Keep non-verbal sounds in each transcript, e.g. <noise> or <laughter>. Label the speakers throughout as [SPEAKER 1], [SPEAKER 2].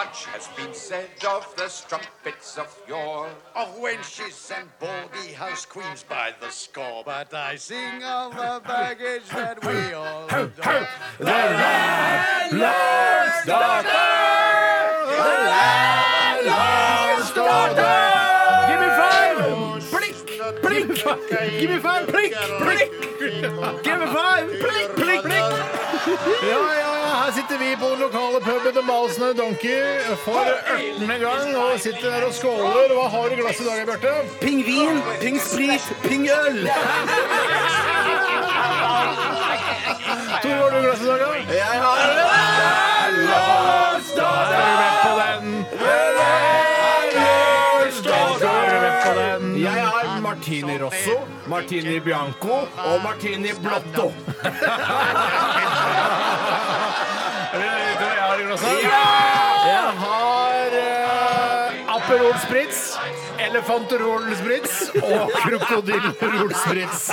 [SPEAKER 1] Much has been said of the strumpets of yore, of wenches and baldy house queens by the score. But I sing of the baggage that we all adore.
[SPEAKER 2] Ja, ja, ja, her sitter vi på den lokale puben The Malsende Donkey for 18. gang og sitter der og skåler. Hva har du i glasset i dag, Bjarte?
[SPEAKER 3] Pingvin, pingsprit, pingøl.
[SPEAKER 2] Tor, hva har du i glasset i dag, da? Jeg har Er du med på den? Er du med på den?
[SPEAKER 3] Jeg har Martini Rosso, Martini Bianco og Martini Blotto.
[SPEAKER 2] Er det vet du hva jeg har i glasset? Jeg har eh, Aperol Spritz, Elefanterol Spritz og Krokodillerol Spritz.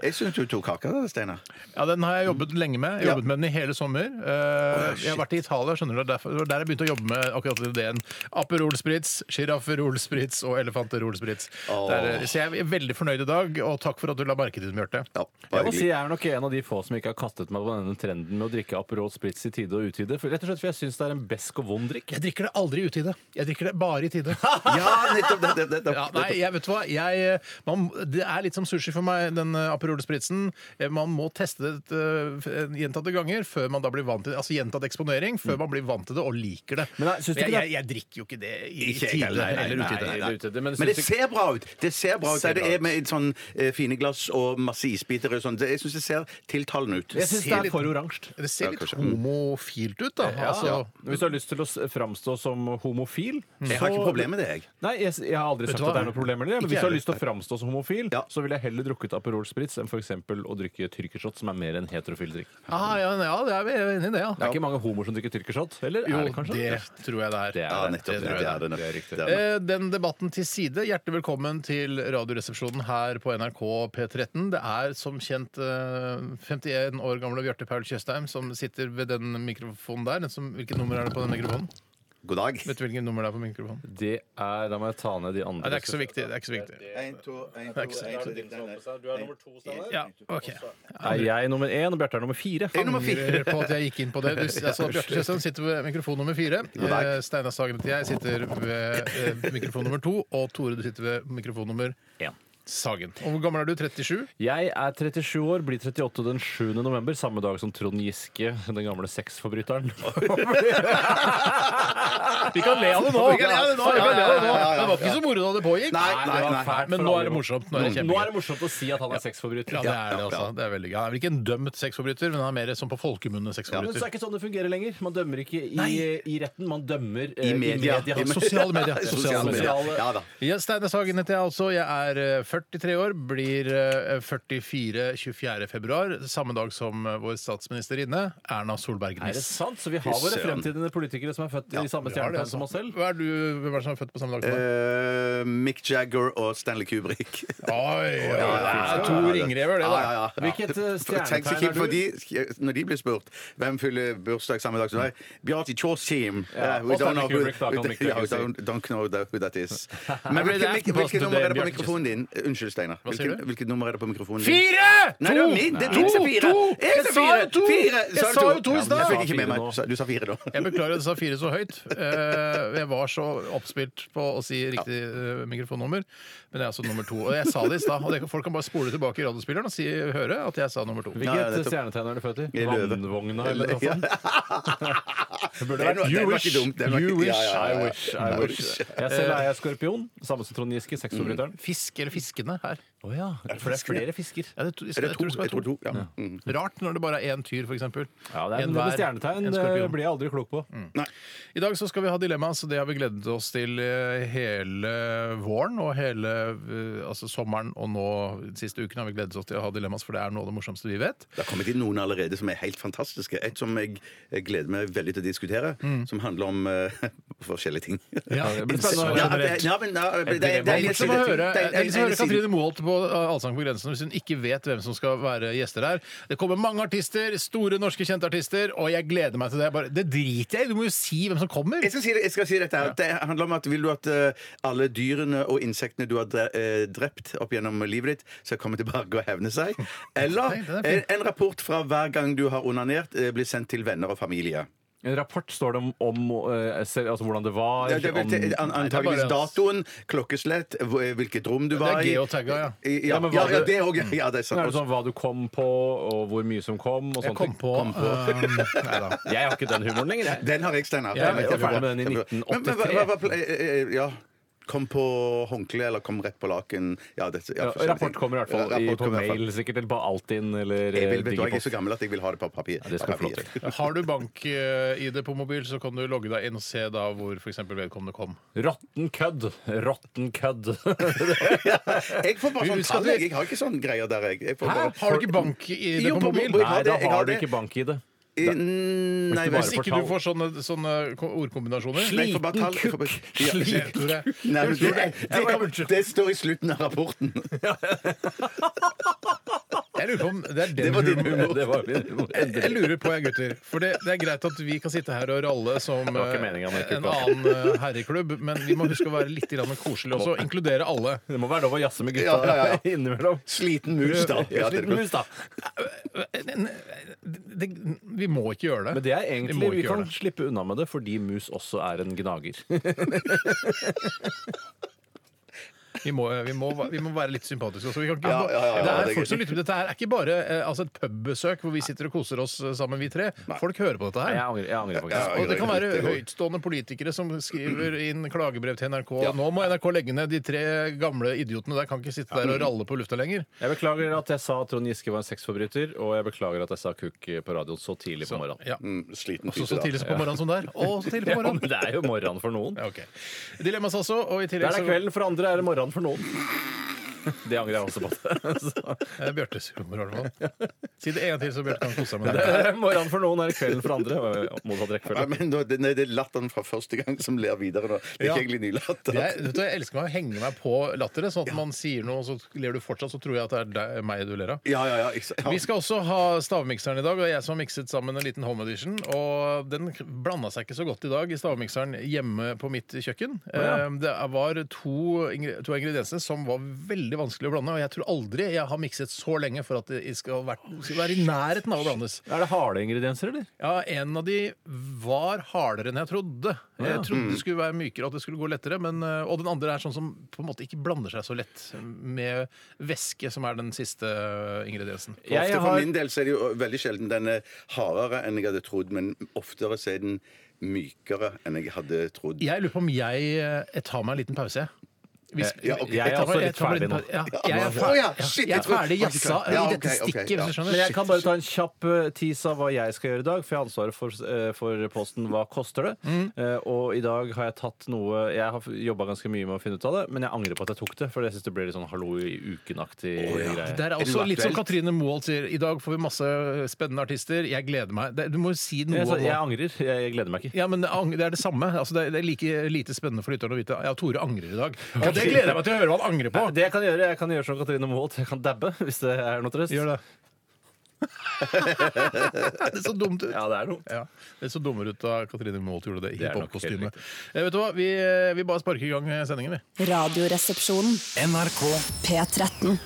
[SPEAKER 3] Jeg syns du tok kaka, da, Steinar.
[SPEAKER 2] Ja, den har jeg jobbet lenge med. Jeg jobbet med den i hele sommer. Eh, jeg har vært i Italia, skjønner du. og derfor- Det var der jeg begynte å jobbe med akkurat den ideen. Aperol spritz, sjirafferol spritz og elefanterol spritz. Der, eh, Så jeg er veldig fornøyd i dag, og takk for at du la merke til det, Bjarte.
[SPEAKER 4] Jeg må si jeg er nok en av de få som ikke har kastet meg på denne trenden med å drikke Aperol Spritz i tide og utide. For, rett og slett for jeg syns det er en besk og vond drikk.
[SPEAKER 2] Jeg drikker det aldri i utide. Jeg drikker det bare i tide.
[SPEAKER 3] <laughs> Ja, nettopp. Det, det, det, det,
[SPEAKER 2] Ja, nei, jeg vet du hva jeg, eh, man, Det er litt som sushi for meg, den eh, Aperol spritzen. Eh, Man må teste det eh, gjentatte ganger før man da blir vant til det. Altså gjentatt eksponering
[SPEAKER 3] Mm.
[SPEAKER 2] før man blir vant til det og liker det.
[SPEAKER 3] eh,
[SPEAKER 4] Men nei, syns du
[SPEAKER 2] jeg,
[SPEAKER 4] ikke det-
[SPEAKER 2] jeg, jeg drikker jo ikke det i
[SPEAKER 3] Ikke jeg
[SPEAKER 2] tide
[SPEAKER 3] heller, nei, nei,
[SPEAKER 2] eller
[SPEAKER 3] nei,
[SPEAKER 2] utide.
[SPEAKER 3] nei, nei.
[SPEAKER 4] Eller utide, men
[SPEAKER 3] Men,
[SPEAKER 4] syns
[SPEAKER 3] det
[SPEAKER 4] du-
[SPEAKER 3] ser bra ut. Det ser bra ut.
[SPEAKER 2] Ser
[SPEAKER 3] det
[SPEAKER 2] bra
[SPEAKER 3] er med et sånn eh, fine glass og masse isbiter og sånn. Det- Jeg syns det ser tiltalende ut.
[SPEAKER 4] Jeg syns det er for oransje.
[SPEAKER 2] Det ser litt
[SPEAKER 4] Mm.
[SPEAKER 3] kanskje.
[SPEAKER 2] homofilt ut, da. altså,
[SPEAKER 4] Hvis du har lyst til å s- framstå som homofil
[SPEAKER 3] Jeg har ikke problemer med det, jeg.
[SPEAKER 4] Nei, jeg, s- jeg har aldri
[SPEAKER 2] Mm. Vet du
[SPEAKER 4] sagt
[SPEAKER 2] hva?
[SPEAKER 4] at det er noe problem med det. Men
[SPEAKER 2] Ikke
[SPEAKER 4] hvis du har
[SPEAKER 2] heller.
[SPEAKER 4] lyst til å framstå som homofil,
[SPEAKER 3] Ja.
[SPEAKER 4] så ville jeg heller drukket Aperol Spritz enn f.eks. å drikke tyrkershot, som er mer en heterofil drikk. Det
[SPEAKER 2] ah, ja, ja, det er vi enig i det, ja.
[SPEAKER 4] er ikke mange homoer som drikker tyrkershot. Eller
[SPEAKER 2] Jo,
[SPEAKER 4] er det kanskje?
[SPEAKER 2] det tror jeg det er.
[SPEAKER 4] Det er
[SPEAKER 3] Ja,
[SPEAKER 4] det.
[SPEAKER 3] nettopp.
[SPEAKER 2] tror jeg
[SPEAKER 3] Det er det.
[SPEAKER 4] Det er riktig.
[SPEAKER 3] Det er det.
[SPEAKER 2] Eh, Den debatten til side. Hjertelig velkommen til Radioresepsjonen her på NRK P13. Det er som kjent eh, 51 år gamle Bjarte Paul Tjøstheim som sitter ved den mikrofonen der. Den som, hvilket nummer er det på den mikrofonen?
[SPEAKER 3] God dag.
[SPEAKER 2] Vet du hvilket nummer det er på mikrofonen? Nei,
[SPEAKER 4] Det er, da må jeg ta ned de andre.
[SPEAKER 2] det er ikke så viktig. Det er ikke så viktig.
[SPEAKER 3] En, to, en,
[SPEAKER 2] er ikke så-
[SPEAKER 3] en, to.
[SPEAKER 4] Du er nummer to, Steinar.
[SPEAKER 2] Ja, OK.
[SPEAKER 4] Er jeg nummer én, og Bjarte er nummer fire?
[SPEAKER 3] Jeg er nummer fire.
[SPEAKER 2] Angrer på at jeg gikk inn på det. Du, altså, Bjarte Tjøstheim sitter ved mikrofon nummer fire. Eh, Steinar Sagen heter jeg, sitter ved eh, mikrofon nummer to. Og Tore, du sitter ved mikrofon nummer
[SPEAKER 4] En.
[SPEAKER 2] Sagen. Og hvor gammel er du? 37?
[SPEAKER 4] Jeg er 37 år, blir 38 den 7. november, samme dag som Trond Giske, den gamle <laughs> sexforbryteren. Vi kan le av det nå!
[SPEAKER 2] Vi kan le av det nå.
[SPEAKER 4] Vi kan le av det nå.
[SPEAKER 3] ja, ja.
[SPEAKER 2] Det var ikke så moro da det pågikk.
[SPEAKER 3] Nei,
[SPEAKER 4] Det
[SPEAKER 3] nei,
[SPEAKER 4] var
[SPEAKER 3] nei.
[SPEAKER 4] fælt
[SPEAKER 2] Men
[SPEAKER 4] for
[SPEAKER 2] nå
[SPEAKER 4] alle
[SPEAKER 2] er det
[SPEAKER 4] nå.
[SPEAKER 2] morsomt. Nå er det
[SPEAKER 4] Nå er
[SPEAKER 2] kjempegøy.
[SPEAKER 4] det morsomt å si at han er sexforbryter.
[SPEAKER 2] Ja, det er det, altså. Det er veldig gøy. Han er ikke en dømt sexforbryter, men han er mer som på folkemunne
[SPEAKER 4] Men så er
[SPEAKER 2] sexforbryter.
[SPEAKER 4] det ikke sånn det fungerer lenger. Man dømmer ikke i,
[SPEAKER 3] Nei.
[SPEAKER 4] i retten, man dømmer eh,
[SPEAKER 3] I media.
[SPEAKER 4] I media.
[SPEAKER 2] Sosiale medier.
[SPEAKER 3] <laughs> Sosiale medier. Ja da.
[SPEAKER 2] Ja, Steinar Sagen heter jeg altså. Jeg er eh, 43 år, blir eh, 44 24. februar, samme dag som eh, vår statsministerinne, Erna Solberg
[SPEAKER 4] Er det
[SPEAKER 2] Næss.
[SPEAKER 4] sant? Så vi har våre
[SPEAKER 3] søren.
[SPEAKER 4] fremtidende politikere som er født i samme
[SPEAKER 2] Ja, det er
[SPEAKER 4] stjernetegn som
[SPEAKER 2] sant.
[SPEAKER 4] oss selv.
[SPEAKER 2] Hva er du, hvem er det som er født på samme dag som deg?
[SPEAKER 3] Eh, Mick Jagger og Stanley Kubrick.
[SPEAKER 2] Oi, oi, oi, det er to
[SPEAKER 3] Ja, ja,
[SPEAKER 2] ringrever, det,
[SPEAKER 3] ja, ja,
[SPEAKER 2] da.
[SPEAKER 3] <laughs> ja.
[SPEAKER 4] Hvilket, eh,
[SPEAKER 3] For- tenk så
[SPEAKER 4] stjernetegn
[SPEAKER 3] kjipt
[SPEAKER 4] er
[SPEAKER 3] for
[SPEAKER 4] du?
[SPEAKER 3] de- Når de blir spurt hvem fyller bursdag samme dag som deg Bjarti Eh, Chausim.
[SPEAKER 4] Ja, og Stanley Kubrick, da kan
[SPEAKER 3] <laughs>
[SPEAKER 4] Mick
[SPEAKER 3] yeah, we
[SPEAKER 4] Jagger si.
[SPEAKER 3] don't, don't know that, who that is. Men
[SPEAKER 2] ble det
[SPEAKER 3] hvilket,
[SPEAKER 2] Aftenposten
[SPEAKER 3] hvilket, hvilket nummer er det på
[SPEAKER 2] today,
[SPEAKER 3] mikrofonen din? Unnskyld, Steinar.
[SPEAKER 2] Hva sier
[SPEAKER 3] Hvilket,
[SPEAKER 2] du?
[SPEAKER 3] hvilket nummer er det på mikrofonen din?
[SPEAKER 2] Fire!
[SPEAKER 3] Nei, det er min! Det er min som fire! Jeg sa fire! Fire!
[SPEAKER 2] Jeg sa jo to i
[SPEAKER 3] Jeg
[SPEAKER 2] stad!
[SPEAKER 3] fikk ikke med meg. Du sa fire nå.
[SPEAKER 2] Jeg beklager at jeg sa fire så høyt. Eh, jeg var så oppspilt på å si riktig eh, mikrofonnummer. Men jeg er altså nummer to. Og jeg sa det i stad. og det- Folk kan bare spole tilbake i radiospilleren og si, høre at jeg sa nummer to.
[SPEAKER 4] Hvilket
[SPEAKER 3] Ja, nettopp.
[SPEAKER 4] stjernetegn er du født i?
[SPEAKER 3] I løve.
[SPEAKER 4] Vannvogna
[SPEAKER 3] <laughs>
[SPEAKER 4] eller noe sånt?
[SPEAKER 3] Det var- det var ikke dumt. Det var
[SPEAKER 4] You
[SPEAKER 3] ikke-
[SPEAKER 4] wish,
[SPEAKER 3] ja, ja, ja, ja.
[SPEAKER 4] I
[SPEAKER 3] Mm.
[SPEAKER 4] wish, I wish. Jeg selv er jeg skorpion, samme som Trond Giske, sexforbryteren.
[SPEAKER 2] Fisk eller fiskene her.
[SPEAKER 4] Å ja.
[SPEAKER 2] for det er
[SPEAKER 4] flere fisker.
[SPEAKER 2] Ja, det, jeg,
[SPEAKER 3] Er det
[SPEAKER 2] jeg
[SPEAKER 3] to?
[SPEAKER 2] tror det skal
[SPEAKER 3] Jeg tror
[SPEAKER 2] være to.
[SPEAKER 3] to. Ja. Mm.
[SPEAKER 2] Rart når det bare er én tyr, f.eks.
[SPEAKER 4] Ja, det er noe med stjernetegn. Det blir jeg aldri klok på.
[SPEAKER 3] Mm.
[SPEAKER 2] I dag så skal vi ha dilemma, så det har vi gledet oss til eh, hele våren og hele eh, altså sommeren. Og nå de siste ukene har vi gledet oss til å ha dilemmas, for det er noe av det morsomste vi vet.
[SPEAKER 3] Det har kommet inn noen allerede som er helt fantastiske. Et som jeg jeg gleder meg veldig til å diskutere, som handler om eh, <laughs> forskjellige ting.
[SPEAKER 2] Mm. Ja, det blir spennende.
[SPEAKER 3] <laughs> Ja, det- ja, men, ja, det- det-
[SPEAKER 2] Det
[SPEAKER 3] det
[SPEAKER 2] er litt som å
[SPEAKER 3] siden-
[SPEAKER 2] høre,
[SPEAKER 3] det er-
[SPEAKER 2] det er litt som å høre
[SPEAKER 3] siden-
[SPEAKER 2] Katrine Moholt på eh, Allsang på grensen hvis hun ikke vet hvem som skal være gjester her. Det kommer mange artister, store norske kjente artister, og jeg gleder meg til det. Jeg Bare, det driter jeg i, du må jo si hvem som kommer!
[SPEAKER 3] Jeg skal si, det, jeg skal si dette her. Det handler om at vil du at eh, alle dyrene og insektene du har dre- eh, drept opp gjennom livet ditt, skal komme tilbake og hevne seg? Eller
[SPEAKER 2] Nei, den er fin.
[SPEAKER 3] en, en rapport fra hver gang du har onanert, eh, blir sendt til venner og familie.
[SPEAKER 4] En rapport står det om, om eh, selv, altså, hvordan det var.
[SPEAKER 3] Ja, det er vel til- an-
[SPEAKER 4] om,
[SPEAKER 3] Antakeligvis
[SPEAKER 2] bare-
[SPEAKER 3] datoen, klokkeslett, hvor- eh, hvilket rom du
[SPEAKER 2] Det
[SPEAKER 3] var
[SPEAKER 2] er
[SPEAKER 3] i.
[SPEAKER 2] geotagga, ja.
[SPEAKER 3] I-
[SPEAKER 4] Ja,
[SPEAKER 3] Ja,
[SPEAKER 4] men
[SPEAKER 3] ja,
[SPEAKER 4] var
[SPEAKER 3] ja,
[SPEAKER 4] det-
[SPEAKER 3] det òg. Ja, det er
[SPEAKER 4] er det
[SPEAKER 3] sant.
[SPEAKER 4] sånn hva du kom på, og hvor mye som kom, og
[SPEAKER 2] Jeg
[SPEAKER 4] sånne
[SPEAKER 2] kom
[SPEAKER 4] ting.
[SPEAKER 2] på,
[SPEAKER 3] <laughs>
[SPEAKER 2] eh, nei da.
[SPEAKER 4] Jeg har ikke den humoren lenger, jeg.
[SPEAKER 3] Den har jeg, Steinar.
[SPEAKER 4] Ja,
[SPEAKER 3] Den vet
[SPEAKER 4] jeg var
[SPEAKER 3] jeg
[SPEAKER 4] ferdig med den i
[SPEAKER 3] Men- Men, hva-
[SPEAKER 4] 1983.
[SPEAKER 3] hva- hva- eh, eh, ja. Kom på håndkle eller kom rett på laken. Ja, det, ja,
[SPEAKER 4] Ja,
[SPEAKER 3] forskjellige ting.
[SPEAKER 4] rapport kommer i hvert fall i
[SPEAKER 3] Rapport
[SPEAKER 4] på
[SPEAKER 3] kommer i hvert fall.
[SPEAKER 4] mail, sikkert, eller på Altinn, eller
[SPEAKER 3] Jeg,
[SPEAKER 4] eh,
[SPEAKER 3] vil, vet du, hva, jeg er
[SPEAKER 4] Digipost.
[SPEAKER 3] så gammel at jeg vil ha det på papir.
[SPEAKER 4] det skal du få lov
[SPEAKER 3] <laughs>
[SPEAKER 4] til.
[SPEAKER 2] Har du bank-ID på mobil, så kan du logge deg inn og se da hvor f.eks. vedkommende kom.
[SPEAKER 4] Råtten kødd! Råtten
[SPEAKER 3] <laughs>
[SPEAKER 4] kødd.
[SPEAKER 3] Jeg får bare
[SPEAKER 2] Vi skal
[SPEAKER 3] sånn tall.
[SPEAKER 2] til-
[SPEAKER 3] Jeg, jeg har ikke sånn greier der, jeg. jeg får
[SPEAKER 2] Hæ?
[SPEAKER 3] bare...
[SPEAKER 2] Har du ikke bank-ID
[SPEAKER 3] Jo,
[SPEAKER 2] på
[SPEAKER 3] på
[SPEAKER 2] mobil?
[SPEAKER 3] mobil.
[SPEAKER 4] Nei, da
[SPEAKER 3] det- jeg har
[SPEAKER 4] har du
[SPEAKER 3] det.
[SPEAKER 4] ikke bank-ID.
[SPEAKER 3] Eh,
[SPEAKER 4] Hvis du
[SPEAKER 3] mm, Nei, vel.
[SPEAKER 2] <laughs>
[SPEAKER 4] bare
[SPEAKER 2] Hvis ikke du får sånne, sånne ko- ordkombinasjoner?
[SPEAKER 3] Nei, jeg får bare tall. Jeg får bare- Ja.
[SPEAKER 2] Sliter det.
[SPEAKER 3] Nei, men det, det,
[SPEAKER 2] Jeg bare-
[SPEAKER 3] det, står i slutten av rapporten. <laughs>
[SPEAKER 2] Jeg lurer på om det er den
[SPEAKER 3] Det var din
[SPEAKER 2] humoren.
[SPEAKER 3] humor.
[SPEAKER 4] Det var min humor.
[SPEAKER 2] Jeg lurer på, jeg gutter. For det, det er greit at vi kan sitte her og ralle som
[SPEAKER 4] var ikke
[SPEAKER 2] eh,
[SPEAKER 4] meningen med
[SPEAKER 2] en
[SPEAKER 4] kuppa.
[SPEAKER 2] annen eh, herreklubb, men vi må huske å være litt grann koselige også. Inkludere alle.
[SPEAKER 4] Det må være lov å jazze med gutta
[SPEAKER 3] Ja, ja, ja.
[SPEAKER 4] <laughs> innimellom.
[SPEAKER 3] Sliten mus, da. Ja, det er
[SPEAKER 4] Sliten
[SPEAKER 3] godt.
[SPEAKER 4] mus, da.
[SPEAKER 2] Det, vi må ikke gjøre det.
[SPEAKER 4] Men det er
[SPEAKER 2] Vi må
[SPEAKER 4] egentlig,
[SPEAKER 2] ikke
[SPEAKER 4] vi kan
[SPEAKER 2] gjøre det.
[SPEAKER 4] slippe unna med det fordi mus også er en gnager.
[SPEAKER 2] Vi må, vi, må, vi må være litt sympatiske også. Vi kan ikke,
[SPEAKER 3] Ja, ja, ja, ja,
[SPEAKER 2] det
[SPEAKER 3] det
[SPEAKER 2] er
[SPEAKER 3] er
[SPEAKER 2] folk
[SPEAKER 3] greit.
[SPEAKER 2] som lytter på Dette her er ikke bare eh, altså et pubbesøk hvor vi sitter og koser oss eh, sammen, vi tre. Folk hører på dette
[SPEAKER 4] Jeg
[SPEAKER 2] her.
[SPEAKER 4] angrer, jeg angrer
[SPEAKER 3] Ja,
[SPEAKER 4] faktisk.
[SPEAKER 2] Og det kan
[SPEAKER 3] greit,
[SPEAKER 2] være
[SPEAKER 3] det går.
[SPEAKER 2] høytstående politikere som skriver inn klagebrev til NRK. Nå må NRK legge ned de tre gamle idiotene der. Kan ikke sitte der og ralle på lufta lenger.
[SPEAKER 4] Jeg beklager at jeg sa at Trond Giske var en sexforbryter, og jeg beklager at jeg sa kukk på radioen så tidlig på morgenen.
[SPEAKER 2] Ja.
[SPEAKER 3] Mm, Sliten
[SPEAKER 2] Så,
[SPEAKER 3] type,
[SPEAKER 2] så
[SPEAKER 3] da.
[SPEAKER 2] tidlig på morgenen som der. Og så tidlig på
[SPEAKER 4] <laughs> Ja, men
[SPEAKER 2] morgenen.
[SPEAKER 4] det er jo morgenen for noen.
[SPEAKER 2] Ja, ok. Dilemmas også, og i tillegg
[SPEAKER 4] Der
[SPEAKER 2] så
[SPEAKER 4] er kvelden for andre, er det morgenen for noen. Det angrer jeg også på. <laughs> Så,
[SPEAKER 2] Eh, Bjørtes humor, i hvert
[SPEAKER 4] <laughs>
[SPEAKER 2] fall. Si det en gang til, så Bjarte kan kose seg med
[SPEAKER 4] det
[SPEAKER 2] det.
[SPEAKER 4] er morgenen for noen, er det kvelden for andre. og Motsatt
[SPEAKER 3] Nei,
[SPEAKER 4] rekkefølge.
[SPEAKER 3] men nå, det, nei, det er latteren fra første gang som ler videre nå. Det er
[SPEAKER 2] Ja.
[SPEAKER 3] ikke egentlig ny latter.
[SPEAKER 2] Jeg, vet du, jeg elsker meg å henge meg på latteret, sånn at man sier noe, og så ler du fortsatt, så tror jeg at det er deg, meg du ler av.
[SPEAKER 3] Ja, ja, ja. ikke sant.
[SPEAKER 2] Vi skal også ha stavmikseren i dag, og det er jeg som har mikset sammen en liten home edition. Og den blanda seg ikke så godt i dag i stavmikseren hjemme på mitt kjøkken. Eh, Det var to, ingre- to ingredienser som var veldig vanskelig å blande, og jeg tror aldri jeg har mikset så lenge for at det skal være, skal være i nærheten av å blandes.
[SPEAKER 4] Er det harde ingredienser, eller?
[SPEAKER 2] Ja, En av de var hardere enn jeg trodde. Jeg trodde det skulle være mykere, at det skulle gå lettere. Men, eh, og den andre er sånn som på en måte ikke blander seg så lett med væske, som er den siste eh, ingrediensen.
[SPEAKER 3] For Ofte
[SPEAKER 4] Jeg
[SPEAKER 3] For
[SPEAKER 4] har-
[SPEAKER 3] min del så er det jo veldig sjelden den er hardere enn jeg hadde trodd, men oftere så er den mykere enn jeg hadde trodd.
[SPEAKER 2] Jeg lurer på om jeg, eh, jeg tar meg en liten pause. jeg. Hvis,
[SPEAKER 3] Eh, Ja, ok.
[SPEAKER 4] Jeg er
[SPEAKER 2] tar meg-
[SPEAKER 4] også litt
[SPEAKER 2] tar meg en liten
[SPEAKER 4] ferdig nå.
[SPEAKER 2] pau- Ja, jeg er
[SPEAKER 3] Å,
[SPEAKER 2] ferdig,
[SPEAKER 3] ja,
[SPEAKER 2] jeg
[SPEAKER 3] shit, jeg
[SPEAKER 2] er
[SPEAKER 3] tror-
[SPEAKER 2] ferdig jassa i
[SPEAKER 3] Ja, ok,
[SPEAKER 2] dette
[SPEAKER 3] ok,
[SPEAKER 2] stikket,
[SPEAKER 3] ja.
[SPEAKER 2] hvis du skjønner.
[SPEAKER 4] Men jeg kan bare ta en kjapp eh, tease av hva jeg skal gjøre i dag, for jeg har ansvaret for, eh, for posten Hva koster det?
[SPEAKER 2] Mm.
[SPEAKER 4] Eh, Og i dag har jeg tatt noe Jeg har jobba ganske mye med å finne ut av det, men jeg angrer på at jeg tok det, for jeg syns det ble litt sånn hallo i uken-aktig
[SPEAKER 2] Det
[SPEAKER 4] greie.
[SPEAKER 2] der er
[SPEAKER 3] Er det
[SPEAKER 2] også
[SPEAKER 3] noe
[SPEAKER 2] litt som
[SPEAKER 3] aktuelt?
[SPEAKER 2] Katrine Moholt sier. I dag får vi masse spennende artister. Jeg gleder meg. Det- Du må jo si noe.
[SPEAKER 4] Jeg,
[SPEAKER 2] om
[SPEAKER 4] sa- jeg
[SPEAKER 2] hva-
[SPEAKER 4] angrer. Jeg, jeg gleder meg ikke.
[SPEAKER 2] Ja, men det ang- det er det samme. Altså, det er- det er like lite spennende for lytterne å vite. Ja, Tore angrer i dag. Og det gleder jeg meg til å høre hva han angrer på!
[SPEAKER 4] Det jeg kan gjøre, jeg kan gjøre som Katrine Moholt. Jeg kan dabbe, <laughs> hvis det er noe trøst.
[SPEAKER 2] Gjør det. <laughs> det er så dumt ut.
[SPEAKER 4] Ja, det er noe.
[SPEAKER 2] Ja, Det så dummere ut da Katrine Moholt gjorde det i
[SPEAKER 4] Det er nok helt
[SPEAKER 2] hiphop-kostyme. Eh, Vet du hva, vi, eh, vi bare sparker i gang eh, sendingen, vi.
[SPEAKER 5] Radioresepsjonen.
[SPEAKER 6] NRK
[SPEAKER 5] P13.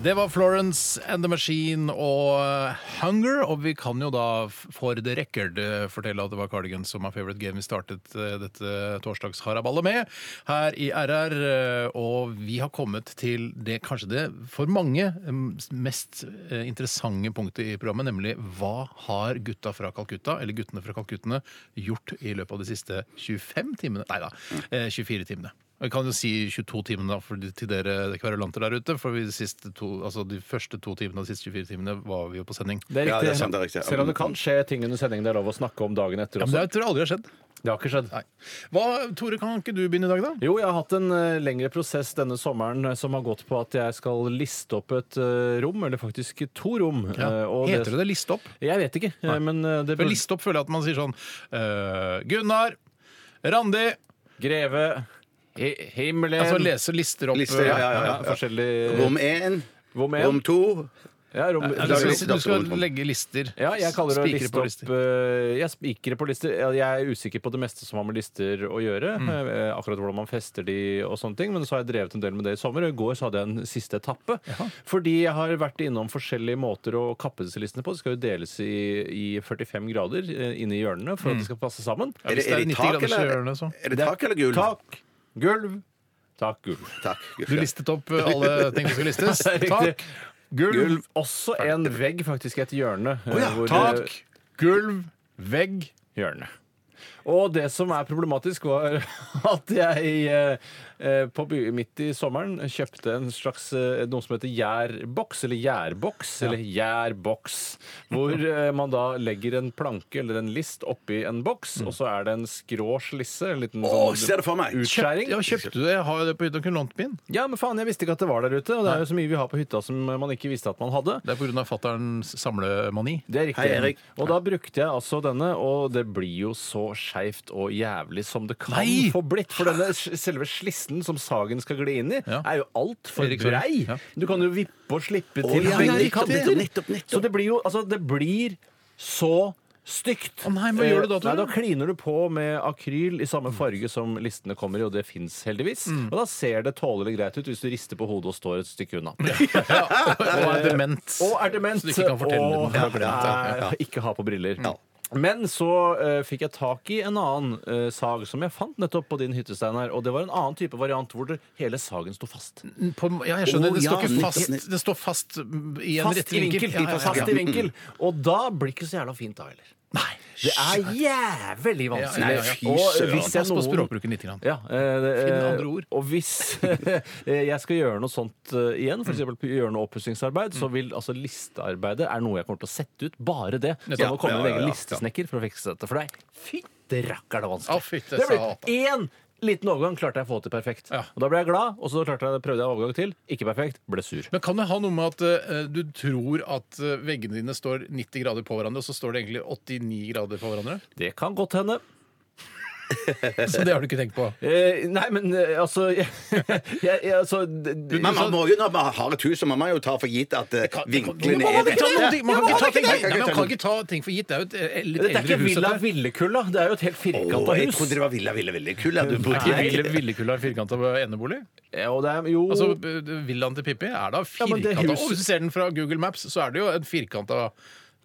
[SPEAKER 2] Det var Florence and the Machine og eh, Hunger. Og vi kan jo da f- for the record eh, fortelle at det var Cardigans som er favorite game vi startet eh, dette torsdagsharaballet med her i RR. eh, Og vi har kommet til det kanskje det for mange em, mest eh, interessante punktet i programmet, nemlig hva har gutta fra Calcutta, eller guttene fra Calcuttene, gjort i løpet av de siste 25 timene? Nei da, eh, 24 timene. Vi kan jo si 22 timene da, for, til dere kverulanter der ute. For vi, de, siste to, altså de første to timene og de siste 24 timene var vi jo på sending.
[SPEAKER 4] Det er
[SPEAKER 3] Ja,
[SPEAKER 4] riktig.
[SPEAKER 3] det er sant, det er riktig.
[SPEAKER 4] Selv om det kan skje ting under sendingen det er lov å snakke om dagen etter
[SPEAKER 2] Ja, men
[SPEAKER 4] også.
[SPEAKER 2] det tror jeg aldri har skjedd.
[SPEAKER 4] Det har ikke skjedd.
[SPEAKER 2] Nei. Hva, Tore, kan ikke du begynne i dag, da?
[SPEAKER 4] Jo, jeg har hatt en eh, lengre prosess denne sommeren eh, som har gått på at jeg skal liste opp et eh, rom, eller faktisk to rom. eh, og
[SPEAKER 2] Heter det det? Liste opp?
[SPEAKER 4] Jeg vet ikke, eh, men eh, det
[SPEAKER 2] For
[SPEAKER 4] burde
[SPEAKER 2] liste opp føler jeg at man sier sånn eh, Gunnar, Randi
[SPEAKER 4] Greve, hi himmelen
[SPEAKER 2] Altså leser lister opp.
[SPEAKER 3] Lister, ja, ja, ja.
[SPEAKER 4] ja, forskjellig
[SPEAKER 3] Rom én,
[SPEAKER 4] Rom én.
[SPEAKER 3] rom to.
[SPEAKER 4] Ja, rom,
[SPEAKER 2] eh, Du skal,
[SPEAKER 3] liste-
[SPEAKER 2] du skal legge lister.
[SPEAKER 4] Ja, jeg kaller det å
[SPEAKER 2] Spikre
[SPEAKER 4] liste
[SPEAKER 2] på
[SPEAKER 4] opp eh, Jeg spikrer på lister. Ja, Jeg er usikker på det meste som har med lister å gjøre.
[SPEAKER 2] Mm.
[SPEAKER 4] eh, Akkurat hvordan man fester de og sånne ting. Men så har jeg drevet en del med det i sommer. og I går så hadde jeg en siste etappe. Fordi jeg har vært innom forskjellige måter å kappe disse listene på. De skal jo deles i, i 45 grader eh, inne i hjørnene for at de skal passe sammen.
[SPEAKER 2] Mm. Ja, hvis det er
[SPEAKER 3] i
[SPEAKER 2] 90 graders hjørne, så.
[SPEAKER 3] er det tak eller gulv?
[SPEAKER 4] Tak, gulv, tak, gulv.
[SPEAKER 3] Tak, gulv,
[SPEAKER 2] Du
[SPEAKER 3] ja.
[SPEAKER 2] listet opp eh, alle ting som skulle
[SPEAKER 4] <laughs>
[SPEAKER 2] listes.
[SPEAKER 4] Det er riktig.
[SPEAKER 2] Tak, gulv,
[SPEAKER 4] Gulv. Også en vegg, faktisk, i et hjørne. eh,
[SPEAKER 2] ja,
[SPEAKER 4] hvor-
[SPEAKER 2] tak, gulv, vegg.
[SPEAKER 4] hjørnet. Og det som er problematisk, var <laughs> at jeg eh, eh, på by, midt i sommeren kjøpte en slags eh, noe som heter gjærboks, eller gjærboks, eller gjærboks, hvor eh, man da legger en planke eller en list oppi en boks, og så er det en skrå slisse, en liten sånn
[SPEAKER 3] Å, ser det for meg!
[SPEAKER 4] utskjæring.
[SPEAKER 2] Ja, kjøpte du det? Jeg har jo det på hytta og kunne lånt min.
[SPEAKER 4] Ja, men faen, jeg visste ikke at det var der ute, og det er jo så mye vi har på hytta som man ikke visste at man hadde.
[SPEAKER 2] Det er pga. fatterns samlemani.
[SPEAKER 4] Det er riktig.
[SPEAKER 3] Hei, Erik.
[SPEAKER 4] Og da brukte jeg altså denne, og det blir jo så skeivt og jævlig som det kan
[SPEAKER 2] Nei!
[SPEAKER 4] få blitt. For denne s- selve slissen som sagen skal gli inn i,
[SPEAKER 2] Ja.
[SPEAKER 4] er jo altfor
[SPEAKER 2] Erik, sorry.
[SPEAKER 4] brei.
[SPEAKER 2] Ja.
[SPEAKER 4] Du kan jo vippe og slippe til
[SPEAKER 3] ja,
[SPEAKER 4] begge
[SPEAKER 3] nettopp,
[SPEAKER 4] kanter.
[SPEAKER 3] nettopp, nettopp, nettopp.
[SPEAKER 4] Så det blir jo Altså, det blir så Stygt.
[SPEAKER 2] Å nei, men hva gjør du da,
[SPEAKER 4] Eh,
[SPEAKER 2] Tore?
[SPEAKER 4] Nei, da kliner du på med akryl i samme farge som listene kommer i, og det fins heldigvis.
[SPEAKER 2] Mm.
[SPEAKER 4] Og da ser det tålelig greit ut hvis du rister på hodet og står et
[SPEAKER 2] <laughs>
[SPEAKER 4] stykke unna.
[SPEAKER 2] Ja, og er dement.
[SPEAKER 4] Ah, eh, Og er dement.
[SPEAKER 2] Så du ikke kan fortelle
[SPEAKER 4] og
[SPEAKER 2] den. Du er dement, ja.
[SPEAKER 4] er- ikke ha på briller. Men så eh, fikk jeg tak i en annen eh, sag som jeg fant nettopp på din hytte, Steinar. Og det var en annen type variant hvor det, hele sagen sto fast.
[SPEAKER 2] På, ja, jeg skjønner.
[SPEAKER 3] Å,
[SPEAKER 2] Det står
[SPEAKER 3] ja,
[SPEAKER 2] ikke fast,
[SPEAKER 3] nettopp.
[SPEAKER 2] det står fast i en
[SPEAKER 4] Fast
[SPEAKER 2] rett
[SPEAKER 4] i vinkel.
[SPEAKER 2] vinkel. Ja, ja, ja,
[SPEAKER 4] Fast
[SPEAKER 2] ja.
[SPEAKER 4] i vinkel. Og da blir det ikke så jævla fint da heller.
[SPEAKER 2] Nei.
[SPEAKER 4] Det er jævlig vanskelig.
[SPEAKER 2] Nei, fy
[SPEAKER 4] Og
[SPEAKER 3] søren.
[SPEAKER 4] hvis jeg
[SPEAKER 2] Pass på
[SPEAKER 4] noen
[SPEAKER 2] språkbruken litt. Grann.
[SPEAKER 4] Ja, eh, det-
[SPEAKER 2] Finn
[SPEAKER 4] eh,
[SPEAKER 2] andre ord.
[SPEAKER 4] Og hvis <laughs> eh, jeg skal gjøre noe sånt eh, igjen, f.eks. gjøre noe oppussingsarbeid, så vil altså listearbeidet er noe jeg kommer til å sette ut. Bare det. Så jeg
[SPEAKER 2] Ja,
[SPEAKER 4] må komme
[SPEAKER 3] ja,
[SPEAKER 4] en egen
[SPEAKER 3] ja, ja.
[SPEAKER 4] listesnekker for å fikse dette. For det er fytti rakker det vanskelig.
[SPEAKER 2] Å, fytte
[SPEAKER 4] det ble
[SPEAKER 2] satan.
[SPEAKER 4] én liten overgang klarte jeg å få til perfekt.
[SPEAKER 2] Ja.
[SPEAKER 4] Og da ble jeg glad, og så klarte jeg, prøvde jeg overgang til. Ikke perfekt. Ble sur.
[SPEAKER 2] Men kan det ha noe med at eh, du tror at eh, veggene dine står 90 grader på hverandre, og så står det egentlig 89 grader på
[SPEAKER 4] <laughs>
[SPEAKER 2] hverandre?
[SPEAKER 4] Det kan godt hende.
[SPEAKER 2] Så det har du ikke tenkt på?
[SPEAKER 4] Eh, nei, men eh, altså <laughs> jeg, jeg, altså, d- d-
[SPEAKER 3] Men man må jo, når man har et hus, så må man jo ta for gitt at eh,
[SPEAKER 2] Men
[SPEAKER 3] vinklene
[SPEAKER 2] man kan
[SPEAKER 3] er
[SPEAKER 2] ikke ta noen ting- man kan ikke ta ting-
[SPEAKER 3] Nei,
[SPEAKER 2] Nei, man
[SPEAKER 3] man
[SPEAKER 2] kan ikke ta ting for gitt. Det er jo et eh, litt
[SPEAKER 4] Dette er
[SPEAKER 2] eldre
[SPEAKER 4] ikke
[SPEAKER 2] hus.
[SPEAKER 4] Villa
[SPEAKER 2] dette.
[SPEAKER 4] Villekulla. Det er jo et helt
[SPEAKER 3] Å,
[SPEAKER 4] firkanta
[SPEAKER 3] jeg
[SPEAKER 4] hus.
[SPEAKER 3] trodde det var Villa Villa Villa Kulla du bodde
[SPEAKER 2] Ikke
[SPEAKER 3] i.
[SPEAKER 2] Ville- Villekulla er firkanta enebolig?
[SPEAKER 4] Ja, og det er, jo
[SPEAKER 2] Altså, eh, Villaen til Pippi er da
[SPEAKER 4] men det
[SPEAKER 2] firkanta.
[SPEAKER 4] huset-
[SPEAKER 2] og hvis du ser den fra Google Maps, så er det jo en firkanta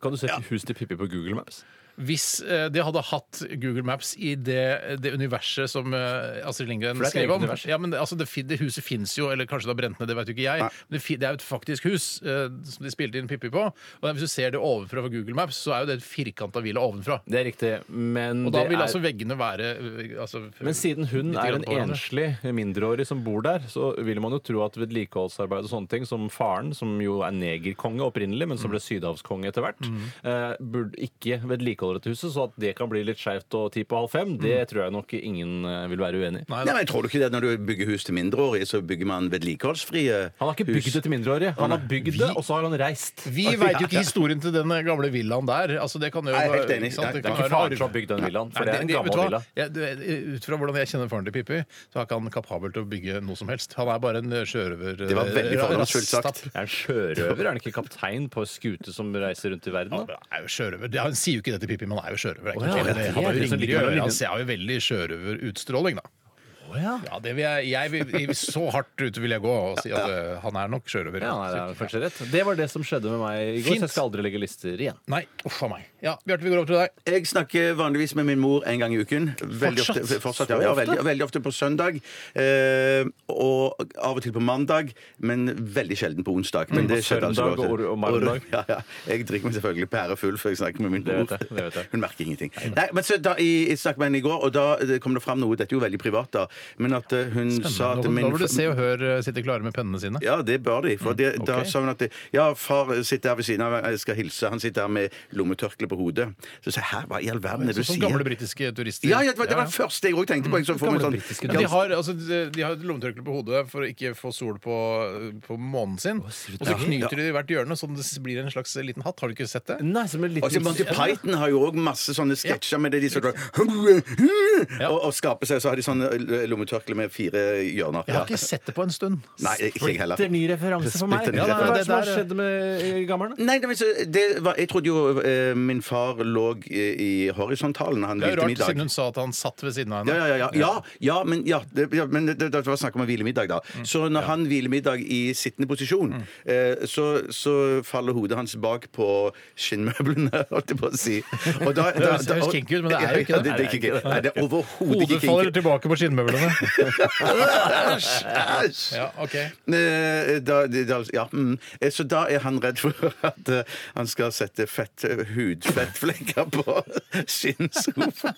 [SPEAKER 4] Kan du sette hus til Pippi på Google Maps?
[SPEAKER 2] Hvis eh, de hadde hatt Google Maps i det, det universet som eh, Astrid Lindgren
[SPEAKER 4] For det er et
[SPEAKER 2] skrev
[SPEAKER 4] eget
[SPEAKER 2] om
[SPEAKER 4] univers.
[SPEAKER 2] ja, men det, altså, det, fin- det huset fins jo, eller kanskje det har brent ned, det vet jo ikke jeg. Men det, fi- det er jo et faktisk hus eh, som de spilte inn Pippi på. Og Hvis du ser det ovenfra på Google Maps, så er jo det et firkanta villa ovenfra.
[SPEAKER 4] Det er riktig, men
[SPEAKER 2] Og da
[SPEAKER 4] det
[SPEAKER 2] vil
[SPEAKER 4] er-
[SPEAKER 2] altså veggene være eh, altså,
[SPEAKER 4] men siden hun
[SPEAKER 2] litt
[SPEAKER 4] er
[SPEAKER 2] grann
[SPEAKER 4] en
[SPEAKER 2] på hverandre.
[SPEAKER 4] enslig mindreårig som bor der, så vil man jo tro at vedlikeholdsarbeid og sånne ting, som faren, som jo er negerkonge opprinnelig, men som
[SPEAKER 2] Mm.
[SPEAKER 4] ble sydhavskonge etter hvert, eh, burde ikke vedlikeholde dette huset, så at det kan bli litt skjevt og ti på halv fem,
[SPEAKER 2] Mm.
[SPEAKER 4] det tror jeg nok ingen eh, vil være uenig i.
[SPEAKER 3] Nei, men jeg tror du ikke det at Når du bygger hus til mindreårige, så bygger man vedlikeholdsfrie
[SPEAKER 4] Han har ikke bygd det til mindreårige. Han har bygd det, og så har han reist. <laughs>
[SPEAKER 2] Vi veit jo ikke historien til den gamle villaen der. Altså, det kan jo,
[SPEAKER 3] Jeg er helt enig.
[SPEAKER 2] ikke sant?
[SPEAKER 3] Det er
[SPEAKER 4] Det er
[SPEAKER 2] kan
[SPEAKER 4] ikke
[SPEAKER 2] være
[SPEAKER 4] faren
[SPEAKER 2] arv.
[SPEAKER 4] som har bygd den villaen, for
[SPEAKER 2] Nei,
[SPEAKER 4] det er en
[SPEAKER 2] det- vet du
[SPEAKER 4] gammel
[SPEAKER 2] hva?
[SPEAKER 4] villa.
[SPEAKER 2] Jeg- det- ut fra hvordan jeg kjenner faren til Pippi, så er ikke han kapabel til å bygge noe som helst. Han er bare en øh, sjørøver.
[SPEAKER 3] Det var veldig fordomsfullt sagt.
[SPEAKER 4] Er han sjørøver? Er han ikke kaptein på skute som reiser rundt i verden? da?
[SPEAKER 2] Er jo sjørøver. Det- Han sier jo ikke det til Pippi, men han er jo sjørøver. Det er ikke
[SPEAKER 4] Å, ja,
[SPEAKER 2] noe tvil
[SPEAKER 4] det er
[SPEAKER 2] om det.
[SPEAKER 4] det.
[SPEAKER 2] Han har jo
[SPEAKER 4] Det er det som
[SPEAKER 2] ringer i
[SPEAKER 4] ligger mellom
[SPEAKER 2] øret. Han
[SPEAKER 4] linjene.
[SPEAKER 2] ser jo veldig sjørøverutstråling, da. Ja, det vil jeg, jeg vil, jeg vil- Så hardt ute vil jeg gå og si at eh, han er nok sjørøver.
[SPEAKER 4] Ja, nei, det er kanskje rett. Det var det som skjedde med meg i går,
[SPEAKER 2] Fint.
[SPEAKER 4] så jeg skal aldri legge lister igjen.
[SPEAKER 2] Nei, uff a meg. Ja, Bjarte, vi går over til deg.
[SPEAKER 3] Jeg snakker vanligvis med min mor en gang i uken. Veldig Ofte,
[SPEAKER 2] Fortsatt?
[SPEAKER 3] fortsatt ja, ja, veldig, veldig ofte på søndag. Eh, og av og til på mandag, men veldig sjelden på onsdag. Men det skjedde altså
[SPEAKER 4] Mm. søndag
[SPEAKER 3] godt.
[SPEAKER 4] og- og mandag.
[SPEAKER 3] Ja, ja. Jeg drikker meg selvfølgelig pærefull før jeg snakker med min
[SPEAKER 4] Det
[SPEAKER 3] mor.
[SPEAKER 4] vet jeg, det vet jeg.
[SPEAKER 3] eh, Hun merker ingenting. Nei, men så da, jeg, jeg snakket med henne i går, og da det kom det fram noe Dette er jo veldig privat, da. Men at eh, hun sa at
[SPEAKER 2] Nå nå
[SPEAKER 3] min
[SPEAKER 2] burde Se og Hør eh, sitte klare med pennene sine.
[SPEAKER 3] ja, det bør de.
[SPEAKER 4] Mm,
[SPEAKER 3] For det, da
[SPEAKER 2] ok.
[SPEAKER 3] sa hun at det, Ja, far sitter her ved siden av, jeg skal hilse. Han sitter her med lommetørkle på hodet. Så sa jeg hæ, hva i all verden er det du
[SPEAKER 4] sånn
[SPEAKER 2] Som
[SPEAKER 3] sier?
[SPEAKER 2] sånn gamle britiske turister.
[SPEAKER 3] Ja, ja, det var det
[SPEAKER 2] Ja, Mm.
[SPEAKER 3] var
[SPEAKER 2] ja.
[SPEAKER 3] det første jeg òg tenkte på. Jeg så for meg
[SPEAKER 4] Gamle
[SPEAKER 3] sånn-
[SPEAKER 4] britiske
[SPEAKER 2] Ja, de har, altså, de de har et lommetørkle på hodet for å ikke få sol på, på månen sin. Og så knyter de det i hvert hjørne, sånn det blir en slags liten hatt. Har du ikke sett det?
[SPEAKER 4] Nei, som en
[SPEAKER 3] Og
[SPEAKER 4] liten
[SPEAKER 3] så Monty Python har jo òg masse sånne sketsjer med det de som går og, og skaper seg, så har de sånn lommetørkle med fire hjørner.
[SPEAKER 2] Jeg har ikke sett det på en stund.
[SPEAKER 3] Nei, ikke jeg heller.
[SPEAKER 4] Splitter ny referanse for meg.
[SPEAKER 3] Splitter ny
[SPEAKER 4] Ja,
[SPEAKER 2] referanse.
[SPEAKER 4] Hva er det som har
[SPEAKER 2] Det der-
[SPEAKER 4] skjedd med eh, gammelen?
[SPEAKER 3] Nei, det, var så- det var, jeg trodde jo eh, min far lå eh, i, i horisontalen da han
[SPEAKER 2] Det er jo
[SPEAKER 3] hvilte
[SPEAKER 2] rart,
[SPEAKER 3] middag.
[SPEAKER 2] siden hun sa at han satt ved siden av
[SPEAKER 3] Ja,
[SPEAKER 2] henne.
[SPEAKER 3] ja, ja, ja. ja, ja, men, ja, det, ja, men det, det det var snakk om en hvilemiddag, da. Så når han hviler middag i sittende posisjon, eh, så, så faller hodet hans bak på skinnmøblene, <laughs> holdt jeg på å si. Og da- da-
[SPEAKER 2] høres- det høres kinky ut, men det er jo ikke
[SPEAKER 3] Ja,
[SPEAKER 2] det.
[SPEAKER 3] det, det er ikke kinky. Nei, det er overhodet
[SPEAKER 2] Hodet
[SPEAKER 3] ikke
[SPEAKER 2] faller
[SPEAKER 3] kinky.
[SPEAKER 2] tilbake på skinnmøblene.
[SPEAKER 3] Æsj!
[SPEAKER 2] <laughs> Ja, ok.
[SPEAKER 3] Eh, Da, da, ja, mm. Eh, Så da er han redd for <laughs> at eh, han skal sette fett, eh, hudfettflekker på <laughs> skinnsofaen.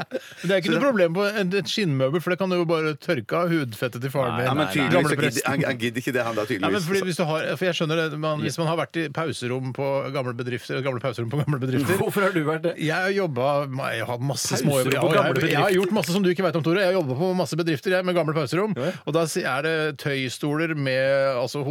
[SPEAKER 2] Men Det er ikke noe problem på en- et skinnmøbel, for det kan du jo bare tørke av hudfettet til faren min.
[SPEAKER 3] Ja, men tydeligvis
[SPEAKER 2] Gamle
[SPEAKER 3] så gidder,
[SPEAKER 2] presten.
[SPEAKER 3] han, han gidder ikke det, han da,
[SPEAKER 2] Ja, men
[SPEAKER 3] tydeligvis.
[SPEAKER 2] fordi hvis, du har, for jeg skjønner det, man, hvis man har vært i pauserom på gamle bedrifter, gamle pauserom på gamle bedrifter
[SPEAKER 4] Hvorfor har du vært det?
[SPEAKER 2] Jeg har jobba Jeg har hatt masse
[SPEAKER 4] Pauserom
[SPEAKER 2] småjobber.
[SPEAKER 4] på
[SPEAKER 2] Jeg,
[SPEAKER 4] gamle
[SPEAKER 2] jeg,
[SPEAKER 4] bedrifter.
[SPEAKER 2] jeg har gjort masse som du ikke veit om, Tore. Jeg har jobba på masse bedrifter jeg, med gamle pauserom.
[SPEAKER 4] Ja.
[SPEAKER 2] Og da si- er det tøystoler med altså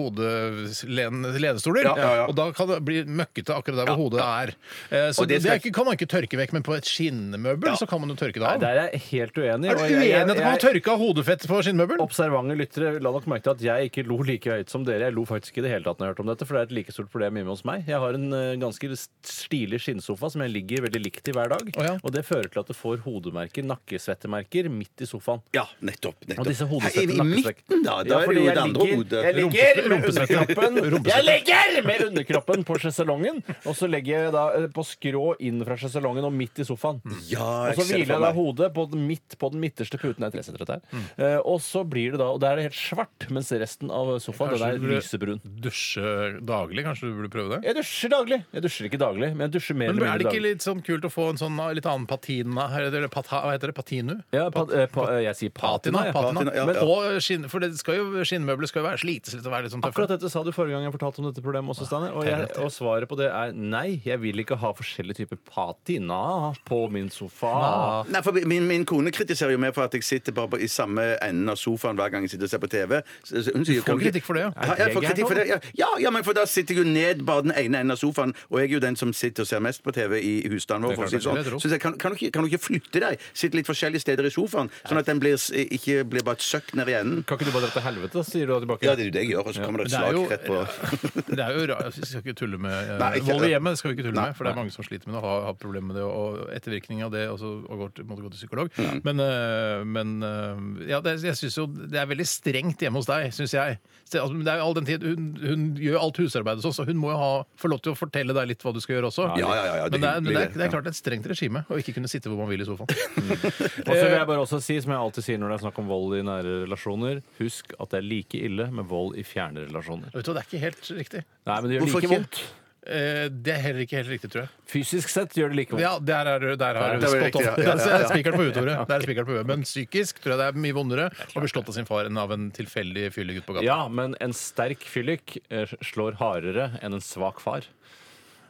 [SPEAKER 2] hodelenestoler.
[SPEAKER 3] Ja, ja, ja.
[SPEAKER 2] Og da kan det bli møkkete akkurat der hvor hodet er. Eh, Så
[SPEAKER 3] Og
[SPEAKER 2] det,
[SPEAKER 3] det skal-
[SPEAKER 2] er ikke, kan man ikke tørke vekk, men på et skinnmøbel så kan man jo tørke det
[SPEAKER 4] Nei,
[SPEAKER 2] av.
[SPEAKER 4] Der er jeg helt uenig.
[SPEAKER 2] er
[SPEAKER 4] og
[SPEAKER 2] du
[SPEAKER 4] jeg- jeg-
[SPEAKER 2] uenig at man har
[SPEAKER 4] jeg-
[SPEAKER 2] tørka hodefett på skinnmøbel?
[SPEAKER 4] Observante lyttere la nok merke til at jeg ikke lo like høyt som dere. Jeg lo faktisk ikke i det hele tatt når jeg hørte om dette, for det er et like stort problem hjemme hos meg. Jeg har en eh, ganske st- stilig skinnsofa som jeg ligger veldig likt i hver dag.
[SPEAKER 2] Å ja.
[SPEAKER 4] Og det fører til at du får hodemerker, nakkesvettemerker, midt i sofaen.
[SPEAKER 3] Ja, nettopp. nettopp.
[SPEAKER 4] Og disse
[SPEAKER 3] Hei,
[SPEAKER 4] hodesvettene
[SPEAKER 3] I midten, da? Da er det jo det andre hodet.
[SPEAKER 4] Jeg ligger med
[SPEAKER 2] Rumpesvetten.
[SPEAKER 4] underkroppen Jeg
[SPEAKER 2] Rumpesvetten.
[SPEAKER 4] ligger med underkroppen på sjeselongen, og så legger jeg da eh, på skrå inn fra sjeselongen og midt i sofaen.
[SPEAKER 3] Ja,
[SPEAKER 4] Og så
[SPEAKER 3] jeg ser
[SPEAKER 4] hviler jeg
[SPEAKER 3] for
[SPEAKER 4] da
[SPEAKER 3] meg. Mm.
[SPEAKER 4] hodet på den, midt, på den midterste puten. Jeg er tresetter dette her. Eh, og så blir det da Og der er det helt svart, mens resten av sofaen den
[SPEAKER 2] Kanskje
[SPEAKER 4] er
[SPEAKER 2] du burde
[SPEAKER 4] lysebrun.
[SPEAKER 2] Dusje daglig, kanskje du burde prøve det?
[SPEAKER 4] Jeg dusjer daglig. Jeg dusjer ikke daglig, men jeg dusjer mer
[SPEAKER 2] Men
[SPEAKER 4] eller
[SPEAKER 2] er det
[SPEAKER 4] mindre
[SPEAKER 2] ikke
[SPEAKER 4] daglig.
[SPEAKER 2] litt sånn kult å få en sånn ah, litt annen patina Eller pata, hva heter det? Patinu?
[SPEAKER 4] Ja, pat, eh, pa, eh, jeg sier patina.
[SPEAKER 2] Patina.
[SPEAKER 4] jeg.
[SPEAKER 2] patina.
[SPEAKER 3] Patina, ja,
[SPEAKER 2] Men,
[SPEAKER 3] ja.
[SPEAKER 2] og skinn, for det skal jo, skinnmøbler skal jo være slites litt og være litt sånn tøffe.
[SPEAKER 4] Akkurat dette sa du forrige gang jeg fortalte om dette problemet også, Steiner. Og, jeg, og svaret på det er nei, jeg vil ikke ha forskjellige typer patina på min sofa.
[SPEAKER 3] Nei, for min, min kone kritiserer jo meg for at jeg sitter bare på, i samme enden av sofaen hver gang jeg sitter og ser på TV. Så, så hun sier,
[SPEAKER 2] får kritikk for det, ja.
[SPEAKER 3] ja. Jeg får kritikk for det, ja. ja, ja, men for da sitter jeg jo ned bare den ene enden av sofaen, og jeg er jo den som sitter og ser mest på TV i husstanden
[SPEAKER 2] Det
[SPEAKER 3] vår. For å
[SPEAKER 2] kan
[SPEAKER 3] si det sånn.
[SPEAKER 2] jeg tro.
[SPEAKER 3] Så jeg, sier, kan, kan, du ikke, kan du ikke flytte deg? Sitte litt forskjellige steder i sofaen, sånn at den blir, s- ikke blir bare et søkk ned i enden.
[SPEAKER 4] Kan ikke du bare dra til helvete, da, sier du da tilbake?
[SPEAKER 3] Ja, det er jo det jeg gjør, og så kommer det et
[SPEAKER 2] Det er
[SPEAKER 3] slag
[SPEAKER 2] jo-
[SPEAKER 3] rett på
[SPEAKER 2] <laughs> Det er jo rart. Vi skal ikke tulle med eh,
[SPEAKER 3] Nei, ikke-
[SPEAKER 2] vold i hjemmet. skal vi ikke tulle
[SPEAKER 3] Nei,
[SPEAKER 2] med, For det er mange som sliter med det og har, har problemer med det. Og ettervirkning av det også, og går til, måtte gå til psykolog. Men, eh, men eh, ja, det, jeg synes jo det er veldig strengt hjemme hos deg, syns jeg. Så, altså, men Det er jo all den tid, hun, hun gjør alt husarbeidet og sånn, så hun må jo ha, få lov til å fortelle deg litt hva du skal gjøre også.
[SPEAKER 3] Ja, ja, ja, ja, det
[SPEAKER 2] men det er, men
[SPEAKER 3] blir
[SPEAKER 2] det,
[SPEAKER 3] det,
[SPEAKER 2] er, det er
[SPEAKER 3] ja.
[SPEAKER 2] klart et strengt regime å ikke kunne sitte hvor man vil i
[SPEAKER 3] <laughs>
[SPEAKER 2] sofaen.
[SPEAKER 4] Og så vil jeg bare også si, som jeg alltid sier når det er snakk om vold i nære relasjoner, husk at det er like ille med vold i fjerne relasjoner.
[SPEAKER 2] Vet du, hva, Det er ikke helt riktig.
[SPEAKER 4] Nei, men det gjør
[SPEAKER 3] Hvorfor
[SPEAKER 4] like
[SPEAKER 3] ikke?
[SPEAKER 4] vondt.
[SPEAKER 2] Eh, Det er heller ikke helt riktig, tror jeg.
[SPEAKER 4] Fysisk sett gjør det like vondt.
[SPEAKER 2] Ja, der er du der har
[SPEAKER 3] Der
[SPEAKER 2] du
[SPEAKER 3] var det
[SPEAKER 2] spot on.
[SPEAKER 3] riktig, ja, ja, ja, ja.
[SPEAKER 2] Der er Spikeren på huet, Tore. Der er spikeren på huet. Men psykisk tror jeg det er mye vondere å bli slått av sin far enn av en tilfeldig fyllegutt på gata.
[SPEAKER 4] Ja, men en sterk fyllik eh, slår hardere enn en svak far.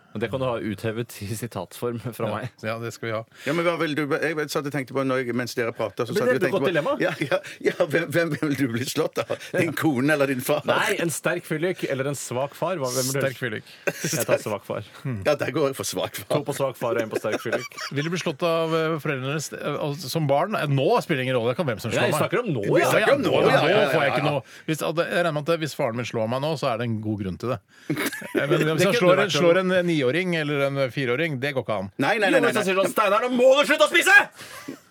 [SPEAKER 4] Og Det kan du ha uthevet i sitatform fra meg.
[SPEAKER 2] Ja, det skal vi ha.
[SPEAKER 3] Ja, men hva vil du Jeg satt og tenkte på når jeg, mens dere prata
[SPEAKER 4] Men det er et godt dilemma.
[SPEAKER 3] Ja, ja, ja, hvem, hvem vil du bli slått av? Din kone eller din far?
[SPEAKER 4] Nei, en sterk fyllik eller en svak far. Hva, hvem vil du
[SPEAKER 2] Sterk
[SPEAKER 4] helst?
[SPEAKER 2] fyllik.
[SPEAKER 4] Jeg tar svak far.
[SPEAKER 3] Ja, der går jeg for svakt
[SPEAKER 4] To
[SPEAKER 3] fram.
[SPEAKER 4] på svak far og en på sterk fyllik.
[SPEAKER 2] Vil du bli slått av eh, foreldrene s- eh, altså, som barn? Eh, Nå spiller det ingen rolle. Det kan hvem som slår
[SPEAKER 4] Nei,
[SPEAKER 2] meg.
[SPEAKER 4] jeg snakker om nå,
[SPEAKER 2] Ja,
[SPEAKER 4] ja.
[SPEAKER 2] ja,
[SPEAKER 3] snakker om
[SPEAKER 2] nå,
[SPEAKER 3] nå, ja, ja, ja,
[SPEAKER 2] nå får jeg ikke
[SPEAKER 3] ja, ja.
[SPEAKER 2] noe. Hvis, at- jeg regner med at hvis faren min slår meg nå, så er det en god grunn til det. Eh,
[SPEAKER 3] <laughs>
[SPEAKER 2] Men hvis han
[SPEAKER 4] kunne
[SPEAKER 2] slår, en-
[SPEAKER 4] vært
[SPEAKER 2] slår en eh, niåring eller en eh, fireåring, det går ikke an.
[SPEAKER 3] Nei, nei, nei. nei,
[SPEAKER 4] Jonas
[SPEAKER 3] nei.
[SPEAKER 4] sier sånn Steinar, nå må du slutte å spise!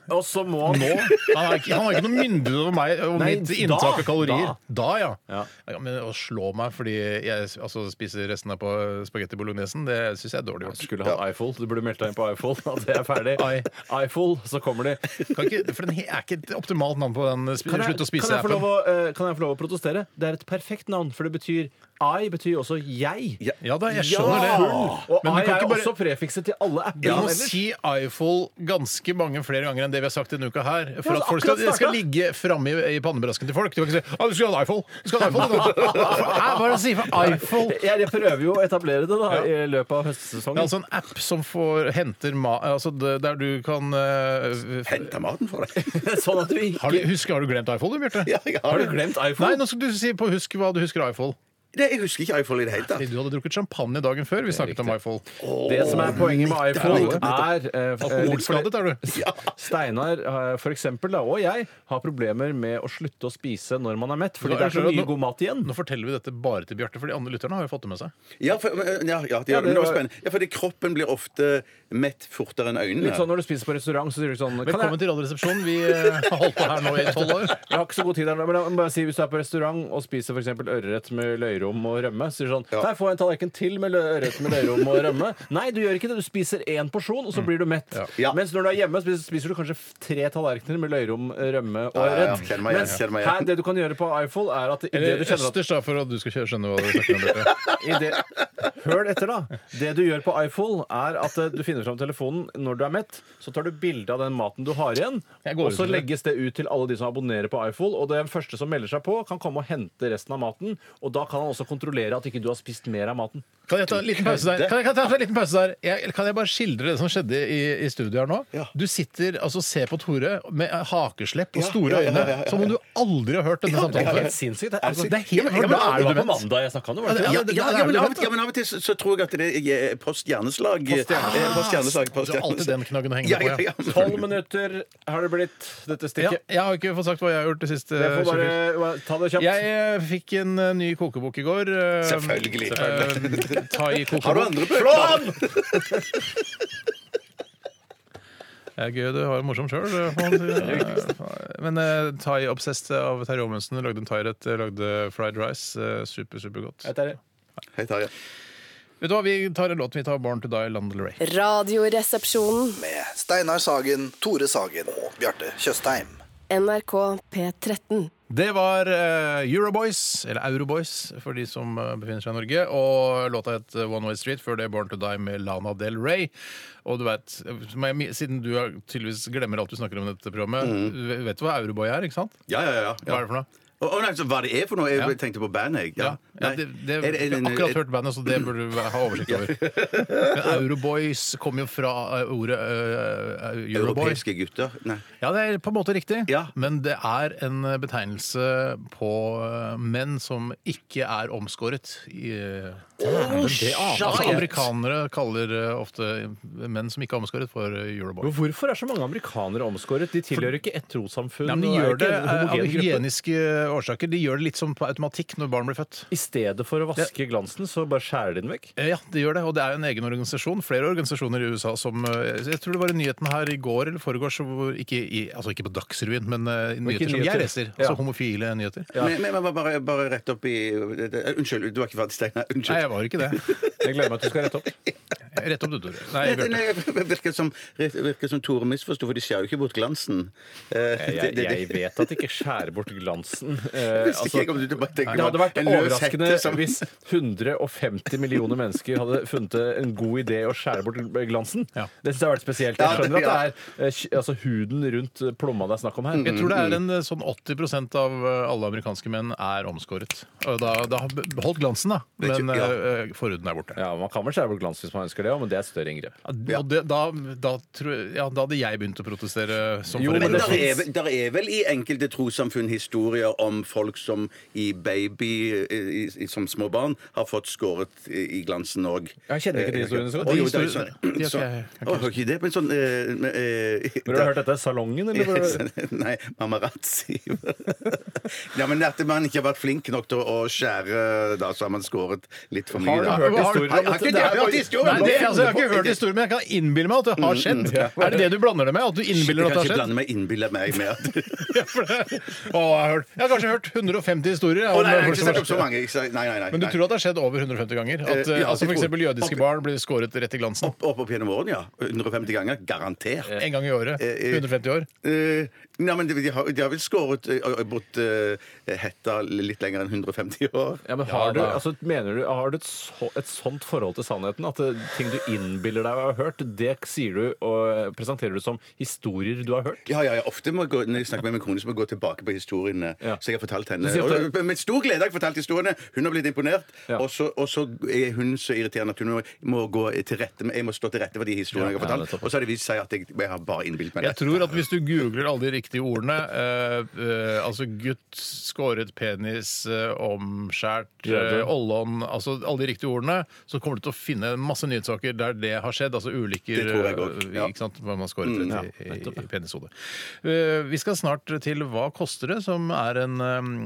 [SPEAKER 4] Og så må han
[SPEAKER 2] Nå? Han har ikke, han har ikke noe myndighet over meg og
[SPEAKER 4] Nei,
[SPEAKER 2] mitt
[SPEAKER 4] da,
[SPEAKER 2] inntak av kalorier. Da, ja.
[SPEAKER 4] Ja.
[SPEAKER 2] Ja, Men å slå meg fordi jeg altså, spiser resten av på spagetti bolognesen, det syns jeg er dårlig gjort.
[SPEAKER 4] Skulle hatt iFool. Du burde meldt deg inn på iFool. At det er ferdig.
[SPEAKER 2] I-
[SPEAKER 4] iFool, så kommer de. Kan
[SPEAKER 2] Kan ikke, for den he- er ikke et optimalt navn på den sp slutt å
[SPEAKER 4] kan, jeg få lov
[SPEAKER 2] spise-appen.
[SPEAKER 4] å, eh, kan jeg få lov å protestere? Det er et perfekt navn, for det betyr I betyr også jeg.
[SPEAKER 3] Ja.
[SPEAKER 2] Ja da, jeg skjønner det.
[SPEAKER 4] Og
[SPEAKER 2] Men du
[SPEAKER 4] I
[SPEAKER 2] kan
[SPEAKER 4] er
[SPEAKER 2] ikke bare
[SPEAKER 4] også prefikset til alle apper.
[SPEAKER 2] du må si iFull ganske mange flere ganger enn det det vi har sagt denne uka her. For
[SPEAKER 4] Ja,
[SPEAKER 2] at folk
[SPEAKER 4] akkurat
[SPEAKER 2] skal, det skal
[SPEAKER 4] startet.
[SPEAKER 2] ligge framme i, i pannebrasken til folk. Du kan ikke si 'Å, du skal ha en iPhone'. Du skal ha en
[SPEAKER 4] <laughs>
[SPEAKER 2] iPhone. du». Hæ, Hva er det å si for iPhone?
[SPEAKER 4] Jeg, jeg prøver jo å etablere det da, i løpet av høstsesongen.
[SPEAKER 2] Det er altså en app som får, henter ma... Altså det- der du kan eh,
[SPEAKER 3] Henta maten for deg. <laughs>
[SPEAKER 4] sånn at du ikke
[SPEAKER 2] har du, Husker har du glemt iPhone, du, Bjarte?
[SPEAKER 3] Ja, jeg har
[SPEAKER 4] Har du
[SPEAKER 3] det.
[SPEAKER 4] glemt
[SPEAKER 2] Nei,
[SPEAKER 4] iPhone?
[SPEAKER 2] nå skal du si på husk hva du husker av iPhone.
[SPEAKER 3] Nei, jeg husker ikke iPhone i det hele tatt.
[SPEAKER 2] Fordi du hadde drukket champagne dagen før vi snakket om iPhone.
[SPEAKER 4] det som er poenget med iPhone, er eh, f- eh, litt fordi-
[SPEAKER 2] Alkoholskadet er du.
[SPEAKER 4] Steinar eh, for eksempel, da, og jeg har problemer med å slutte å spise når man er mett, fordi
[SPEAKER 2] Nå
[SPEAKER 4] det
[SPEAKER 2] er
[SPEAKER 4] er så
[SPEAKER 2] det-
[SPEAKER 4] mye
[SPEAKER 2] nå-
[SPEAKER 4] god mat igjen.
[SPEAKER 2] Nå forteller vi dette bare til Bjarte, for de andre lytterne har jo fått det med seg.
[SPEAKER 3] Ja, for, ja, ja, det
[SPEAKER 4] Ja,
[SPEAKER 3] gjør det. Men det var
[SPEAKER 4] det var-
[SPEAKER 3] spennende. Ja, fordi kroppen blir ofte mett fortere enn øynene.
[SPEAKER 4] Litt sånn Når du spiser på restaurant, så sier du sånn kan
[SPEAKER 2] Velkommen
[SPEAKER 4] jeg,
[SPEAKER 2] til Radioresepsjonen. Vi eh, har holdt på her nå i tolv år.
[SPEAKER 4] jeg har ikke så god tid her nå, men jeg må bare si hvis du er på restaurant og spiser f.eks. ørret med løyrom og rømme, så sier du sånn Nei, får jeg en tallerken til med lø- ørret med løyrom og rømme? Nei, du gjør ikke det. Du spiser én porsjon, og så blir du mett.
[SPEAKER 3] Mm. Ja.
[SPEAKER 4] Mens når du er hjemme, spiser, spiser du kanskje f- tre tallerkener med løyrom, rømme og
[SPEAKER 3] Ja, ja, ja.
[SPEAKER 4] ørret.
[SPEAKER 3] Kjenner meg igjen,
[SPEAKER 4] Mens
[SPEAKER 3] kjenner meg igjen.
[SPEAKER 4] her, det du kan gjøre på iPhone, er at i det
[SPEAKER 2] Eller
[SPEAKER 4] du kjenner at
[SPEAKER 2] østers, da, for at du skal kjøre- skjønne hva du snakker om. Bjarte.
[SPEAKER 4] I det, hør etter, da. Det du gjør på iPhone, er at eh, du finner fram telefonen når du er mett. Så tar du bilde av den maten du har igjen,
[SPEAKER 2] Jeg går
[SPEAKER 4] og
[SPEAKER 2] ut
[SPEAKER 4] så
[SPEAKER 2] med det.
[SPEAKER 4] legges det ut til alle de som abonnerer på iPhone. Og den første som melder seg på, kan komme og hente resten av maten. Og da kan han også kontrollere at ikke du har spist mer av maten.
[SPEAKER 2] Kan jeg ta en liten pause der? Kan jeg, kan jeg, ta en liten pause der? Jeg, eller kan jeg bare skildre det som skjedde i, i studio her nå? Du sitter altså ser på Tore med hakeslepp og store øyne, som om du aldri har hørt denne samtalen før.
[SPEAKER 4] sinnssykt. Det
[SPEAKER 2] Altså, det er helt-
[SPEAKER 4] ja, men, ja, men,
[SPEAKER 2] Hvordan er
[SPEAKER 4] det
[SPEAKER 2] du
[SPEAKER 4] var på
[SPEAKER 2] mett?
[SPEAKER 4] mandag jeg snakka om det. Var det
[SPEAKER 2] Ja,
[SPEAKER 4] ikke
[SPEAKER 3] Ja,
[SPEAKER 4] det?
[SPEAKER 2] det-
[SPEAKER 3] ja,
[SPEAKER 2] det
[SPEAKER 3] ja,
[SPEAKER 2] er
[SPEAKER 3] men,
[SPEAKER 2] jo
[SPEAKER 3] av, og
[SPEAKER 2] lett,
[SPEAKER 3] til- ja, men av og til så, så tror jeg at det er post hjerneslag.
[SPEAKER 4] Post-hjerne.
[SPEAKER 3] Eh, post hjerneslag,
[SPEAKER 2] Du
[SPEAKER 3] post
[SPEAKER 2] har alltid den knaggen å henge
[SPEAKER 3] Ja,
[SPEAKER 2] på.
[SPEAKER 3] ja,
[SPEAKER 2] ja.
[SPEAKER 3] ja.
[SPEAKER 4] Tolv minutter har det blitt dette
[SPEAKER 2] Ja,
[SPEAKER 4] stikket.
[SPEAKER 2] jeg har ikke fått sagt hva jeg har gjort det siste.
[SPEAKER 4] Jeg får
[SPEAKER 2] 24.
[SPEAKER 4] bare ta det kjapt.
[SPEAKER 2] Jeg eh, fikk en eh, ny kokebok i går. eh,
[SPEAKER 3] Selvfølgelig.
[SPEAKER 2] eh, Thai-kokebok.
[SPEAKER 3] Har du andre bøker?
[SPEAKER 2] Det er gøy, du har det morsomt sjøl. Men eh, Thai Obsessed av Terje Aamundsen lagde en thairett, eh, lagde fried rice. eh, Super, supergodt.
[SPEAKER 4] Dette er det.
[SPEAKER 3] Hei, Tarjei.
[SPEAKER 2] Vet du hva, vi tar en låt. Vi tar Born to Die, Lana Del Rey.
[SPEAKER 5] Radioresepsjonen.
[SPEAKER 7] med Steinar Sagen, Tore Sagen og Bjarte Tjøstheim.
[SPEAKER 5] NRK P13.
[SPEAKER 2] Det var eh, Euroboys, eller Euroboys for de som eh, befinner seg i Norge. Og låta het eh, One Way Street, før det Born to Die med Lana Del Rey. Og du vet, som jeg- Siden du har- tydeligvis glemmer alt du snakker om i dette programmet, du vet du hva Euroboy er? ikke sant?
[SPEAKER 3] Ja, ja, Mm. ja.
[SPEAKER 2] Hva er det for noe?
[SPEAKER 3] Å, å, nei, så hva det er for noe? Jeg
[SPEAKER 2] Ja.
[SPEAKER 3] tenkte på bandet, jeg.
[SPEAKER 2] Ja, ja,
[SPEAKER 3] Nei.
[SPEAKER 2] det, det,
[SPEAKER 3] Er det- er
[SPEAKER 2] jeg
[SPEAKER 3] det
[SPEAKER 2] har
[SPEAKER 3] en-
[SPEAKER 2] akkurat hørt bandet, så det burde du ha oversikt over.
[SPEAKER 3] <laughs>
[SPEAKER 2] Men Euroboys kommer jo fra eh, ordet eh, eh, Euroboy.
[SPEAKER 3] Europeiske gutter? Nei.
[SPEAKER 2] Ja, det er på en måte riktig,
[SPEAKER 3] Ja.
[SPEAKER 2] men det er en betegnelse på eh, menn som ikke er omskåret. I, eh, det aner jeg. altså, amerikanere kaller eh, ofte menn som ikke er omskåret, for eh, Euroboy.
[SPEAKER 4] Men Hvorfor er så mange amerikanere omskåret? De tilhører ikke ett trossamfunn.
[SPEAKER 2] Ja, men de
[SPEAKER 4] og er
[SPEAKER 2] gjør
[SPEAKER 4] ikke
[SPEAKER 2] det
[SPEAKER 4] en
[SPEAKER 2] eh, av
[SPEAKER 4] homogen gruppe.
[SPEAKER 2] hygieniske årsaker. De gjør det litt som på automatikk når barn blir født.
[SPEAKER 4] I stedet for å vaske glansen, så bare skjærer de den vekk.
[SPEAKER 2] Eh, Ja, det gjør det. Og det er jo en egen organisasjon. Flere organisasjoner i USA som eh, Jeg tror det var i nyheten her i går eller foregårs, hvor ikke, i, altså ikke på Dagsrevyen, men eh, i nyheter som
[SPEAKER 4] nyheter.
[SPEAKER 2] jeg leser. Altså
[SPEAKER 4] Ja.
[SPEAKER 2] homofile nyheter.
[SPEAKER 3] Men, men, men bare, bare rett opp i det- det- Unnskyld, du er ikke ferdig, Steinar.
[SPEAKER 2] Nei,
[SPEAKER 3] Unnskyld.
[SPEAKER 2] jeg var ikke det.
[SPEAKER 4] Jeg gleder meg at du skal
[SPEAKER 3] <laughs>
[SPEAKER 4] rette opp.
[SPEAKER 2] Rett opp, du, Tore. Nei,
[SPEAKER 3] Nei,
[SPEAKER 2] Bjarte.
[SPEAKER 3] nei, det virker som, det virker som Tore misforsto, for de skjærer jo ikke bort glansen. Eh,
[SPEAKER 4] Jeg,
[SPEAKER 3] det- det- det- <laughs>
[SPEAKER 4] vet at de ikke skjærer bort glansen. Eh,
[SPEAKER 3] Hvis ikke
[SPEAKER 4] altså,
[SPEAKER 3] jeg kom til å bare tenke
[SPEAKER 4] det hadde
[SPEAKER 3] på
[SPEAKER 4] vært
[SPEAKER 3] en løs
[SPEAKER 4] overraskende
[SPEAKER 3] hette som-
[SPEAKER 4] hvis 150 millioner mennesker hadde funnet det en god idé å skjære bort glansen.
[SPEAKER 2] Ja.
[SPEAKER 4] Det syns jeg har vært spesielt.
[SPEAKER 3] Ja,
[SPEAKER 4] Jeg
[SPEAKER 3] Mm.
[SPEAKER 4] skjønner
[SPEAKER 3] det-
[SPEAKER 4] at det er eh, sk- altså, huden rundt eh, plomma det er snakk om her.
[SPEAKER 2] Jeg tror det er en eh, sånn 80 av eh, alle amerikanske menn er omskåret. Og da, da har beholdt glansen, da.
[SPEAKER 3] Det er ikke-
[SPEAKER 2] Men
[SPEAKER 3] ja.
[SPEAKER 2] eh, eh, forhuden er borte.
[SPEAKER 4] Ja, Man kan vel skjære bort glansen hvis man ønsker det, ja, men det er et større inngrep.
[SPEAKER 2] Og det, da, da, tror, jeg- ja, da hadde jeg begynt å protestere som
[SPEAKER 4] Jo,
[SPEAKER 3] Men
[SPEAKER 2] forelder.
[SPEAKER 3] der er, vel- der er vel i enkelte trossamfunn historier om folk som i baby, i, i, som små barn, har fått skåret i i glansen òg.
[SPEAKER 4] Jeg kjenner ikke de historiene så godt.
[SPEAKER 3] Å, jo,
[SPEAKER 2] De
[SPEAKER 3] det er
[SPEAKER 2] historiene-
[SPEAKER 3] sånn-
[SPEAKER 2] de har
[SPEAKER 3] sånn-
[SPEAKER 2] ikke jeg-
[SPEAKER 3] Å, har ikke det, men sånn eh, men, eh,
[SPEAKER 4] Har du hørt dette i salongen? Eller? hvor-
[SPEAKER 3] <laughs> Nei, Mamarazzi. <laughs> ja, men at man ikke har vært flink nok til å skjære, da, så har man skåret litt for mye.
[SPEAKER 2] Har du
[SPEAKER 3] da.
[SPEAKER 2] hørt
[SPEAKER 3] Har-
[SPEAKER 2] historier om
[SPEAKER 3] Nei, jeg
[SPEAKER 2] dette?
[SPEAKER 3] har ikke
[SPEAKER 2] Det
[SPEAKER 3] det?
[SPEAKER 2] er
[SPEAKER 3] Jeg har
[SPEAKER 2] bare-
[SPEAKER 3] hørt historier.
[SPEAKER 2] Nei, det, altså, jeg har ikke hørt historien, men jeg kan innbille meg at det har skjedd. Er det det du blander det med? At du innbiller
[SPEAKER 3] Jeg
[SPEAKER 2] at
[SPEAKER 3] kan
[SPEAKER 2] det har
[SPEAKER 3] ikke
[SPEAKER 2] skjedd?
[SPEAKER 3] blande meg innbille meg med at
[SPEAKER 2] Ja, for det- <laughs> Å, jeg har, hørt. jeg har kanskje hørt 150 historier. jeg,
[SPEAKER 3] Å,
[SPEAKER 2] om
[SPEAKER 3] nei, jeg har
[SPEAKER 2] folk
[SPEAKER 3] ikke
[SPEAKER 2] som har-
[SPEAKER 3] snakket om så mange. Ikke så- Nei, nei, nei.
[SPEAKER 2] Men du
[SPEAKER 3] nei.
[SPEAKER 2] tror at det har skjedd over 150 ganger? At
[SPEAKER 3] Eh,
[SPEAKER 2] eh,
[SPEAKER 3] ja,
[SPEAKER 2] altså
[SPEAKER 3] det
[SPEAKER 2] for
[SPEAKER 3] tror
[SPEAKER 2] eksempel
[SPEAKER 3] jeg.
[SPEAKER 2] jødiske barn blir skåret rett i glansen?
[SPEAKER 3] Opp, opp opp gjennom årene, ja. 150 ganger. Garantert.
[SPEAKER 2] En gang i året?
[SPEAKER 3] eh,
[SPEAKER 2] 150 år?
[SPEAKER 3] Eh, nei, men de, de, har, de har vel skåret uh, bort eh, hetta litt lenger enn 150 år.
[SPEAKER 4] Ja, men har, du, altså, mener du, har du et, så, et sånt forhold til sannheten at eh, ting du innbiller deg å ha hørt, det sier du og eh, presenterer du som historier du har hørt.
[SPEAKER 3] Ja, ja, ja. Ofte må jeg gå, når jeg snakker med min kone, så må jeg gå tilbake på historiene.
[SPEAKER 4] Ja.
[SPEAKER 3] Så jeg har fortalt
[SPEAKER 4] Du
[SPEAKER 3] henne.
[SPEAKER 4] sier ofte-
[SPEAKER 3] Og, men med stor glede har jeg fortalt historiene. Hun har blitt imponert.
[SPEAKER 4] Ja.
[SPEAKER 3] Og, så, og så er hun så irriterende at hun må, må gå til rette med, jeg må stå til rette for de historiene jeg har
[SPEAKER 4] Ja,
[SPEAKER 3] fortalt.
[SPEAKER 4] nettopp.
[SPEAKER 3] og så har det vist seg at jeg, jeg har bare innbilt meg det.
[SPEAKER 2] Jeg tror at hvis du googler alle de riktige ordene, eh, eh, altså gutt, skåret penis, eh, omskjært, eh, ollon, altså alle de riktige ordene, så kommer du til å finne masse nyhetssaker der det har skjedd, altså ulykker,
[SPEAKER 3] Det tror jeg også,
[SPEAKER 2] eh,
[SPEAKER 3] ja.
[SPEAKER 2] ikke sant, hvor man skåret mm,
[SPEAKER 3] ja,
[SPEAKER 2] i, i penishodet. Eh, vi skal snart til Hva koster det?, som er en,